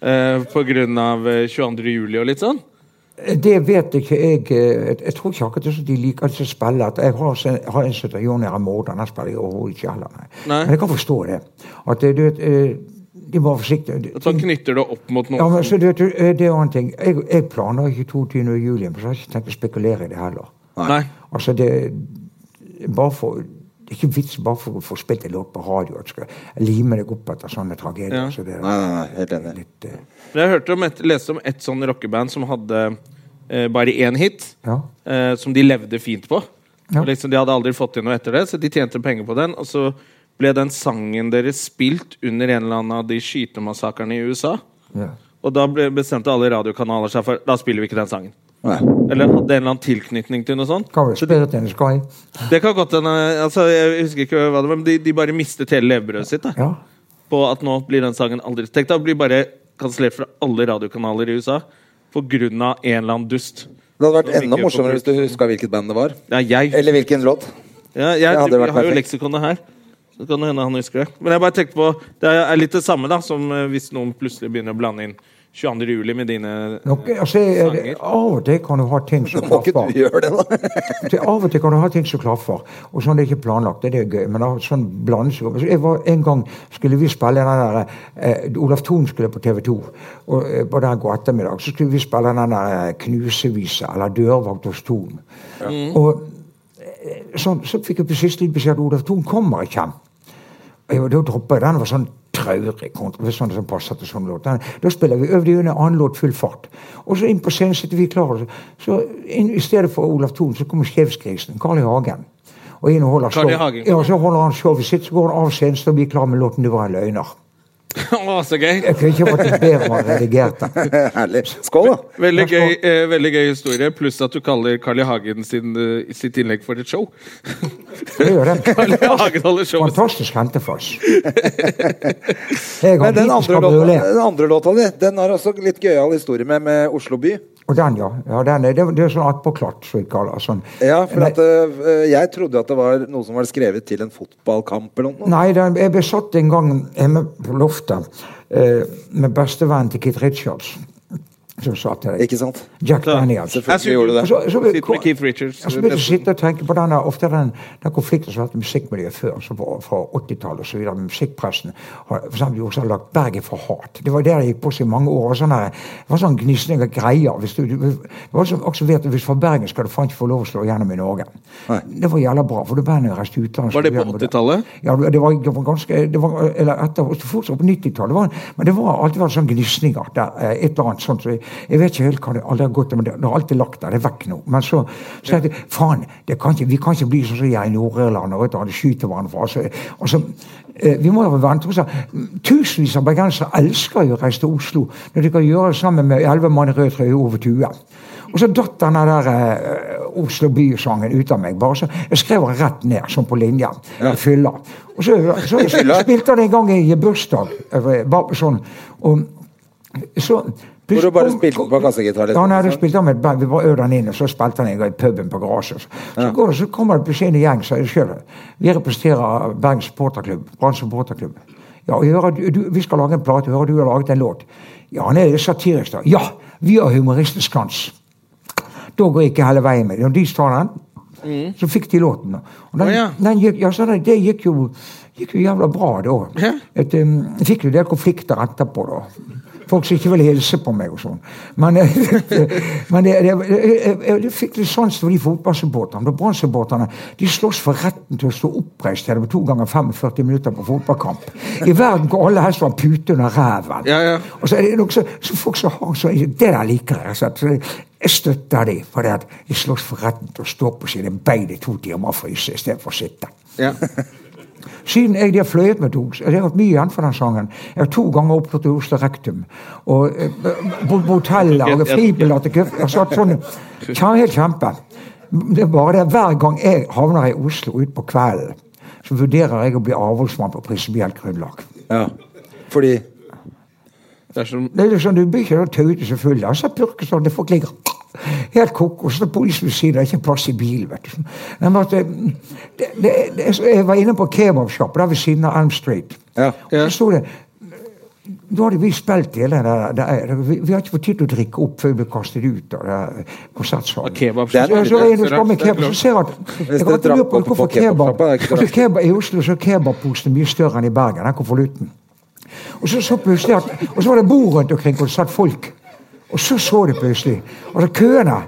Speaker 1: eh, på grunn av eh, 22. juli og litt sånn.
Speaker 4: Det vet jeg ikke. Jeg, eh, jeg tror ikke akkurat det som de liker at de spiller. At jeg har, sen- har en som heter Jon Jæren Mordan. Han spiller jo overhodet ikke heller. Nei.
Speaker 1: Nei.
Speaker 4: Men jeg kan forstå det. At eh, du vet, eh, de må være forsiktige.
Speaker 1: At man knytter det opp mot noe.
Speaker 4: Ja, men så du vet, eh, Det er jo en ting. Jeg, jeg planla ikke 22. juli, men så har jeg ikke tenkt å spekulere i det heller.
Speaker 1: Nei.
Speaker 4: Altså, det bare for, det er ikke vits bare for å få spilt en låt på radio at du skal lime deg opp etter sånne tragedier.
Speaker 1: Ja.
Speaker 4: Så det
Speaker 2: Nei,
Speaker 4: er
Speaker 2: nei, nei, helt enig.
Speaker 4: litt eh,
Speaker 1: Men jeg hørte om et, leste om et sånn rockeband som hadde eh, bare én hit,
Speaker 4: Ja.
Speaker 1: eh, som de levde fint på.
Speaker 4: Ja.
Speaker 1: Og Liksom, de hadde aldri fått inn noe etter det, så de tjente penger på den. Og så ble den sangen deres spilt under en eller annen av de skytemassakrene i USA.
Speaker 4: ja.
Speaker 1: Og da ble, bestemte alle radiokanaler seg for da spiller vi ikke den sangen.
Speaker 2: Nei.
Speaker 1: Eller hadde en eller annen tilknytning til noe sånt.
Speaker 4: Hva var det? Spirit in the Sky?
Speaker 1: Det kan godt hende altså, Jeg husker ikke hva det var, men de, de bare mistet hele levebrødet sitt. Da,
Speaker 4: Ja.
Speaker 1: På at nå blir den sangen aldri Tenk deg å bli bare kansellert fra alle radiokanaler i USA på grunn av en eller annen dust.
Speaker 2: Det hadde vært
Speaker 1: Som
Speaker 2: enda
Speaker 1: ikke
Speaker 2: morsommere
Speaker 1: får
Speaker 2: hvis du huska hvilket band det var.
Speaker 1: Ja, jeg, ja,
Speaker 2: Eller hvilken låt.
Speaker 1: jeg,
Speaker 2: hadde
Speaker 1: jeg,
Speaker 2: vært
Speaker 1: har jo
Speaker 2: perfekt.
Speaker 1: leksikonet her. Så kan det hende han husker det. Men jeg bare tenkte på Det er litt det samme da som eh, hvis noen plutselig begynner å blande inn 22. juli med dine
Speaker 4: Nok, altså, eh,
Speaker 1: Sanger.
Speaker 4: av og til kan du ha ting
Speaker 2: [LAUGHS]
Speaker 4: som
Speaker 2: Må ikke
Speaker 4: klaffer.
Speaker 2: du gjøre det, da?
Speaker 4: Til av og til kan du ha ting som klaffer, og sånn er det ikke planlagt. Det er gøy, men da, sånn blandes jo. Jeg var, en gang skulle vi spille den der eh, Olaf Thon skulle på TV 2 og, eh, på den god ettermiddag. Så skulle vi spille den der eh, Knusevise, eller Dørvakt hos Thon. Og eh, sånn, så fikk jeg på siste litt beskjed at Olaf Thon kommer ikke. Jo, da droppa jeg den. Den var sånn traurig kontra sånn som passer til sånn låt. Den, da spiller vi øvde jo en annen låt full fart. Og så inn på scenen sitter vi klare. Så inn, i stedet for Olav Thon, så kommer Skjevskrisen. Carl I. Hagen. Og inn og holder
Speaker 1: Carl I.
Speaker 4: show.
Speaker 1: Hagen.
Speaker 4: Ja, så holder han showet sitt, så går han av scenen, så er vi klare med låten 'Du var en løgner'.
Speaker 1: [LAUGHS] Å, så gøy!
Speaker 4: Jeg kunne ikke vært bedre om han redigerte.
Speaker 2: Herlig. Skål, da.
Speaker 1: Veldig
Speaker 4: Vær så
Speaker 1: gøy, eh, veldig gøy historie, pluss at du kaller Carl I. Hagen sin, eh, sitt innlegg for et show. [LAUGHS]
Speaker 4: Det gjør
Speaker 1: Carl I.
Speaker 4: det.
Speaker 1: Hagen holder showet
Speaker 4: Fantastisk hentefals. Jeg har
Speaker 2: Men den
Speaker 4: liten
Speaker 2: andre låta,
Speaker 4: skabriolet.
Speaker 2: den andre låta di, den har også litt gøyal historie med, med Oslo by.
Speaker 4: Og den, ja. ja den er, det, er- det er sånn attpåklatt, som vi kaller det. Sånn.
Speaker 2: Ja, for
Speaker 4: Men-
Speaker 2: at, øh, jeg trodde at det var noe som var skrevet til en fotballkamp eller noe.
Speaker 4: Nei, den, jeg ble satt en gang hjemme på loftet eh, med bestevennen til Kit Richards. Som sa til deg.
Speaker 2: Ikke sant?
Speaker 4: Jack Daniels.
Speaker 1: Selvfølgelig gjorde du det.
Speaker 4: Så- så-
Speaker 1: Sitter med Keith Richards.
Speaker 4: Jeg begynte å sitte og tenke på den, der- ofte den, den konflikten som har vært i musikkmiljøet før, som var fra 80-tallet osv. med musikkpressen. har For eksempel også har lagt Berget for hat. Det var det det gikk på seg i mange år. og sånn der- Det var sånn gnisning og greier. Hvis du, du, det var som også vet, at hvis fra Bergen skal du faen ikke få lov å slå gjennom i Norge. Det var jævla bra, for da bandet reiste utenlands.
Speaker 1: Var det på 80-tallet?
Speaker 4: Ja, det det var, det var ganske det var, Eller etter, fortsatt på 90-tallet. var det- Men det var alltid vært sånn gnisninger. der, eh, Et eller annet sånt. Så jeg, jeg vet ikke helt hva det aldri har gått til, men det, det har alltid lagt der. Det er vekk nå. Men så, så tenkte jeg faen, det kan ikke- vi kan ikke bli sånn som jeg i Nord-Irland og et eller annet skyter hverandre. Altså, altså, eh, vi må jo vente på seg. Tusenvis av bergensere elsker jo å reise til Oslo når de kan gjøre det sammen med elleve mann i rød trøye over tue. Og så datt denne der eh, Oslo by-sangen ut av meg. bare så Jeg skrev den rett ned, sånn på linja. i Fylla. Og så, så, så spilte han en gang i bursdag. eh, bare sånn. Og så
Speaker 2: Hvor du bare spilte den på kassegitar.
Speaker 4: ja, nei,
Speaker 2: Liksom.
Speaker 4: du spilte med et band. Vi bare øvde den inn, og så spilte han en gang i puben på garasjen. Så, går, så kommer det plutselig inn en gjeng, så er det sjøl. Vi representerer Bergen supporterklubb. Brann supporterklubb. Ja, og hører, du, du, vi skal lage en plate. Hører du har laget en låt? Ja, han er satirisk, da. Ja! Vi har humoristisk sans. Da går jeg ikke hele veien med det. Når de tar den, så fikk de låten. da. Og
Speaker 1: Mm.
Speaker 4: den,
Speaker 1: Å, ja.
Speaker 4: den gikk, ja, så det, det gikk jo gikk jo jævla bra da.
Speaker 1: Ja.
Speaker 4: Et, um, jeg fikk jo en del konflikter etterpå, da. Folk som ikke ville hilse på meg og sånn. Men, eh, [LAUGHS] men det, det, jeg, jeg, jeg fikk litt sans for de fotballsupporterne. For Brann-supporterne de slåss for retten til å stå oppreist her med to ganger 45 minutter på fotballkamp. I verden hvor alle helst var pute under ræven.
Speaker 1: Ja, ja.
Speaker 4: Og så er det nok så, så folk som har så, Det der liker jeg. Så, at- så jeg støtter dem, for det at de slåss for retten til å stå på sine bein i to timer og fryse istedenfor å sitte.
Speaker 1: Ja.
Speaker 4: [LAUGHS] Siden jeg de har fløyet med to, jeg har hatt mye igjen for den sangen. Jeg har to ganger opptrådt i Oslo Rektum. Og eh, på på
Speaker 1: [LAUGHS]
Speaker 4: hoteller og fribilletter. Jeg har satt sånn Kjære kjempe. Det er bare det at hver gang jeg havner i Oslo utpå kvelden, så vurderer jeg å bli avholdsmann på prinsipielt grunnlag.
Speaker 2: Ja. Fordi
Speaker 1: Det er som
Speaker 4: Det er liksom, Du blir ikke så taute så full. Altså, Purkestad, det folk ligger helt kokos. Det er polisen ved siden, det er ikke plass i bilen. vet du. Nei, men at det, det, det, det, jeg var inne på kebabsjappen der ved siden av Elm Street.
Speaker 2: Ja.
Speaker 4: Og så sto det nå hadde vi spilt hele det der, det er- vi, vi har ikke fått tid til å drikke opp før vi ble kastet ut av det der konsertsalen.
Speaker 1: kebab.
Speaker 4: Så jeg så er jeg skal med kebab, så ser jeg at
Speaker 2: Hvis
Speaker 4: jeg
Speaker 2: dere
Speaker 4: kan ikke lure
Speaker 2: drakk
Speaker 4: på
Speaker 2: opp på
Speaker 4: hvorfor kebab,
Speaker 2: kebabsjappa, det er ikke så
Speaker 4: altså
Speaker 2: rart.
Speaker 4: kebab I Oslo så er kebabposen mye større enn i Bergen. Den konvolutten. Og så, så plutselig at, og så var det bord rundt omkring hvor det satt folk. Og så så de plutselig. Altså køene.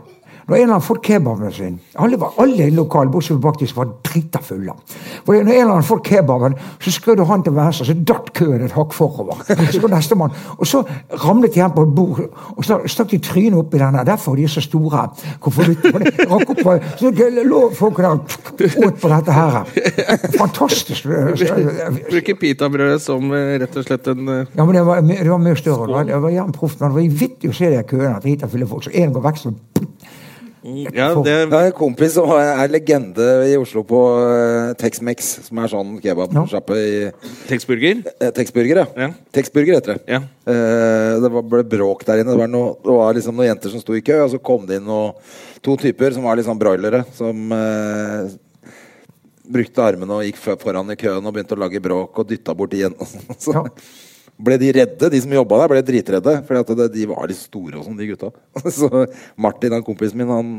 Speaker 4: Når en eller annen fått kebaben sin Alle, var, alle i lokalet bortsett fra faktisk var drita fulle. For når en eller annen fått kebaben, så skrudde han til venstre, så datt køen et hakk forover. Så kom nestemann. Og så ramlet de igjen på et bord, og så stakk de trynet opp i denne. Derfor er de så store. Konvolutten. Og det rakk opp på Så det lå folk der åt på dette her. Fantastisk.
Speaker 1: Bruker pitabrødet som eh, rett og slett en eh,
Speaker 4: Ja, men det var, det var mye større. Det var, det var jævlig proft, men det var vittig å se de køene. at Rita fyller folk, så en går vekk, så
Speaker 1: Ja, det
Speaker 2: Jeg har en kompis som er legende i Oslo på eh, Tex-Mex, som er sånn kebabsjappe i
Speaker 1: Texburger. [LAUGHS]
Speaker 2: eh, Texburger, ja.
Speaker 1: Ja.
Speaker 2: Texburger heter det.
Speaker 1: Ja.
Speaker 2: Eh, det var, ble bråk der inne. Det var, noe, det var liksom noen jenter som sto i kø, og så kom det inn noe, to typer som var litt sånn broilere, som eh, brukte armene og gikk fø- foran i køen og begynte å lage bråk og dytta bort de jentene. [LAUGHS] Så
Speaker 4: Ja.
Speaker 2: ble de redde, de som jobba der, ble dritredde, for at det, de var litt store og sånn, de gutta. [LAUGHS] Så Martin, han kompisen min, han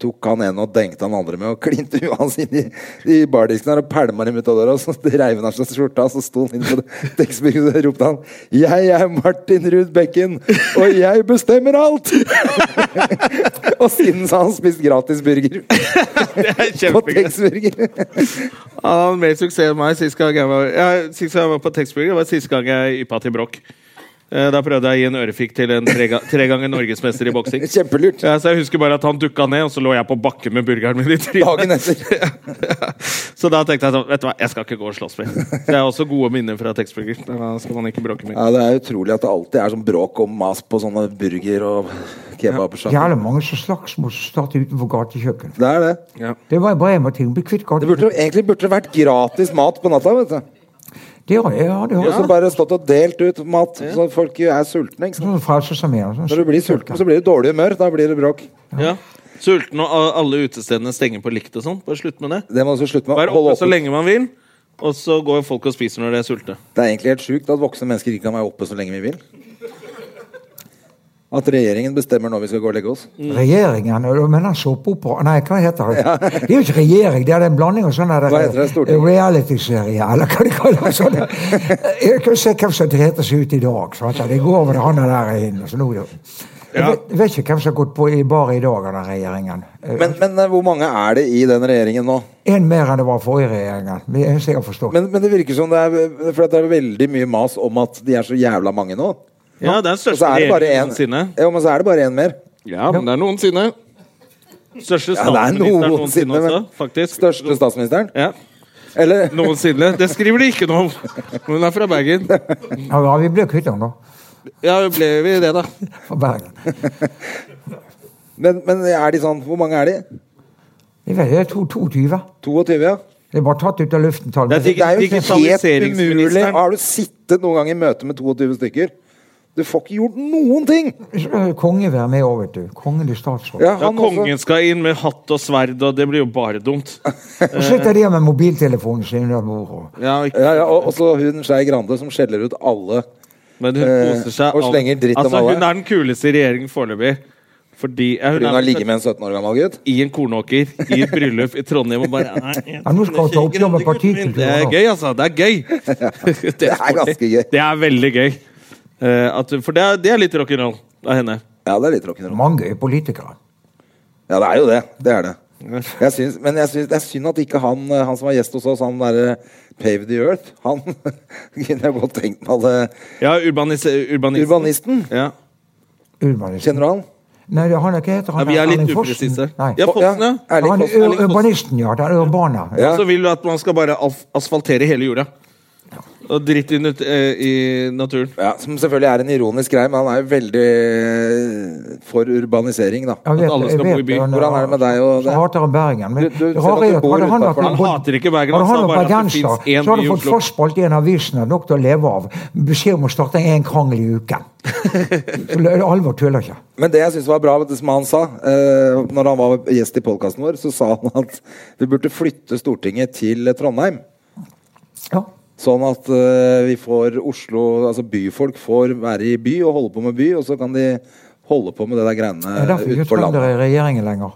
Speaker 2: tok han ene og dengte han andre med og klinte huet hans inn i, i bardisken her og pælma dem ut av døra. og Så [LAUGHS] reiv han av seg skjorta, og så sto han inne på [LAUGHS] dekksbygget og så ropte han 'Jeg er Martin Ruud Bekken, og jeg bestemmer alt!' [LAUGHS] og siden så har han spist gratis burger [LAUGHS]
Speaker 1: Det er
Speaker 2: på
Speaker 1: kjempegøy.
Speaker 2: Texburger.
Speaker 1: Han hadde mer suksess enn meg sist gang jeg var, ja, sist gang jeg var på Texburger. var sist gang jeg yppa til bråk. Eh, Da prøvde jeg å gi en ørefik til en tre, ga- tre ganger norgesmester i boksing.
Speaker 2: [LAUGHS] Kjempelurt.
Speaker 1: Ja, så jeg husker bare at han dukka ned, og så lå jeg på bakken med burgeren min i
Speaker 2: Dagen
Speaker 1: trynet.
Speaker 2: etter.
Speaker 1: [LAUGHS] Så da tenkte jeg sånn, vet du hva, jeg skal ikke gå og slåss mer. Det er også gode minner fra Texburger. Da skal man ikke bråke mer.
Speaker 2: Ja, Det er utrolig at det alltid er sånn bråk og mas på sånne burger og kebabsjapper.
Speaker 4: jævlig mange som slagsmål som starter utenfor gatekjøkkenet.
Speaker 2: Det er det.
Speaker 1: Ja.
Speaker 4: Det var bare en ting. Bli kvitt
Speaker 2: det burde,
Speaker 4: gatekjøkkenet.
Speaker 2: egentlig burde det vært gratis mat på natta. vet du
Speaker 4: Det gjør jeg. Ja, det gjør
Speaker 2: Og så bare stått og delt ut mat, så folk er sultne. Ikke sant?
Speaker 4: Noen frelser seg mer. sånn.
Speaker 2: Når du blir sulten, så blir du i dårlig humør. Da blir det bråk.
Speaker 1: Ja. Sulten og a- alle utestedene stenger på likt og sånn. Bare slutt med det.
Speaker 2: Det må du også slutte med.
Speaker 1: Vær
Speaker 2: Hold
Speaker 1: oppe så
Speaker 2: åpent.
Speaker 1: lenge man vil, og så går folk og spiser når de er sulte.
Speaker 2: Det er egentlig helt sjukt at voksne mennesker ikke kan være oppe så lenge vi vil. At regjeringen bestemmer når vi skal gå og legge oss.
Speaker 4: Regjeringen og du mener såpeopera Nei, hva heter det? Det er jo ikke regjering, det er en blanding av sånne der,
Speaker 2: Hva heter det,
Speaker 4: Eh,
Speaker 2: Stortinget?
Speaker 4: reality-serie, eller hva de kaller det. Sånne. Jeg kan se hvem som driter seg ut i dag. Sant? Det går over det han er der inne. Så nå, jeg
Speaker 1: Ja.
Speaker 4: vet, jeg vet ikke hvem som har gått på i bar i dag, av den regjeringen.
Speaker 2: Men, men eh, hvor mange er det i den regjeringen nå?
Speaker 4: En mer enn det var forrige regjeringen. Det er eneste jeg har forstått.
Speaker 2: Men, men det virker som det er For det er veldig mye mas om at de er så jævla mange nå.
Speaker 1: Ja, det er
Speaker 2: Og
Speaker 1: den
Speaker 2: så
Speaker 1: største
Speaker 2: er det bare
Speaker 1: regjeringen
Speaker 2: én.
Speaker 1: noensinne.
Speaker 2: Ja, men så er det bare én mer.
Speaker 1: Ja, men det er noensinne. Største
Speaker 2: Ja, det er
Speaker 1: statsministeren noensinne,
Speaker 2: noensinne, men-
Speaker 1: også, faktisk.
Speaker 2: Største statsministeren.
Speaker 1: Ja,
Speaker 2: Eller
Speaker 1: noensinne. Det skriver de ikke noe om. Hun er fra Bergen.
Speaker 4: Ja, ja, vi ble kvitt henne, da.
Speaker 1: Ja, ble vi det, da?
Speaker 4: Fra Bergen.
Speaker 2: men, men er de sånn Hvor mange er de?
Speaker 4: Jeg vet, det er to- 22.
Speaker 2: 22, ja?
Speaker 4: Det er bare tatt ut av luften. tallet.
Speaker 1: Det er digg-
Speaker 2: Det er jo helt umulig.
Speaker 1: digitaliseringsministeren.
Speaker 2: Har du sittet noen gang i møte med 22 stykker? Du får ikke gjort noen ting!
Speaker 4: Så skal kongen være med òg, vet du. Kongen i statsråd.
Speaker 2: Ja,
Speaker 1: Ja,
Speaker 2: han også.
Speaker 1: kongen skal inn med hatt og sverd, og det blir jo bare dumt.
Speaker 4: Og sitter de her med mobiltelefonen sin under bordet.
Speaker 1: Ja, ikke-
Speaker 2: Ja, ja, og også hun Skei Grande som skjeller ut alle.
Speaker 1: men hun
Speaker 2: Eh,
Speaker 1: koser seg.
Speaker 2: og
Speaker 1: alt.
Speaker 2: slenger dritt om
Speaker 1: altså,
Speaker 2: alle.
Speaker 1: Hun er den kuleste i regjeringen foreløpig. Fordi ja, hun,
Speaker 2: Fordi hun
Speaker 1: er
Speaker 2: har ligget med en 17 år gammel gutt.
Speaker 1: i en kornåker, i et bryllup i Trondheim og bare nei, jeg
Speaker 4: Ja, nå skal hun ta
Speaker 1: skjønner ikke
Speaker 4: oppgjør med
Speaker 1: grønne gutten min.
Speaker 4: partikulturen,
Speaker 1: Det er
Speaker 4: da.
Speaker 1: gøy, altså. Det er gøy.
Speaker 2: Det er ganske gøy.
Speaker 1: Det er veldig gøy. Eh, at, for det er, det er litt rock'n'roll av henne.
Speaker 2: Ja, det er litt rock'n'roll.
Speaker 4: Mange gøye politikere.
Speaker 2: Ja, det er jo det. Det er det. Jeg syns, men jeg syns, det er synd at ikke han, eh, han som var gjest hos oss, han derre Pave the Earth, han [LAUGHS] kunne jeg godt tenkt meg alle
Speaker 1: Ja, urbanis urbanisten.
Speaker 2: Urbanisten.
Speaker 1: Ja.
Speaker 4: Urbanisten.
Speaker 2: Kjenner du han?
Speaker 4: Nei, det- han er ikke heter han
Speaker 1: ja, vi er
Speaker 4: Erling
Speaker 1: litt
Speaker 4: Fossen.
Speaker 1: upresise.
Speaker 4: Nei.
Speaker 1: Ja, Fossen, ja. Altså,
Speaker 2: Erling
Speaker 4: han er
Speaker 2: Fossen.
Speaker 4: ur- urbanisten, ja. Det er urbana.
Speaker 2: Ja.
Speaker 1: Så vil du at man skal bare alf- asfaltere hele jorda. Og dritt i, nat eh, i naturen.
Speaker 2: Ja, som selvfølgelig er en ironisk greie, men han er jo veldig eh, for urbanisering, da.
Speaker 4: Jeg vet-
Speaker 1: At alle
Speaker 4: jeg
Speaker 1: skal
Speaker 4: vet
Speaker 1: bo i by.
Speaker 4: det, han
Speaker 2: Hvordan er det med deg og
Speaker 4: Så
Speaker 2: det?
Speaker 4: hater han Bergen. Men
Speaker 2: Du- du
Speaker 4: det
Speaker 2: ser
Speaker 4: rare
Speaker 2: at du
Speaker 4: er at
Speaker 2: bor
Speaker 4: hadde han vært
Speaker 2: utenfor.
Speaker 1: Han hater ikke Bergen, han
Speaker 4: Hadde han
Speaker 1: sa bare
Speaker 4: vært
Speaker 1: at det
Speaker 4: bergenser,
Speaker 1: finnes én
Speaker 4: så hadde
Speaker 1: by i
Speaker 4: han fått
Speaker 1: Oslo.
Speaker 4: fastspalt i en av avisene nok til å leve av. Beskjed om å starte en krangel i uken. Så det- Alvor tuller ikke.
Speaker 2: Men det jeg syns var bra, det som han sa eh, Når han var gjest i podkasten vår, så sa han at vi burde flytte Stortinget til Trondheim.
Speaker 4: Ja.
Speaker 2: Sånn at eh, vi får Oslo Altså byfolk får være i by og holde på med by, og så kan de holde på med det der greiene
Speaker 4: Det er derfor
Speaker 2: ute
Speaker 4: ikke
Speaker 2: Eh, på
Speaker 4: trøndere
Speaker 2: landet.
Speaker 4: i regjeringen lenger.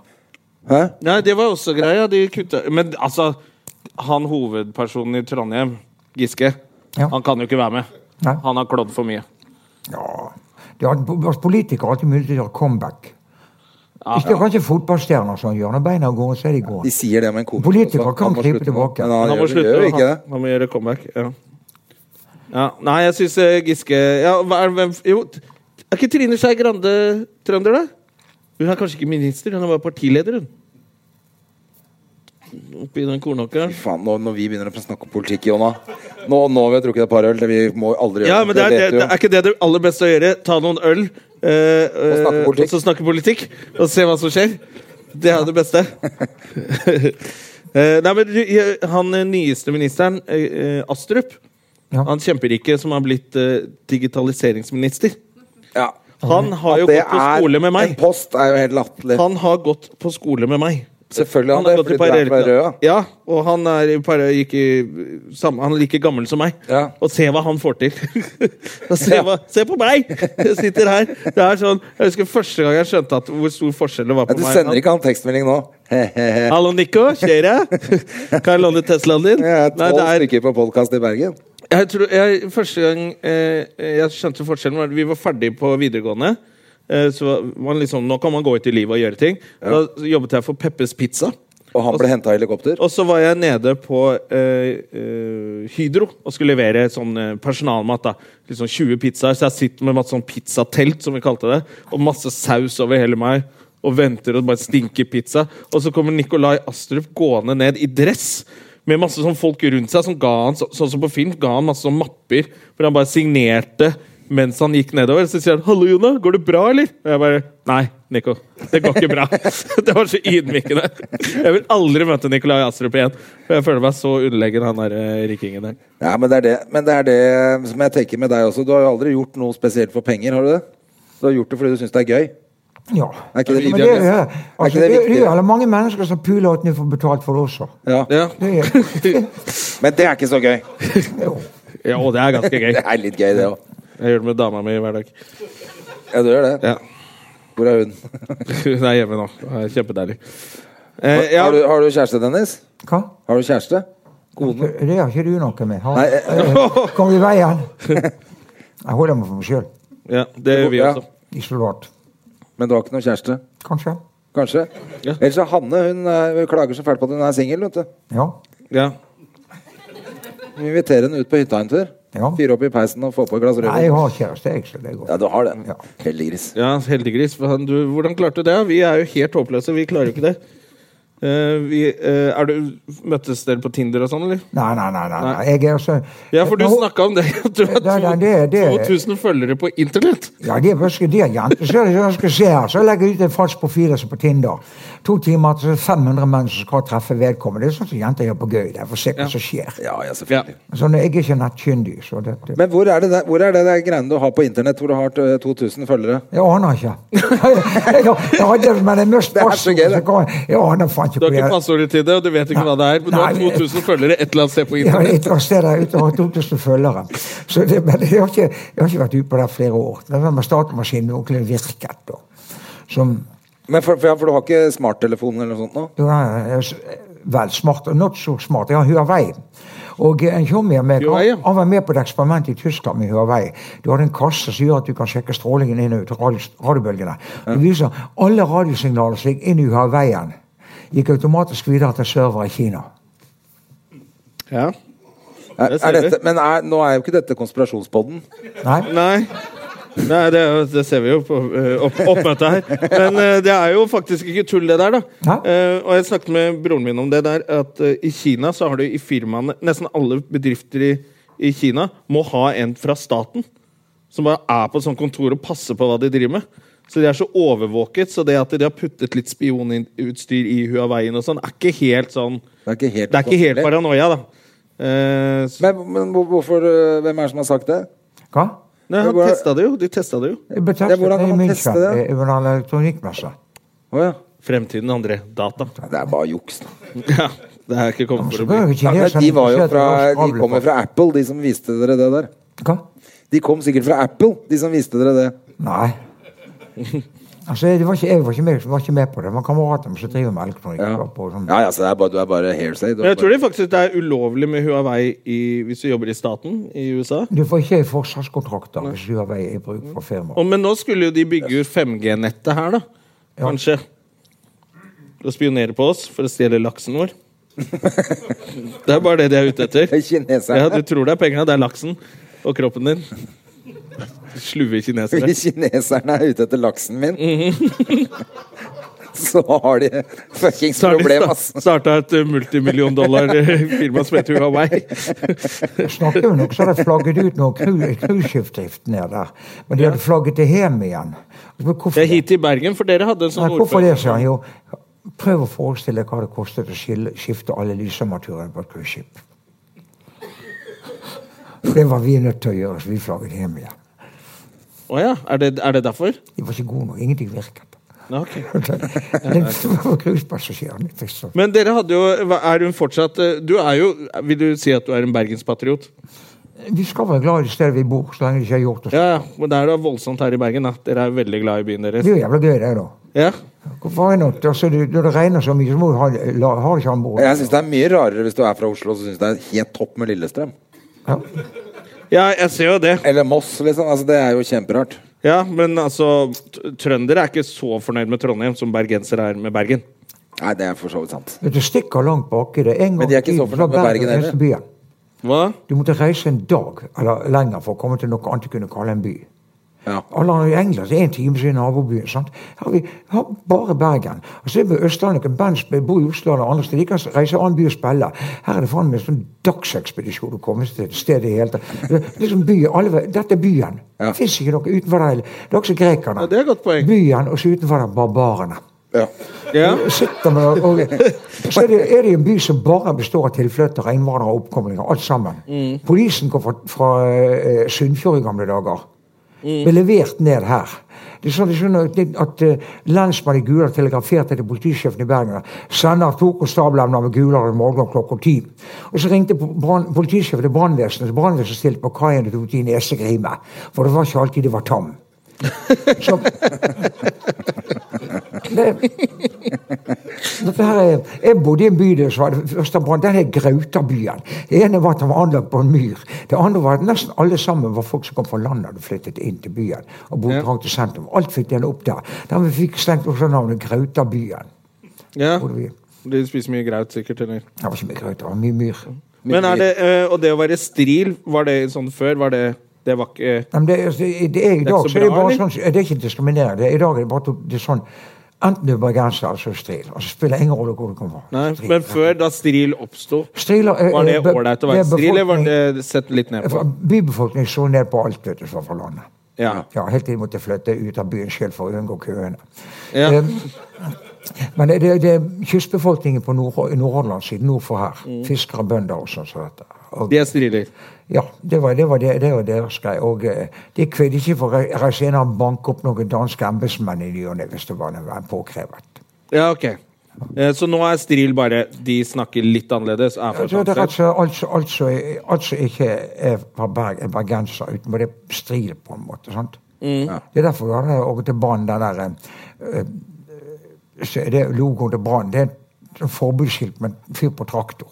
Speaker 2: Hæ?
Speaker 1: Nei, det var også greia. De kutta Men altså, han hovedpersonen i Trondheim, Giske,
Speaker 4: Ja.
Speaker 1: han kan jo ikke være med.
Speaker 4: Nei.
Speaker 1: Han har klådd for mye.
Speaker 4: Ja. Det er, at politikere har alltid mulighet til å gjøre comeback. Ikke kanskje fotballstjerner som gjør når beina går, så er de
Speaker 2: De
Speaker 4: gode.
Speaker 2: sier det med en komiker.
Speaker 4: Politikere
Speaker 2: også. Han
Speaker 4: kan
Speaker 2: må
Speaker 4: krype
Speaker 2: slutte nå.
Speaker 4: tilbake.
Speaker 2: Men han,
Speaker 1: Men han må
Speaker 2: gjør,
Speaker 1: slutte.
Speaker 2: gjør jo ikke det.
Speaker 1: Han, han må gjøre comeback. Ja. Ja. Nei, jeg syns Giske ja, hva er, hvem, Jo, t- er ikke Trine Skei Grande trønder, da? Hun er kanskje ikke minister, hun er bare partileder, hun. Oppi den kornåkeren.
Speaker 2: Faen, nå, når vi begynner å snakke om politikk, Jonna Nå, nå har vi drukket et par øl. Det vi må aldri gjøre
Speaker 1: Ja, men det er, det,
Speaker 2: vet du
Speaker 1: det
Speaker 2: jo.
Speaker 1: er ikke det det aller beste å gjøre? Ta noen øl eh, eh,
Speaker 2: snakke politikk.
Speaker 1: og så snakke politikk, og se hva som skjer? Det er det
Speaker 2: [LAUGHS]
Speaker 1: beste. Eh, Nei, men du, jeg- han eh, nyeste ministeren, eh, eh, Astrup,
Speaker 4: Ja.
Speaker 1: han kjemperike som har blitt eh, digitaliseringsminister,
Speaker 2: Ja.
Speaker 1: han har jo
Speaker 2: Det
Speaker 1: gått på skole
Speaker 2: er-
Speaker 1: med meg.
Speaker 2: En post er jo helt latterlig.
Speaker 1: Han har gått på skole med meg.
Speaker 2: Selvfølgelig har han
Speaker 1: har
Speaker 2: det,
Speaker 1: gått i
Speaker 2: fordi du er fra
Speaker 1: parallell-
Speaker 2: Røa.
Speaker 1: Ja, og han er, i parallell- gikk i, samme- han er like gammel som meg.
Speaker 2: Ja.
Speaker 1: Og se hva han
Speaker 2: [LAUGHS]
Speaker 1: får til! Og se, hva, se på meg! Jeg sitter her. Det er sånn, jeg husker første gang jeg skjønte at hvor stor forskjell det var
Speaker 2: Ja,
Speaker 1: på
Speaker 2: du
Speaker 1: meg.
Speaker 2: sender ikke han tekstmelding nå? [LAUGHS] Hehehe.
Speaker 1: Hallo, Nico. Skjer
Speaker 2: [LAUGHS]
Speaker 1: det? Kan jeg låne Teslaen din?
Speaker 2: Jeg er
Speaker 1: Nei,
Speaker 2: tolv
Speaker 1: det er
Speaker 2: stykker på podkast i Bergen.
Speaker 1: jeg tror, jeg, første gang eh, jeg skjønte forskjellen, var at vi var ferdig på videregående. Eh, så var man liksom, nå kan man gå ut i livet og gjøre ting. Da jobbet jeg for Peppes Pizza.
Speaker 2: Og han ble henta i helikopter.
Speaker 1: Og så var jeg nede på eh, eh, Hydro og skulle levere sånn eh, personalmat. da. Liksom 20 pizzaer. Så jeg sitter med et sånn pizzatelt, som vi kalte det, og masse saus over hele meg. Og venter og bare stinker pizza. Og så kommer Nikolai Astrup gående ned i dress. Med masse sånn folk rundt seg som ga han, så- sånn som på film, ga han masse sånn mapper hvor han bare signerte mens han gikk nedover, så sier han 'Hallo, Jonah, går det bra, eller?' Og jeg bare 'Nei, Nico. Det går ikke bra.' [LAUGHS] det var så ydmykende. Jeg vil aldri møte Nikolai Astrup igjen. For jeg føler meg så underlegen han der eh, rikingen der.
Speaker 2: Ja, men det, er det. men det er det som jeg tenker med deg også. Du har jo aldri gjort noe spesielt for penger, har du det? Du har gjort det fordi du syns det er gøy.
Speaker 4: Ja.
Speaker 2: Er ikke det
Speaker 4: Men
Speaker 2: litt
Speaker 4: det, er-
Speaker 2: annerledes? Er ikke
Speaker 4: altså, det,
Speaker 2: det
Speaker 4: det,
Speaker 2: viktig?
Speaker 4: er jo mange mennesker som puler at de får betalt for det også.
Speaker 2: Ja.
Speaker 4: Det er,
Speaker 2: [LAUGHS] Men det er ikke så gøy.
Speaker 1: Ja, og det er ganske gøy.
Speaker 2: Det er litt gøy, det òg.
Speaker 1: Jeg gjør det med dama mi hver dag.
Speaker 2: Ja, du gjør det.
Speaker 1: Ja. [LAUGHS]
Speaker 2: Hvor er hun?
Speaker 1: Hun er hjemme nå. Det er Kjempedeilig.
Speaker 2: Har,
Speaker 1: Eh, ja,
Speaker 2: har, du, har du kjæreste, Dennis?
Speaker 4: hva?
Speaker 2: Har du kjæreste? Kone?
Speaker 4: Det har ikke du noe med. Har,
Speaker 2: Nei,
Speaker 4: eh, Kom i veien! Jeg holder meg for meg sjøl.
Speaker 1: ja, det gjør vi
Speaker 2: Ja.
Speaker 1: også.
Speaker 4: Isolat.
Speaker 2: Men du har ikke noen kjæreste?
Speaker 4: Kanskje.
Speaker 2: Kanskje?
Speaker 1: Ja.
Speaker 2: Ellers er Hanne hun, eh, hun klager så fælt på at hun er singel. vet du.
Speaker 4: Ja.
Speaker 1: Ja.
Speaker 2: Vi inviterer henne ut på hytta en tur.
Speaker 4: Ja.
Speaker 2: Fyre opp i peisen og få på et glass
Speaker 4: Nei, jeg
Speaker 2: rødvin.
Speaker 4: har kjæreste, jeg, så det går.
Speaker 2: Ja, du har det.
Speaker 4: Ja.
Speaker 2: Heldiggris.
Speaker 1: Ja, heldiggris. Hva- Du, hvordan klarte du det? Vi er jo helt håpløse. Vi klarer jo ikke det. Eh, vi, eh, er du, møttes dere på Tinder og sånn, eller?
Speaker 4: Nei, nei, nei. nei, nei. Jeg er så
Speaker 1: Ja, for du
Speaker 4: Nå-
Speaker 1: snakka om det. at Du har
Speaker 4: Nei, nei, det-
Speaker 1: to-
Speaker 4: det-
Speaker 1: 2000 følgere på internett!
Speaker 4: Ja, det er bare det, jenter. Så, så, skal jeg se her. så legger jeg ut en falsk profil altså på Tinder. To timer til 500 menn som skal treffe vedkommende. Det er sånn som jenter gjør på gøy. Der, for å se hva som skjer.
Speaker 2: Ja, ja,
Speaker 1: Ja.
Speaker 2: selvfølgelig.
Speaker 4: Altså, når jeg er ikke nettkyndig, så det, det.
Speaker 2: Men hvor er det der, hvor er det der greiene du har på internett hvor du har eh, 2000 følgere?
Speaker 4: Jeg aner ikke. Jeg, jeg hadde, men jeg mistet
Speaker 2: Det er så gøy, det.
Speaker 4: passordet. Jeg aner faen ikke
Speaker 1: Du har
Speaker 4: hvor
Speaker 1: ikke
Speaker 4: jeg
Speaker 1: passordet til det, og du vet ikke hva det er. Men du har
Speaker 4: Nei, vi-
Speaker 1: 2000 følgere et eller annet sted på
Speaker 4: jeg var
Speaker 1: internett.
Speaker 4: et eller annet sted der ute og har 2000 følgere. Så det, men jeg har, ikke, jeg har ikke vært ute på det i flere år. Det var med datamaskinen min ordentlig virket. Da. Som
Speaker 2: Men for, for, ja, for du har ikke smarttelefon eller noe sånt nå?
Speaker 4: Jo, nei, jeg er eh, s- vel smart, og not so smart. Jeg har Huawei. Og eh, en tjommi av meg
Speaker 1: Huawei, ja.
Speaker 4: han var med på et eksperiment i Tyskland med Huawei. Du har en kasse som gjør at du kan sjekke strålingen inn og ut av radios- radiobølgene. Det viser at alle radiosignaler som gikk inn i Huawei-en, gikk automatisk videre til server i Kina.
Speaker 1: Ja.
Speaker 2: Er,
Speaker 1: Det ser
Speaker 2: er
Speaker 1: vi.
Speaker 2: dette, men er, nå er jo ikke dette konspirasjonspodden.
Speaker 4: Nei?
Speaker 1: Nei. Nei, det, er jo- det ser vi jo på eh, opp, oppmøtet her. Men eh, det er jo faktisk ikke tull, det der, da.
Speaker 4: Hæ?
Speaker 1: Eh, og jeg snakket med broren min om det der, at eh, i Kina så har du i firmaene Nesten alle bedrifter i, i Kina må ha en fra staten. Som bare er på et sånt kontor og passer på hva de driver med. Så de er så overvåket, så det at de har puttet litt spionutstyr i Huaweien og sånn, er ikke helt sånn
Speaker 2: Det er ikke helt,
Speaker 1: Det er ikke helt
Speaker 2: uforståelig.
Speaker 1: paranoia, da. Eh, så,
Speaker 2: Men, men hvor- hvorfor, øh, hvem er det som har sagt det?
Speaker 4: Hva?
Speaker 1: nei, han
Speaker 2: Hvordan-
Speaker 1: testa det jo. De testa det jo.
Speaker 4: Jeg ble
Speaker 2: Ja, hvordan
Speaker 4: testet
Speaker 2: kan
Speaker 4: i
Speaker 2: man
Speaker 4: München
Speaker 2: teste det?
Speaker 4: eh, under en elektronikkmesse.
Speaker 2: Å ja.
Speaker 1: Fremtiden, André. Data.
Speaker 2: Det er bare juks. da.
Speaker 1: Ja, det er ikke kommet for
Speaker 4: Så
Speaker 1: å
Speaker 4: bør
Speaker 1: bli.
Speaker 4: jo
Speaker 2: Ja, men
Speaker 4: kineserne
Speaker 2: de var jo
Speaker 4: interessert i
Speaker 2: fra,
Speaker 4: hva som
Speaker 2: de kommer
Speaker 4: avler
Speaker 2: fra Apple, de som viste dere det der.
Speaker 4: på- Hva?
Speaker 2: De kom sikkert fra Apple, de som viste dere det.
Speaker 4: Nei.
Speaker 2: [LAUGHS]
Speaker 4: Altså, det var ikke, jeg var ikke, med, var ikke med på det. Det var kamerater som driver med elektronikk.
Speaker 2: Ja,
Speaker 4: var på sånn-
Speaker 2: ja, ja så det er bare, du er bare hairsay. Du
Speaker 1: Men
Speaker 2: er
Speaker 1: jeg tror
Speaker 2: bare,
Speaker 1: det faktisk det er ulovlig med Huawei i, hvis du jobber i staten i USA.
Speaker 4: Du får ikke forsvarskontrakter hvis du har vei i bruk for firmaet.
Speaker 1: Og, men nå skulle jo de bygge ut 5G-nettet her, da. Kanskje. Og spionere på oss for å stjele laksen [LAUGHS] vår. Det er bare det de er
Speaker 2: det
Speaker 1: ute [LAUGHS]
Speaker 2: er
Speaker 1: etter. Ja,
Speaker 2: kineserne.
Speaker 1: Du tror det er penga, det er laksen og kroppen din. Slue kinesere.
Speaker 2: Hvis kineserne er ute etter laksen min, så har de fuckings
Speaker 1: Så har de
Speaker 2: problem,
Speaker 1: sta-
Speaker 2: ass.
Speaker 1: starta et eh, multimillion [LAUGHS] dollar-firma som heter Huawei.
Speaker 4: Snakker vi nok, så hadde jeg flagget ut noen cru- cruiseskipdrift ned der. Men de hadde flagget det hjem igjen. Og så, men hvorfor
Speaker 1: Det er hit til Bergen, for dere hadde en
Speaker 4: Nei,
Speaker 1: sånn
Speaker 4: hvorfor
Speaker 1: ordfører.
Speaker 4: det, sier han jo. Prøv å forestille deg hva det kostet å skille, skifte alle lysarmaturene på et cruiseskip. Det var vi nødt til å gjøre, så vi flagget hjem igjen.
Speaker 1: Å ja, er det, er det derfor?
Speaker 4: De var ikke gode nok. Ingenting virket.
Speaker 1: Ja, ok.
Speaker 2: [LAUGHS]
Speaker 4: Den var cruisepassasjeren. ikke sant?
Speaker 1: Men dere hadde jo hva- Er hun fortsatt eh, Du er jo Vil du si at du er en bergenspatriot?
Speaker 4: Vi skal være glad i det stedet vi bor, så lenge de ikke har gjort oss.
Speaker 1: Ja, ja. Men det er da voldsomt her i Bergen. Da. Dere er veldig glad i byen
Speaker 4: Det
Speaker 1: deres.
Speaker 4: er jo jævla gøy, det, da.
Speaker 1: Ja.
Speaker 4: Hvorfor er det, altså, det, når det regner så mye, så må du ha, la, ha det ikke an bord.
Speaker 2: Jeg syns det er mye rarere hvis du er fra Oslo, så syns jeg det er helt topp med Lillestrøm.
Speaker 4: Ja.
Speaker 1: ja, jeg ser jo det.
Speaker 2: Eller Moss, liksom. Altså, det er jo kjemperart.
Speaker 1: Ja, Men altså t- Trøndere er ikke så fornøyd med Trondheim som bergensere er med Bergen.
Speaker 2: Nei, det er for så vidt sant.
Speaker 4: Vet Du stikker langt baki det. En gang
Speaker 2: Men de er ikke
Speaker 4: i
Speaker 2: så
Speaker 4: tiden
Speaker 2: fornøyd med
Speaker 4: var
Speaker 2: Bergen
Speaker 4: den eneste byen.
Speaker 1: Hva?
Speaker 4: Du måtte reise en dag eller lenger for å komme til noe annet du kunne kalle en by. Alle i England det er en time siden nabobyen. sant? Her har vi har bare Bergen. Og så er vi østlendinger, band som bor i Oslo eller andre steder. De kan reise annen by og spille. Her er det faen meg sånn dagsekspedisjon å komme seg til et sted i det hele tatt. Det er liksom by, alle, ve- dette er byen. Det fins ikke noe utenfor der. Det er også grekerne.
Speaker 1: det er et godt poeng.
Speaker 4: Byen, og så utenfor der barbarene.
Speaker 2: Ja.
Speaker 4: Sitter med, og, så er det, er det en by som bare består av tilflyttere, innvandrere og oppkomlinger. Alt sammen. Polisen kom fra, fra eh, Sunnfjord i gamle dager. Ble levert ned her. Det er sånn de skjønner at, at eh, Lensmannen i Guler telegraferte til politisjefen i Bergen sender to konstablemner med Guler i morgen klokka ti. Og Så ringte brann, politisjefen til brannvesenet, så brannvesenet stilte på kaien og tok de nesegrime. For det var ikke alltid de var tam. Så, Dette her er, jeg bodde i en bydel som var første brann. Den het Grautabyen. Det ene var at den var anlagt på en myr. Det andre var at nesten alle sammen var folk som kom fra landet og flyttet inn til byen. og bodde trangt til sentrum. Alt fikk den opp der. Der vi fikk slengt også navnet Grautabyen.
Speaker 1: Ja.
Speaker 4: Bodde vi.
Speaker 1: De spiser mye graut, sikkert. eller?
Speaker 4: Det var ikke mye graut, det var mye myr.
Speaker 1: Men er det, eh, Og det å være stril, var det sånn før? Var det Det var ikke
Speaker 4: Nei, men det, er- det, det er i
Speaker 1: ikke
Speaker 4: dag
Speaker 1: så
Speaker 4: så er det
Speaker 1: bra,
Speaker 4: bare
Speaker 1: eller?
Speaker 4: sånn, det er ikke diskriminerende. Det er- I dag er det bare to- det er sånn Enten du er bergenser eller så er du stril. Altså, det spiller ingen rolle hvor du kommer fra.
Speaker 1: Nei,
Speaker 4: Stril.
Speaker 1: men før, da stril oppsto,
Speaker 4: Striler er-
Speaker 1: var det
Speaker 4: er be-
Speaker 1: ålreit å være
Speaker 4: det er
Speaker 1: stril, eller var
Speaker 4: Eh, befolkning-
Speaker 1: det sett litt ned på?
Speaker 4: Bybefolkningen så ned på alt vet du, som var fra landet.
Speaker 1: Ja.
Speaker 4: Ja, Helt til de måtte flytte ut av byen selv for å unngå køene.
Speaker 1: Ja.
Speaker 4: Eh, men det, det, det er kystbefolkningen på Nord- Nordhordlandssiden nord for her. Fiskere, bønder og sånn som dette. Og,
Speaker 1: De er striler.
Speaker 4: ja, det var, det var, det, det var deres greie. Og eh, de kvedde ikke for å reise inn og banke opp noen danske embetsmenn i ny og ne hvis det var noe påkrevet.
Speaker 1: Ja, ok. Eh, Så nå er stril bare de snakker litt annerledes? Er fra
Speaker 4: Jeg tror
Speaker 1: et
Speaker 4: det er
Speaker 1: annet sted.
Speaker 4: altså, altså, altså, altså ikke er fra Berg, er bergenser, utenfor det striler på en måte. sant?
Speaker 1: Mm.
Speaker 4: Ja. Det er derfor du har det og til Brann, den der eh, eh, så er det logoen til Brann. Det er et forbudsskilt med en fyr
Speaker 1: [LAUGHS]
Speaker 4: på traktor.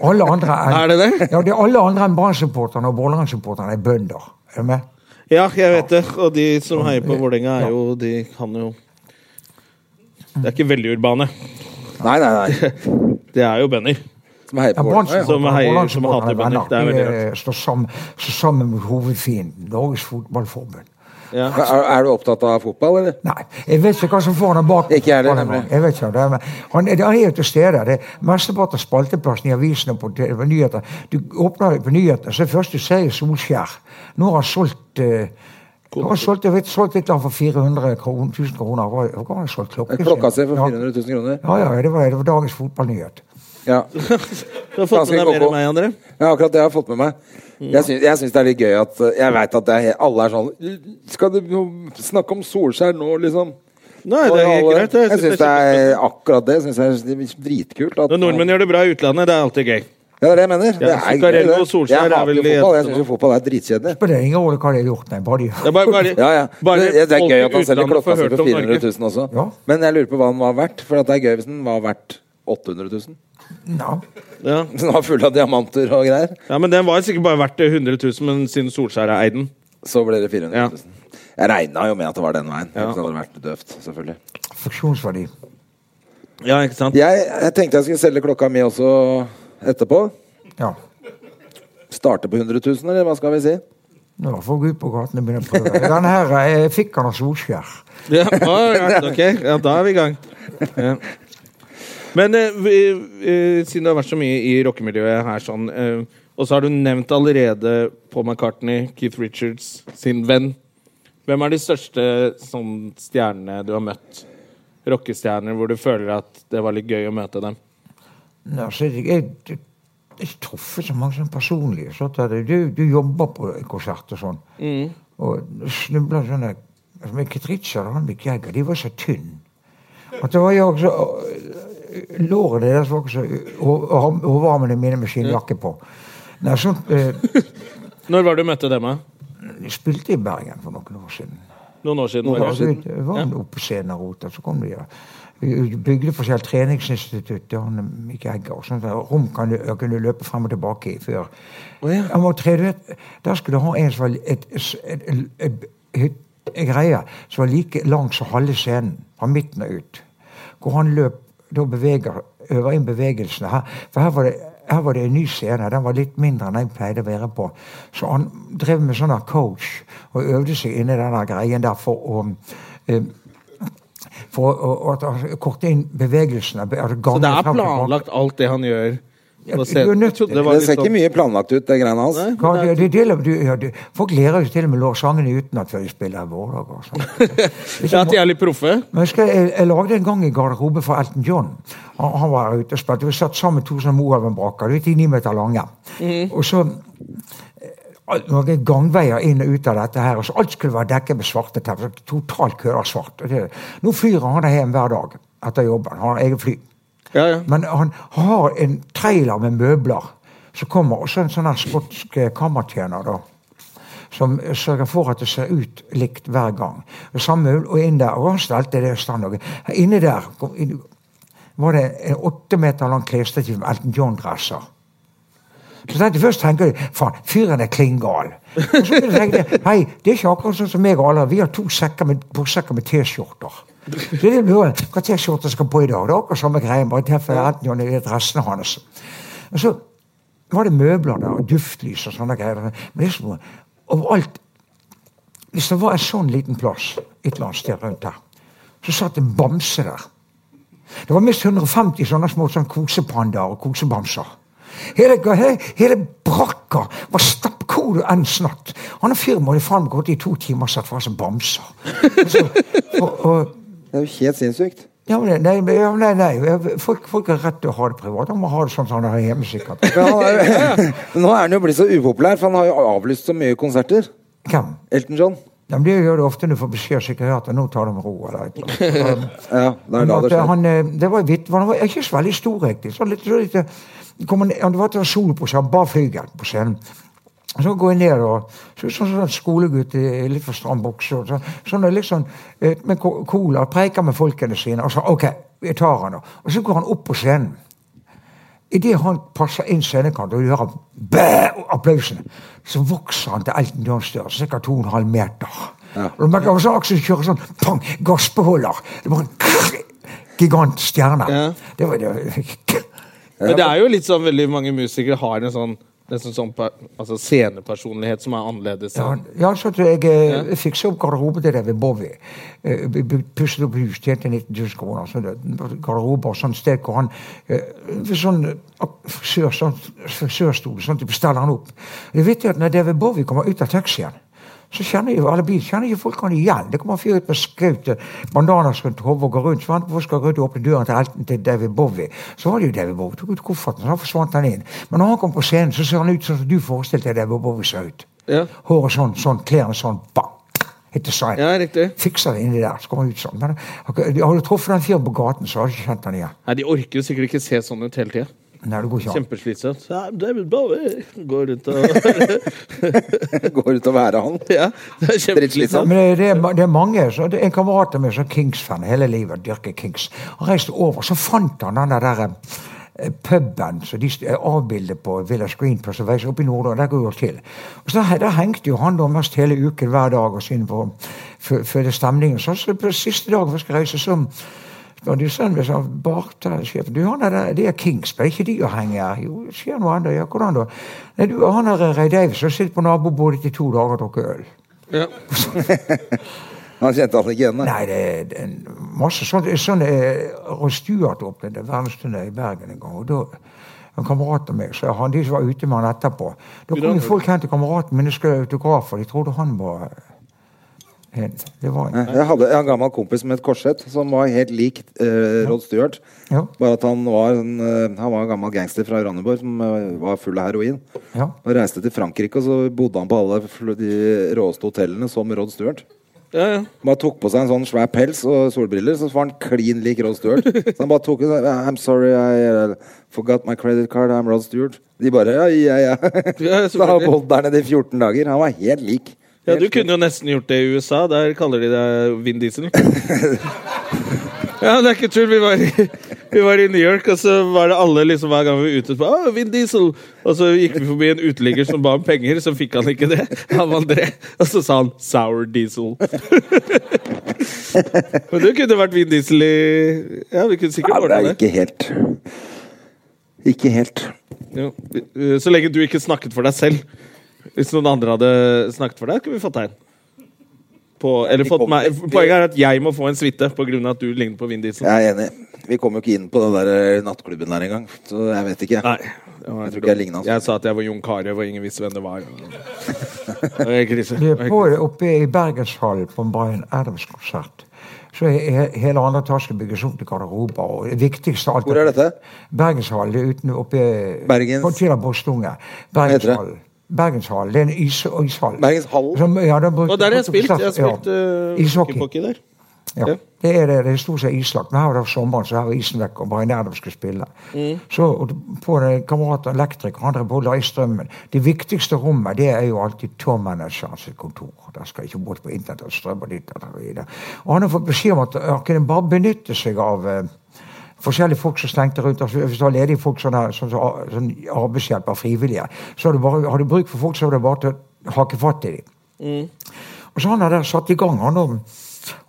Speaker 4: Alle andre enn,
Speaker 1: Er det det?
Speaker 4: Ja, det er alle andre enn Brann-supporterne og Vålerenga-supporterne er bønder. Er du med?
Speaker 1: Ja, jeg vet det. Og de som heier på Vålerenga, er jo De kan jo Det er ikke veldig urbane.
Speaker 2: Nei, nei, nei.
Speaker 1: Det er jo bønder.
Speaker 2: Som heier
Speaker 4: Ja,
Speaker 2: på Vålerenga. ja.
Speaker 1: Som
Speaker 4: Brann-supporterne og
Speaker 1: heier-
Speaker 4: Vålerenga-supporterne
Speaker 1: som hater
Speaker 4: er venner.
Speaker 1: bønder. Det er veldig
Speaker 4: De, eh, står sammen, står sammen mot hovedfienden, Norges Fotballforbund.
Speaker 1: Ja.
Speaker 2: Er, er du opptatt av fotball, eller?
Speaker 4: Nei, jeg vet ikke hva som får han bak.
Speaker 2: Ikke jeg heller,
Speaker 4: han,
Speaker 2: nemlig.
Speaker 4: jeg vet ikke, hva det er, men han, han er jo til stede. Det er Mesteparten av spalteplassen i avisen og på, te- på nyheter. Du åpner på nyheter, så er det første du ser er Solskjær. Nå har han solgt eh, nå har han solgt, jeg vet, solgt et eller annet for 400 kroner, 1000 kroner. Hva hva har han solgt klokken
Speaker 2: Klokka si for
Speaker 4: Ja.
Speaker 2: 400 000 kroner.
Speaker 4: Ja, ja, det var, det var dagens fotballnyhet.
Speaker 2: Ja.
Speaker 1: Du har fått med deg mer enn meg, André.
Speaker 2: ja, akkurat det har jeg fått med meg. Jeg syns, jeg syns det er litt gøy at eh, Jeg veit at det er, he- alle er sånn Skal du jo snakke om Solskjær nå, liksom?
Speaker 1: Nei, det er
Speaker 2: Alle-
Speaker 1: greit. det.
Speaker 2: Jeg syns det er akkurat det. Jeg synes det er dritkult. At,
Speaker 1: Når nordmenn gjør det bra i utlandet, det er alltid gøy.
Speaker 2: Ja, det er det jeg mener. Det er gøy,
Speaker 1: Zuccarello
Speaker 2: det.
Speaker 1: og Solskjær
Speaker 2: Jeg
Speaker 1: er
Speaker 2: hater
Speaker 1: vel
Speaker 2: jo
Speaker 1: de
Speaker 2: fotball. Jeg
Speaker 1: eneste
Speaker 2: syns jo fotball er dritkjedelig.
Speaker 4: Men det er ingen rolle hva de har gjort, nei. Bare de
Speaker 1: Det er bare, bare,
Speaker 2: Ja, ja.
Speaker 1: bare
Speaker 2: det, det er
Speaker 1: folk
Speaker 2: gøy
Speaker 1: i
Speaker 2: at han selger
Speaker 1: utlandet
Speaker 2: klokka
Speaker 1: får
Speaker 2: si
Speaker 1: hørt
Speaker 2: for
Speaker 1: om Norge.
Speaker 2: 400 000 også.
Speaker 4: Ja.
Speaker 2: Men jeg lurer på hva den var verdt. For at det er gøy hvis den var verdt 800 [LAUGHS] 000.
Speaker 4: Ja.
Speaker 1: Ja.
Speaker 2: Den var full av diamanter og greier.
Speaker 1: ja, men Den var sikkert bare verdt 100 000, men siden Solskjær er eid den.
Speaker 2: Så ble det 400
Speaker 1: Ja.
Speaker 2: 000. Jeg regna jo med at det var den veien.
Speaker 1: Ja.
Speaker 2: Hvis det hadde vært døvt, selvfølgelig.
Speaker 4: Funksjonsverdi.
Speaker 1: Ja, ikke sant?
Speaker 2: Jeg, jeg tenkte jeg skulle selge klokka mi også etterpå.
Speaker 4: Ja.
Speaker 2: Starte på 100 000, eller hva skal vi si?
Speaker 4: Nå får jeg gå ut på gaten og begynne å prøve. Denne her eh, fikk han av Solskjær.
Speaker 1: Ja,
Speaker 4: [LAUGHS]
Speaker 1: alright, ok, ja, da er vi i gang. Ja. Men eh, vi, eh, siden du har vært så mye i rockemiljøet her, sånn, eh, og så har du nevnt allerede Paul McCartney, Keith Richards, sin venn. Hvem er de største sånn, stjernene du har møtt? Rockestjerner hvor du føler at det var litt gøy å møte dem?
Speaker 4: Nei, altså, jeg, jeg, jeg, jeg truffet så mange sånn personlige. sånn at det- du, du jobber på en konsert og sånn. Og snubla sånne altså, Men Keith Richard og han Mick Jagger, de var så tynne. At det var jo så Lårene deres var ikke så og- og Overarmene mine med skinnjakke på. Nei, sånt, eh,
Speaker 1: Når var det du møtte dem? da?
Speaker 4: jeg spilte i Bergen for noen år siden.
Speaker 1: Noen år siden?
Speaker 4: Ja,
Speaker 1: Var det?
Speaker 4: det det var oppe på scenen og rota, så kom de ja. Vi Bygde forskjell treningsinstitutt til han Mick Egger. og sånt der. Rom kan du, jeg kunne løpe frem og tilbake i før. Han var tre, du vet, der skulle du ha en som var et, et, et, et, et, en greie som var like lang som halve scenen, fra midten og ut. Hvor han løp da beveger, øver inn bevegelsene her. For her var det her var det en ny scene. Den var litt mindre enn jeg pleide å være på. Så han drev med sånn der coach og øvde seg inni den der greien der for å eh, for å, å- at han korte inn bevegelsene.
Speaker 6: Så det er planlagt alt det han gjør?
Speaker 4: Ja,
Speaker 6: på scenen?
Speaker 4: du er nødt
Speaker 6: Jeg trodde
Speaker 4: til-
Speaker 6: var
Speaker 4: Det
Speaker 6: litt
Speaker 4: ser ikke
Speaker 6: sånn-
Speaker 2: Mye planlagt ut, det greiene hans.
Speaker 4: Ja, det, det, det, du, ja, du, folk lærer jo til og med lårsangene utenat før de spiller Vårdag. og
Speaker 6: [LAUGHS]
Speaker 4: sånt.
Speaker 6: Ja, at de er litt proffe?
Speaker 4: Men jeg, husker, jeg, jeg lagde en gang i garderobe for Elton John. Han, han var ute og spilte. Vi satt sammen to sånne Moelven-braker. De er ni meter lange. Og så eh, noen gangveier inn og ut av dette her. og så Alt skulle være dekket med svarte tepper. så Totalt kødder svart. Og det- Nå flyr han hjem hver dag etter jobben. Han har eget fly. Men han har en trailer med møbler som kommer, og så en sånn her skotsk eh, kammertjener. da som sørger for at det ser ut likt hver gang. Og Samuel og inn der, og han stelte det stand. og- Inne der kom, inn, var det en åtte meter lang klesstativ med Elton John-dresser. Så tenkte jeg Først tenker jeg faen, fyren er klin gal. Og så tenkte jeg hei, det er ikke akkurat sånn som meg og alle. Vi har to sekker med, posekker med T-skjorter. Så det er noe, Hva T-skjorte skal på i dag? Det er akkurat samme greien, bare derfor er Elton John i dressene hans. Og så var det møbler der, og duftlys og sånne greier. Men det er som overalt Hvis det var en sånn liten plass et eller annet sted rundt her, så satt en bamse der. Det var minst 150 sånne små sånn kosepandaer og kosebamser. Hele, hele, hele brakka var stapp hvor du enn snatt. Han og fyren måtte faen meg gått i to timer og satt fra seg sånn bamser. Altså, og, og,
Speaker 2: Det er jo
Speaker 6: [LAUGHS]
Speaker 2: helt sinnssykt.
Speaker 4: ja, men nei, men- ja, nei, nei. Folk, folk har rett til å ha det privat. Han må ha det sånn som han har hjemme, sikkert.
Speaker 2: Men han er, jo- [LAUGHS] nå er han jo blitt så upopulær, for han har jo avlyst så mye konserter.
Speaker 4: Hvem?
Speaker 2: Elton John. [LAUGHS]
Speaker 4: Ja, men det gjør det ofte når du får beskjed av sekretæren nå tar det med ro. eller et eller annet.
Speaker 2: [LAUGHS]
Speaker 4: um,
Speaker 2: Ja, det er
Speaker 4: Men
Speaker 2: da
Speaker 4: at,
Speaker 2: det skjer.
Speaker 4: han, eh, det var hvitt, han var ikke så veldig stor, egentlig. Så litt, så litt, eh, kom han, han var til sol på seg, bare flyger på scenen. Så går jeg ned og så, sånn som en skolegutt i litt for stram bukse. og Sånn, sånn er liksom, eh, med ko- cola, preiker med folkene sine. Og så OK, jeg tar han nå. Og så går han opp på scenen. Idet han passer inn scenekanten og gjør bæ, og applausen, så vokser han til Elton Johns størrelse, ca. 2,5 meter. Og du merker også Aksel kjører sånn pang, gassbeholder. Det var en krr, gigant stjerne. Det var, det var,
Speaker 6: Men det er jo litt sånn veldig mange musikere har en sånn Nesten sånn per- altså scenepersonlighet som er annerledes.
Speaker 4: Ja, ja, så at jeg eh, fiksa opp garderoben til David Bowie. Eh, vi- vi Pusset opp hus, tjente 19 000 kroner. Så altså, det, garderober og sånt sted hvor han eh, ved sånn eh, frisør, sånn, frisørstol, sånn de bestiller han opp. Det vet jeg at Når David Bowie kommer ut av taxien, så kjenner jo alle bil, kjenner ikke folk han igjen. Det kommer en fyr ut med skaute, bandanas rundt hodet og går rundt. Så han hvorfor skal Rødt åpne døren til helten til David Bowie. Så var det jo David Bowie. Tok ut kofferten, så forsvant han inn. Men når han kom på scenen, så ser han ut sånn som du forestilte deg David Bowie ser ut. Håret sånn, sånn, klærne sånn, bang! Et design.
Speaker 6: Ja, riktig.
Speaker 4: Fikser det inni der, så kommer han ut sånn. Men ok, har du truffet den fyren på gaten, så har du ikke kjent han igjen.
Speaker 6: Nei, De orker jo sikkert ikke se sånn ut hele tida.
Speaker 4: Nei, det går ikke an.
Speaker 6: Kjempeslitsomt. Ja, David Bowie går rundt og
Speaker 2: Går ut og være han.
Speaker 6: [LAUGHS] Ja, det er
Speaker 4: Ja,
Speaker 2: Liksom. sånn.
Speaker 6: kjempeslitsomt.
Speaker 4: Men det, det, er, ma- det er mange. Så det er en kamerat av meg som er Kings-fan hele livet. dyrker Kings. Han reiste over, så fant han den der eh, puben som de st- er avbildet på Villa Screen på som veies opp i Nordland. Der går jo til. Og så he- Der hengte jo han da mest hele uken hver dag og siden på fø- føde stemningen. Så, så på siste dag hvor jeg skal reise, så og de sa sånn, hvis han bartelsjefen du, han er der, det er Kingsberg, ikke de å henge her? Jo, skjer noe annet, ja, hvordan da? Nei, du, han er eh, Ray Davis, og sitter på nabobordet i to dager og drukker øl.
Speaker 2: Han kjente han ikke igjen, nei.
Speaker 4: Nei, det er- det er en masse sånt. Sånn, eh, Roy Stuart opplevde verdensturné i Bergen en gang. og da en kamerat av meg, så han, De som var ute med han etterpå Da kom jo folk hen til kameraten min og skrev autografer. De trodde han var en. Det var en.
Speaker 2: Jeg hadde en gammel kompis med et korsett som var helt lik eh, Rod Stewart.
Speaker 4: Ja.
Speaker 2: Bare at han var en, eh, han var en gammel gangster fra Randeborg som eh, var full av heroin.
Speaker 4: Ja.
Speaker 2: Og reiste til Frankrike, og så bodde han på alle fl- de råeste hotellene som Rod Stewart.
Speaker 6: Ja, ja.
Speaker 2: Bare tok på seg en sånn svær pels og solbriller, så var han klin lik Rod Stewart. Så han bare tok en sånn, I'm sorry, I eh, forgot my credit card, I'm Rod Stewart. De bare ja, ja, ja.
Speaker 6: Ja,
Speaker 2: [LAUGHS] Så han
Speaker 6: selvfølgelig.
Speaker 2: holdt der nede i 14 dager. Han var helt lik.
Speaker 6: Ja, Du kunne jo nesten gjort det i USA. Der kaller de deg Vin
Speaker 2: [LAUGHS]
Speaker 6: Diesel. Ja, det er ikke tull. Vi var, i, vi var i New York, og så var det alle liksom hver gang vi var ute på «Å, Vin Diesel! Og så gikk vi forbi en uteligger som ba om penger, så fikk han ikke det. Han var André. Og så sa han 'Sour
Speaker 2: [LAUGHS]
Speaker 6: Diesel'. Men du kunne vært Vin Diesel i Ja, vi kunne sikkert
Speaker 2: Ja, det
Speaker 6: ordna
Speaker 2: er
Speaker 6: det.
Speaker 2: ikke helt Ikke helt.
Speaker 6: Jo. Eh, Så lenge du ikke snakket for deg selv. Hvis noen andre hadde snakket for deg, kunne vi fått deg en. På, eller
Speaker 2: Vi
Speaker 6: fått
Speaker 2: kommer-
Speaker 6: meg. Poenget er at jeg må få en suite pga. at du ligner på Vin Diesel.
Speaker 2: Jeg er enig. Vi kom jo ikke inn på den der eh, nattklubben der engang, så jeg vet
Speaker 6: Jeg
Speaker 2: ikke. tror ikke jeg altså. lignet hans.
Speaker 6: Jeg sa at jeg var Jon Carew og ingen visste hvem det
Speaker 2: [LAUGHS]
Speaker 6: var. Det er krise.
Speaker 4: Vi er på, oppe i Bergenshallen på en Bryan Adams-konsert. Så er he- hele andre etasje bygges om til garderober. og det viktigste av alt
Speaker 2: Hvor er dette?
Speaker 4: Bergenshallen. det er Uten, oppe
Speaker 2: Bergens-
Speaker 4: på Tila Bostunge. Bergenshallen. Bergenshallen. Det er en is, ishall.
Speaker 2: Bergenshall?
Speaker 4: Som, ja, den brukte-
Speaker 6: Og der har jeg spilt. Jeg har
Speaker 4: Ja.
Speaker 6: spilt eh,
Speaker 4: Ishockey.
Speaker 6: hockeypocky der.
Speaker 4: Ja. Det er det. Det er stort sett islagt. Men her var det sommeren, så her var isen vekk, og Bryan Adams skulle spille. Så og på det, kamerat elektriker, han drev på å la i strømmen. Det viktigste rommet det er jo alltid tourmanageren sitt kontor. Der skal ikke både på internett og strøm og ditt og datt og videre. Og han har fått beskjed om at han kunne bare benytte seg av eh, forskjellige folk som stengte rundt. Altså, hvis du har ledige folk sånn her, sånn, som ar- sånn arbeidshjelper, frivillige, så har du, bare, har du bruk for folk, så er det bare til å hake fatt i dem. Og så han hadde satt i gang, han om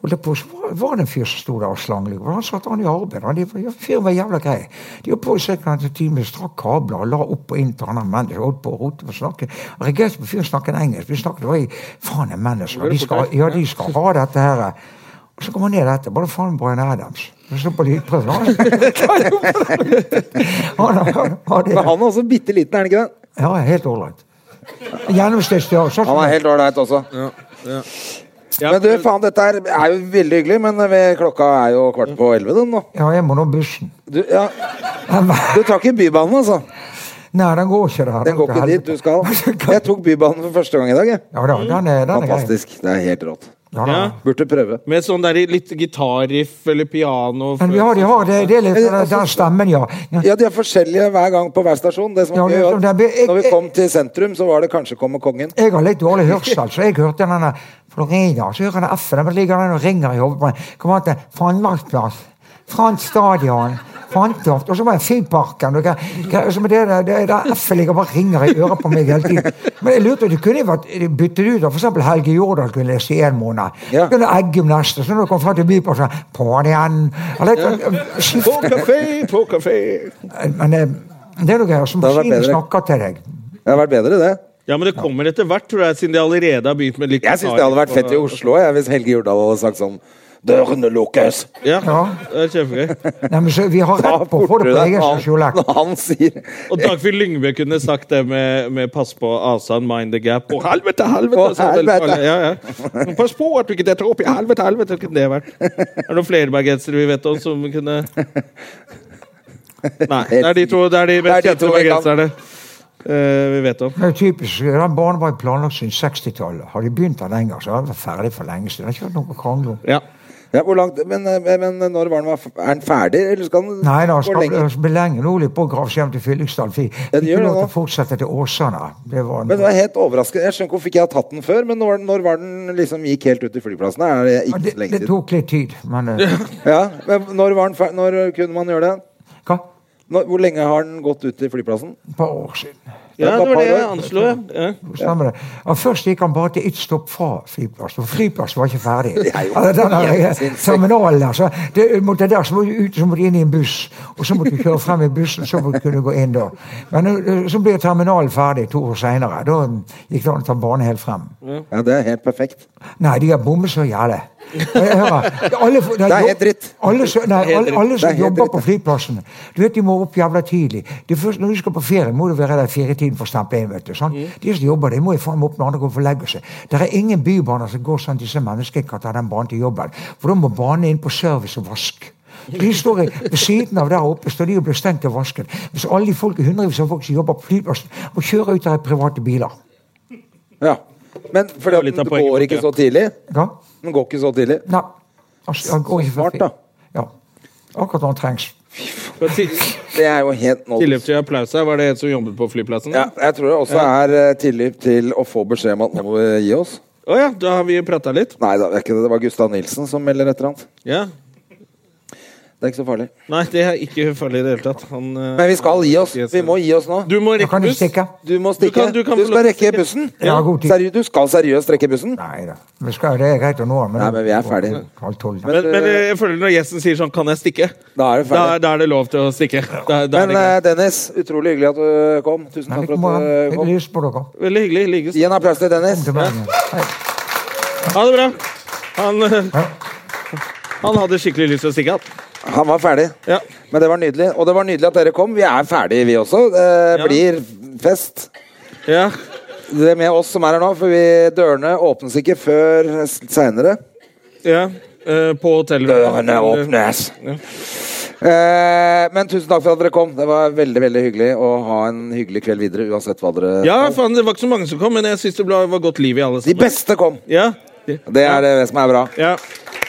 Speaker 4: og det på, var- var det en fyr som sto der og slang litt. Han satte han i arbeid. Han, de, fyren var jævla grei. De var på i ca. en time, strakk kabler og la opp og inn til han der mennesket. Holdt på å rote og snakke. Jeg reagerte på fyren snakket engelsk. Vi snakket oi, faen er mennesker. De skal, ja, de skal ha dette her. Og så kom han ned etter. Bare faen Bryan Adams. Jeg så på lydprøven.
Speaker 2: [LAUGHS]
Speaker 4: Han, han, han,
Speaker 2: Men han er også bitte liten, er han ikke det?
Speaker 4: ja, helt ålreit. Gjennomsnittsstørrelse.
Speaker 2: Han er helt ålreit også. Men du, faen, dette er, er jo veldig hyggelig, men ved- klokka er jo kvart på elleve den nå.
Speaker 4: Ja, jeg må nå bussen.
Speaker 2: Du, ja. du tar ikke Bybanen, altså?
Speaker 4: Nei, den går ikke der.
Speaker 2: Den går ikke dit du
Speaker 4: [LAUGHS]
Speaker 2: skal. Jeg tok Bybanen for første gang i dag. Jeg.
Speaker 4: Ja da, den er, den er grei.
Speaker 2: Fantastisk. Det er helt rått.
Speaker 4: Ja, da.
Speaker 2: Burde prøve.
Speaker 6: Med sånn der i litt gitarriff eller piano.
Speaker 4: Men vi har, de har det, det er litt den, den stemmen, ja.
Speaker 2: Ja, De er forskjellige hver gang på hver stasjon. Det som
Speaker 4: Ja,
Speaker 2: var
Speaker 4: det
Speaker 2: gøy,
Speaker 4: som det e-
Speaker 2: var
Speaker 4: blir- jeg-
Speaker 2: at når vi
Speaker 4: jeg-
Speaker 2: kom til sentrum, så var det 'Kanskje kommer kongen'.
Speaker 4: Jeg har litt dårlig hørsel, så jeg hørte denne Florida, så hører jeg F-en, men ligger den og ringer i hodet på meg. Kommer an til Fannmarksplass, Frans Stadion, Fantoft, og så var jeg Fyparken. Og greier. Greier, så med det, der- det der F-en ligger og bare ringer i øret på meg hele tiden. Men jeg lurte, det kunne jo vært byttet ut, da. for eksempel Helge Jordal kunne lese i en måned. Så kunne Eggum neste, så når du kom frem til Byparken, så på'n igjen. Eller,
Speaker 6: På
Speaker 4: skifte.
Speaker 6: kafé, på kafé.
Speaker 4: Men eh, det er noe greier, som
Speaker 2: Det hadde vært
Speaker 4: maskinen
Speaker 2: bedre.
Speaker 4: snakker til deg.
Speaker 2: Det har vært bedre, det.
Speaker 6: Ja, men det kommer etter hvert, tror jeg, siden de allerede har begynt med litt
Speaker 2: Jeg syns det hadde vært fett i Oslo jeg, hvis Helge Jordal hadde sagt sånn 'Dørene lukkes'.
Speaker 6: Ja,
Speaker 4: Ja.
Speaker 6: det er kjempegøy.
Speaker 4: Nei, men så, vi har
Speaker 2: Da
Speaker 4: rett på å få
Speaker 2: porter
Speaker 4: det på
Speaker 2: deg.
Speaker 4: egen sosiolekt.
Speaker 2: Når han sier
Speaker 6: Og Dagfinn Lyngbø kunne sagt det med, med 'pass på Asan, mind the gap'. Å, helvete, helvete!
Speaker 2: Å,
Speaker 6: sa vel
Speaker 2: helvete.
Speaker 6: alle. Ja, ja. Pass på at du ikke detter opp i helvete, helvete! Kunne det vært? Er det noen flere bergensere vi vet om som kunne Nei. Det er de to, det er de
Speaker 2: Det er
Speaker 6: mest
Speaker 2: de to
Speaker 6: kjente
Speaker 2: vi kan.
Speaker 6: bergenserne eh, vi vet om.
Speaker 4: Det er jo typisk, Den banen var jo planlagt siden 60-tallet. Har de begynt den en gang, så har den vært ferdig for lenge siden. Det har ikke vært noe å krangle om.
Speaker 6: Ja.
Speaker 2: ja, hvor langt, men, eh, men når var den, var- er den ferdig, eller skal den
Speaker 4: Nei da,
Speaker 2: gå lenger?
Speaker 4: det blir lenge nå litt på gravskjerm til Fyllingsdal. Vi
Speaker 2: Ja, det
Speaker 4: fikk
Speaker 2: gjør
Speaker 4: ikke lov
Speaker 2: det nå.
Speaker 4: til å fortsette til Åsane. Det var
Speaker 2: Men
Speaker 4: en...
Speaker 2: det er helt overraskende. Jeg skjønner ikke hvorfor ikke jeg har tatt den før, men når, når var den liksom gikk helt ut i flyplassen? Er det
Speaker 4: Ja,
Speaker 2: ikke
Speaker 4: det,
Speaker 2: så lenge
Speaker 4: det
Speaker 2: siden?
Speaker 4: tok litt tid, men eh,
Speaker 2: Ja, men når, var den fer når kunne man gjøre det?
Speaker 4: Hva?
Speaker 2: Når, hvor lenge har den gått ut i flyplassen?
Speaker 4: Et par år siden.
Speaker 6: ja,
Speaker 2: var
Speaker 6: det var
Speaker 2: par
Speaker 6: det jeg
Speaker 2: år.
Speaker 6: anslo, ja. ja.
Speaker 4: Stemmer det. Ja, først gikk han bare til ett stopp fra flyplassen, for flyplassen var ikke ferdig. Altså, den der, eh, terminalen der, så altså. det, måtte der, så må du ut, så må du inn i en buss, og så måtte du kjøre frem i bussen, så må du kunne gå inn da. Men eh, så ble terminalen ferdig to år senere. Da mm, gikk det an å ta banen helt frem.
Speaker 2: Ja, det er helt perfekt.
Speaker 4: Nei, de har bommet så jævlig. Jeg hører, alle, nei,
Speaker 2: Det er helt dritt.
Speaker 4: Alle, som- nei, alle,
Speaker 2: Det
Speaker 4: alle
Speaker 2: er
Speaker 4: som
Speaker 2: helt
Speaker 4: jobber
Speaker 2: dritt,
Speaker 4: på flyplassen, du vet de må opp jævla tidlig. Det første, når du skal på ferie, må du være der fire i tiden for å stemple inn. vet du, sant?
Speaker 2: Mm.
Speaker 4: De som jobber, de må jo faen meg opp når andre går for å legge seg. Det er ingen bybaner som går sånn at disse menneskene kan ta den banen til jobben. For da må banen inn på service og vask. Så De står i- ved siden av der oppe står de og blir stengt og vasket. Hvis alle de folk, hundrevis av folk som jobber på flyplassen, må kjøre ut der i private biler.
Speaker 2: Ja. Men fordi at
Speaker 6: litt av
Speaker 2: den
Speaker 6: poenget,
Speaker 2: går ikke
Speaker 6: ja.
Speaker 2: så tidlig.
Speaker 4: Ja?
Speaker 2: Den går ikke så tidlig.
Speaker 4: Nei. Altså, han går ikke for
Speaker 2: Smart,
Speaker 4: fri.
Speaker 2: da.
Speaker 4: Ja. Akkurat når han trengs.
Speaker 6: På ti-
Speaker 2: Det er jo helt nådd.
Speaker 6: Tilløp til applaus her, var det en som jobbet på flyplassen?
Speaker 2: Ja, jeg tror det også er eh, tilløp til å få beskjed om at nå må vi gi oss.
Speaker 6: Å ja, da har vi prata litt.
Speaker 2: Nei da, det er ikke det. Det var Gustav Nilsen som melder et eller annet.
Speaker 6: Ja.
Speaker 2: Det Det er ikke så farlig.
Speaker 1: Nei, det er ikke farlig i det hele tatt. Han, eh,
Speaker 2: Men vi skal gi oss. Vi må gi oss nå.
Speaker 1: Du må rekke buss.
Speaker 2: Du må stikke. Du,
Speaker 1: kan- du kan få lov
Speaker 2: skal
Speaker 1: til å
Speaker 2: rekke
Speaker 1: stikke.
Speaker 2: bussen?
Speaker 4: Ja, god tid.
Speaker 2: Seriø- du skal seriøst rekke bussen?
Speaker 4: Nei da. Vi skal, det er greit å nå, men,
Speaker 2: Nei, men vi er ferdig.
Speaker 4: Halv tolv. da.
Speaker 1: Men, men eh, jeg føler når gjesten sier sånn 'Kan jeg stikke?'
Speaker 2: Da er det
Speaker 1: Da,
Speaker 2: ferdig.
Speaker 1: er- da er det lov til å stikke. Da, da er
Speaker 2: Men
Speaker 1: det greit.
Speaker 2: eh, Dennis, utrolig hyggelig at du kom. Tusen
Speaker 4: Men
Speaker 2: takk
Speaker 4: ikke
Speaker 2: for
Speaker 4: må
Speaker 2: at
Speaker 4: jeg
Speaker 2: du
Speaker 4: har
Speaker 2: eh, kom.
Speaker 4: lyst på dere.
Speaker 1: Veldig hyggelig. i like
Speaker 2: Gi en applaus til Dennis.
Speaker 4: Kom tilbake igjen. Hei.
Speaker 1: Ha det bra. Han, eh,
Speaker 4: Ja.
Speaker 1: han hadde skikkelig lyst til å stikke, han.
Speaker 2: Han var ferdig.
Speaker 1: Ja.
Speaker 2: Men det var nydelig. Og det var nydelig at dere kom. Vi er ferdige, vi også. Det
Speaker 1: Ja.
Speaker 2: blir fest.
Speaker 1: Ja.
Speaker 2: Det er med oss som er her nå, for vi, dørene åpnes ikke før seinere.
Speaker 1: ja. Eh, på hotellet.
Speaker 2: Dørene åpnes! Eh, men tusen takk for at dere kom. Det var veldig veldig hyggelig å ha en hyggelig kveld videre. uansett hva dere...
Speaker 1: Ja, faen, det var ikke så mange som kom, men jeg syns det ble- var godt liv i alle
Speaker 2: De
Speaker 1: sammen.
Speaker 2: beste kom!
Speaker 1: Ja.
Speaker 2: Det er det som er bra.
Speaker 1: ja.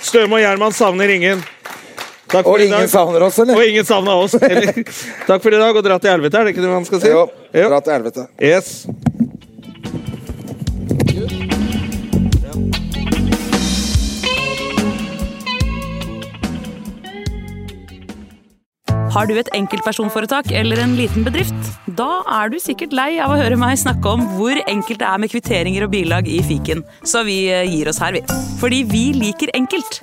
Speaker 1: Støme og Gjerman savner ingen. Takk for
Speaker 2: Og
Speaker 1: i dag.
Speaker 2: ingen savner oss, eller?
Speaker 1: Og ingen savna
Speaker 2: [LAUGHS]
Speaker 1: oss heller. Takk for i dag, og dra til helvete, er det ikke det man skal si?
Speaker 2: Jo.
Speaker 1: Jo.
Speaker 2: Dra til helvete.
Speaker 1: Yes.
Speaker 7: Har du et enkeltpersonforetak eller en liten bedrift? Da er du sikkert lei av å høre meg snakke om hvor enkelt det er med kvitteringer og bilag i fiken, så eh, vi gir oss her, vi. Fordi vi liker enkelt.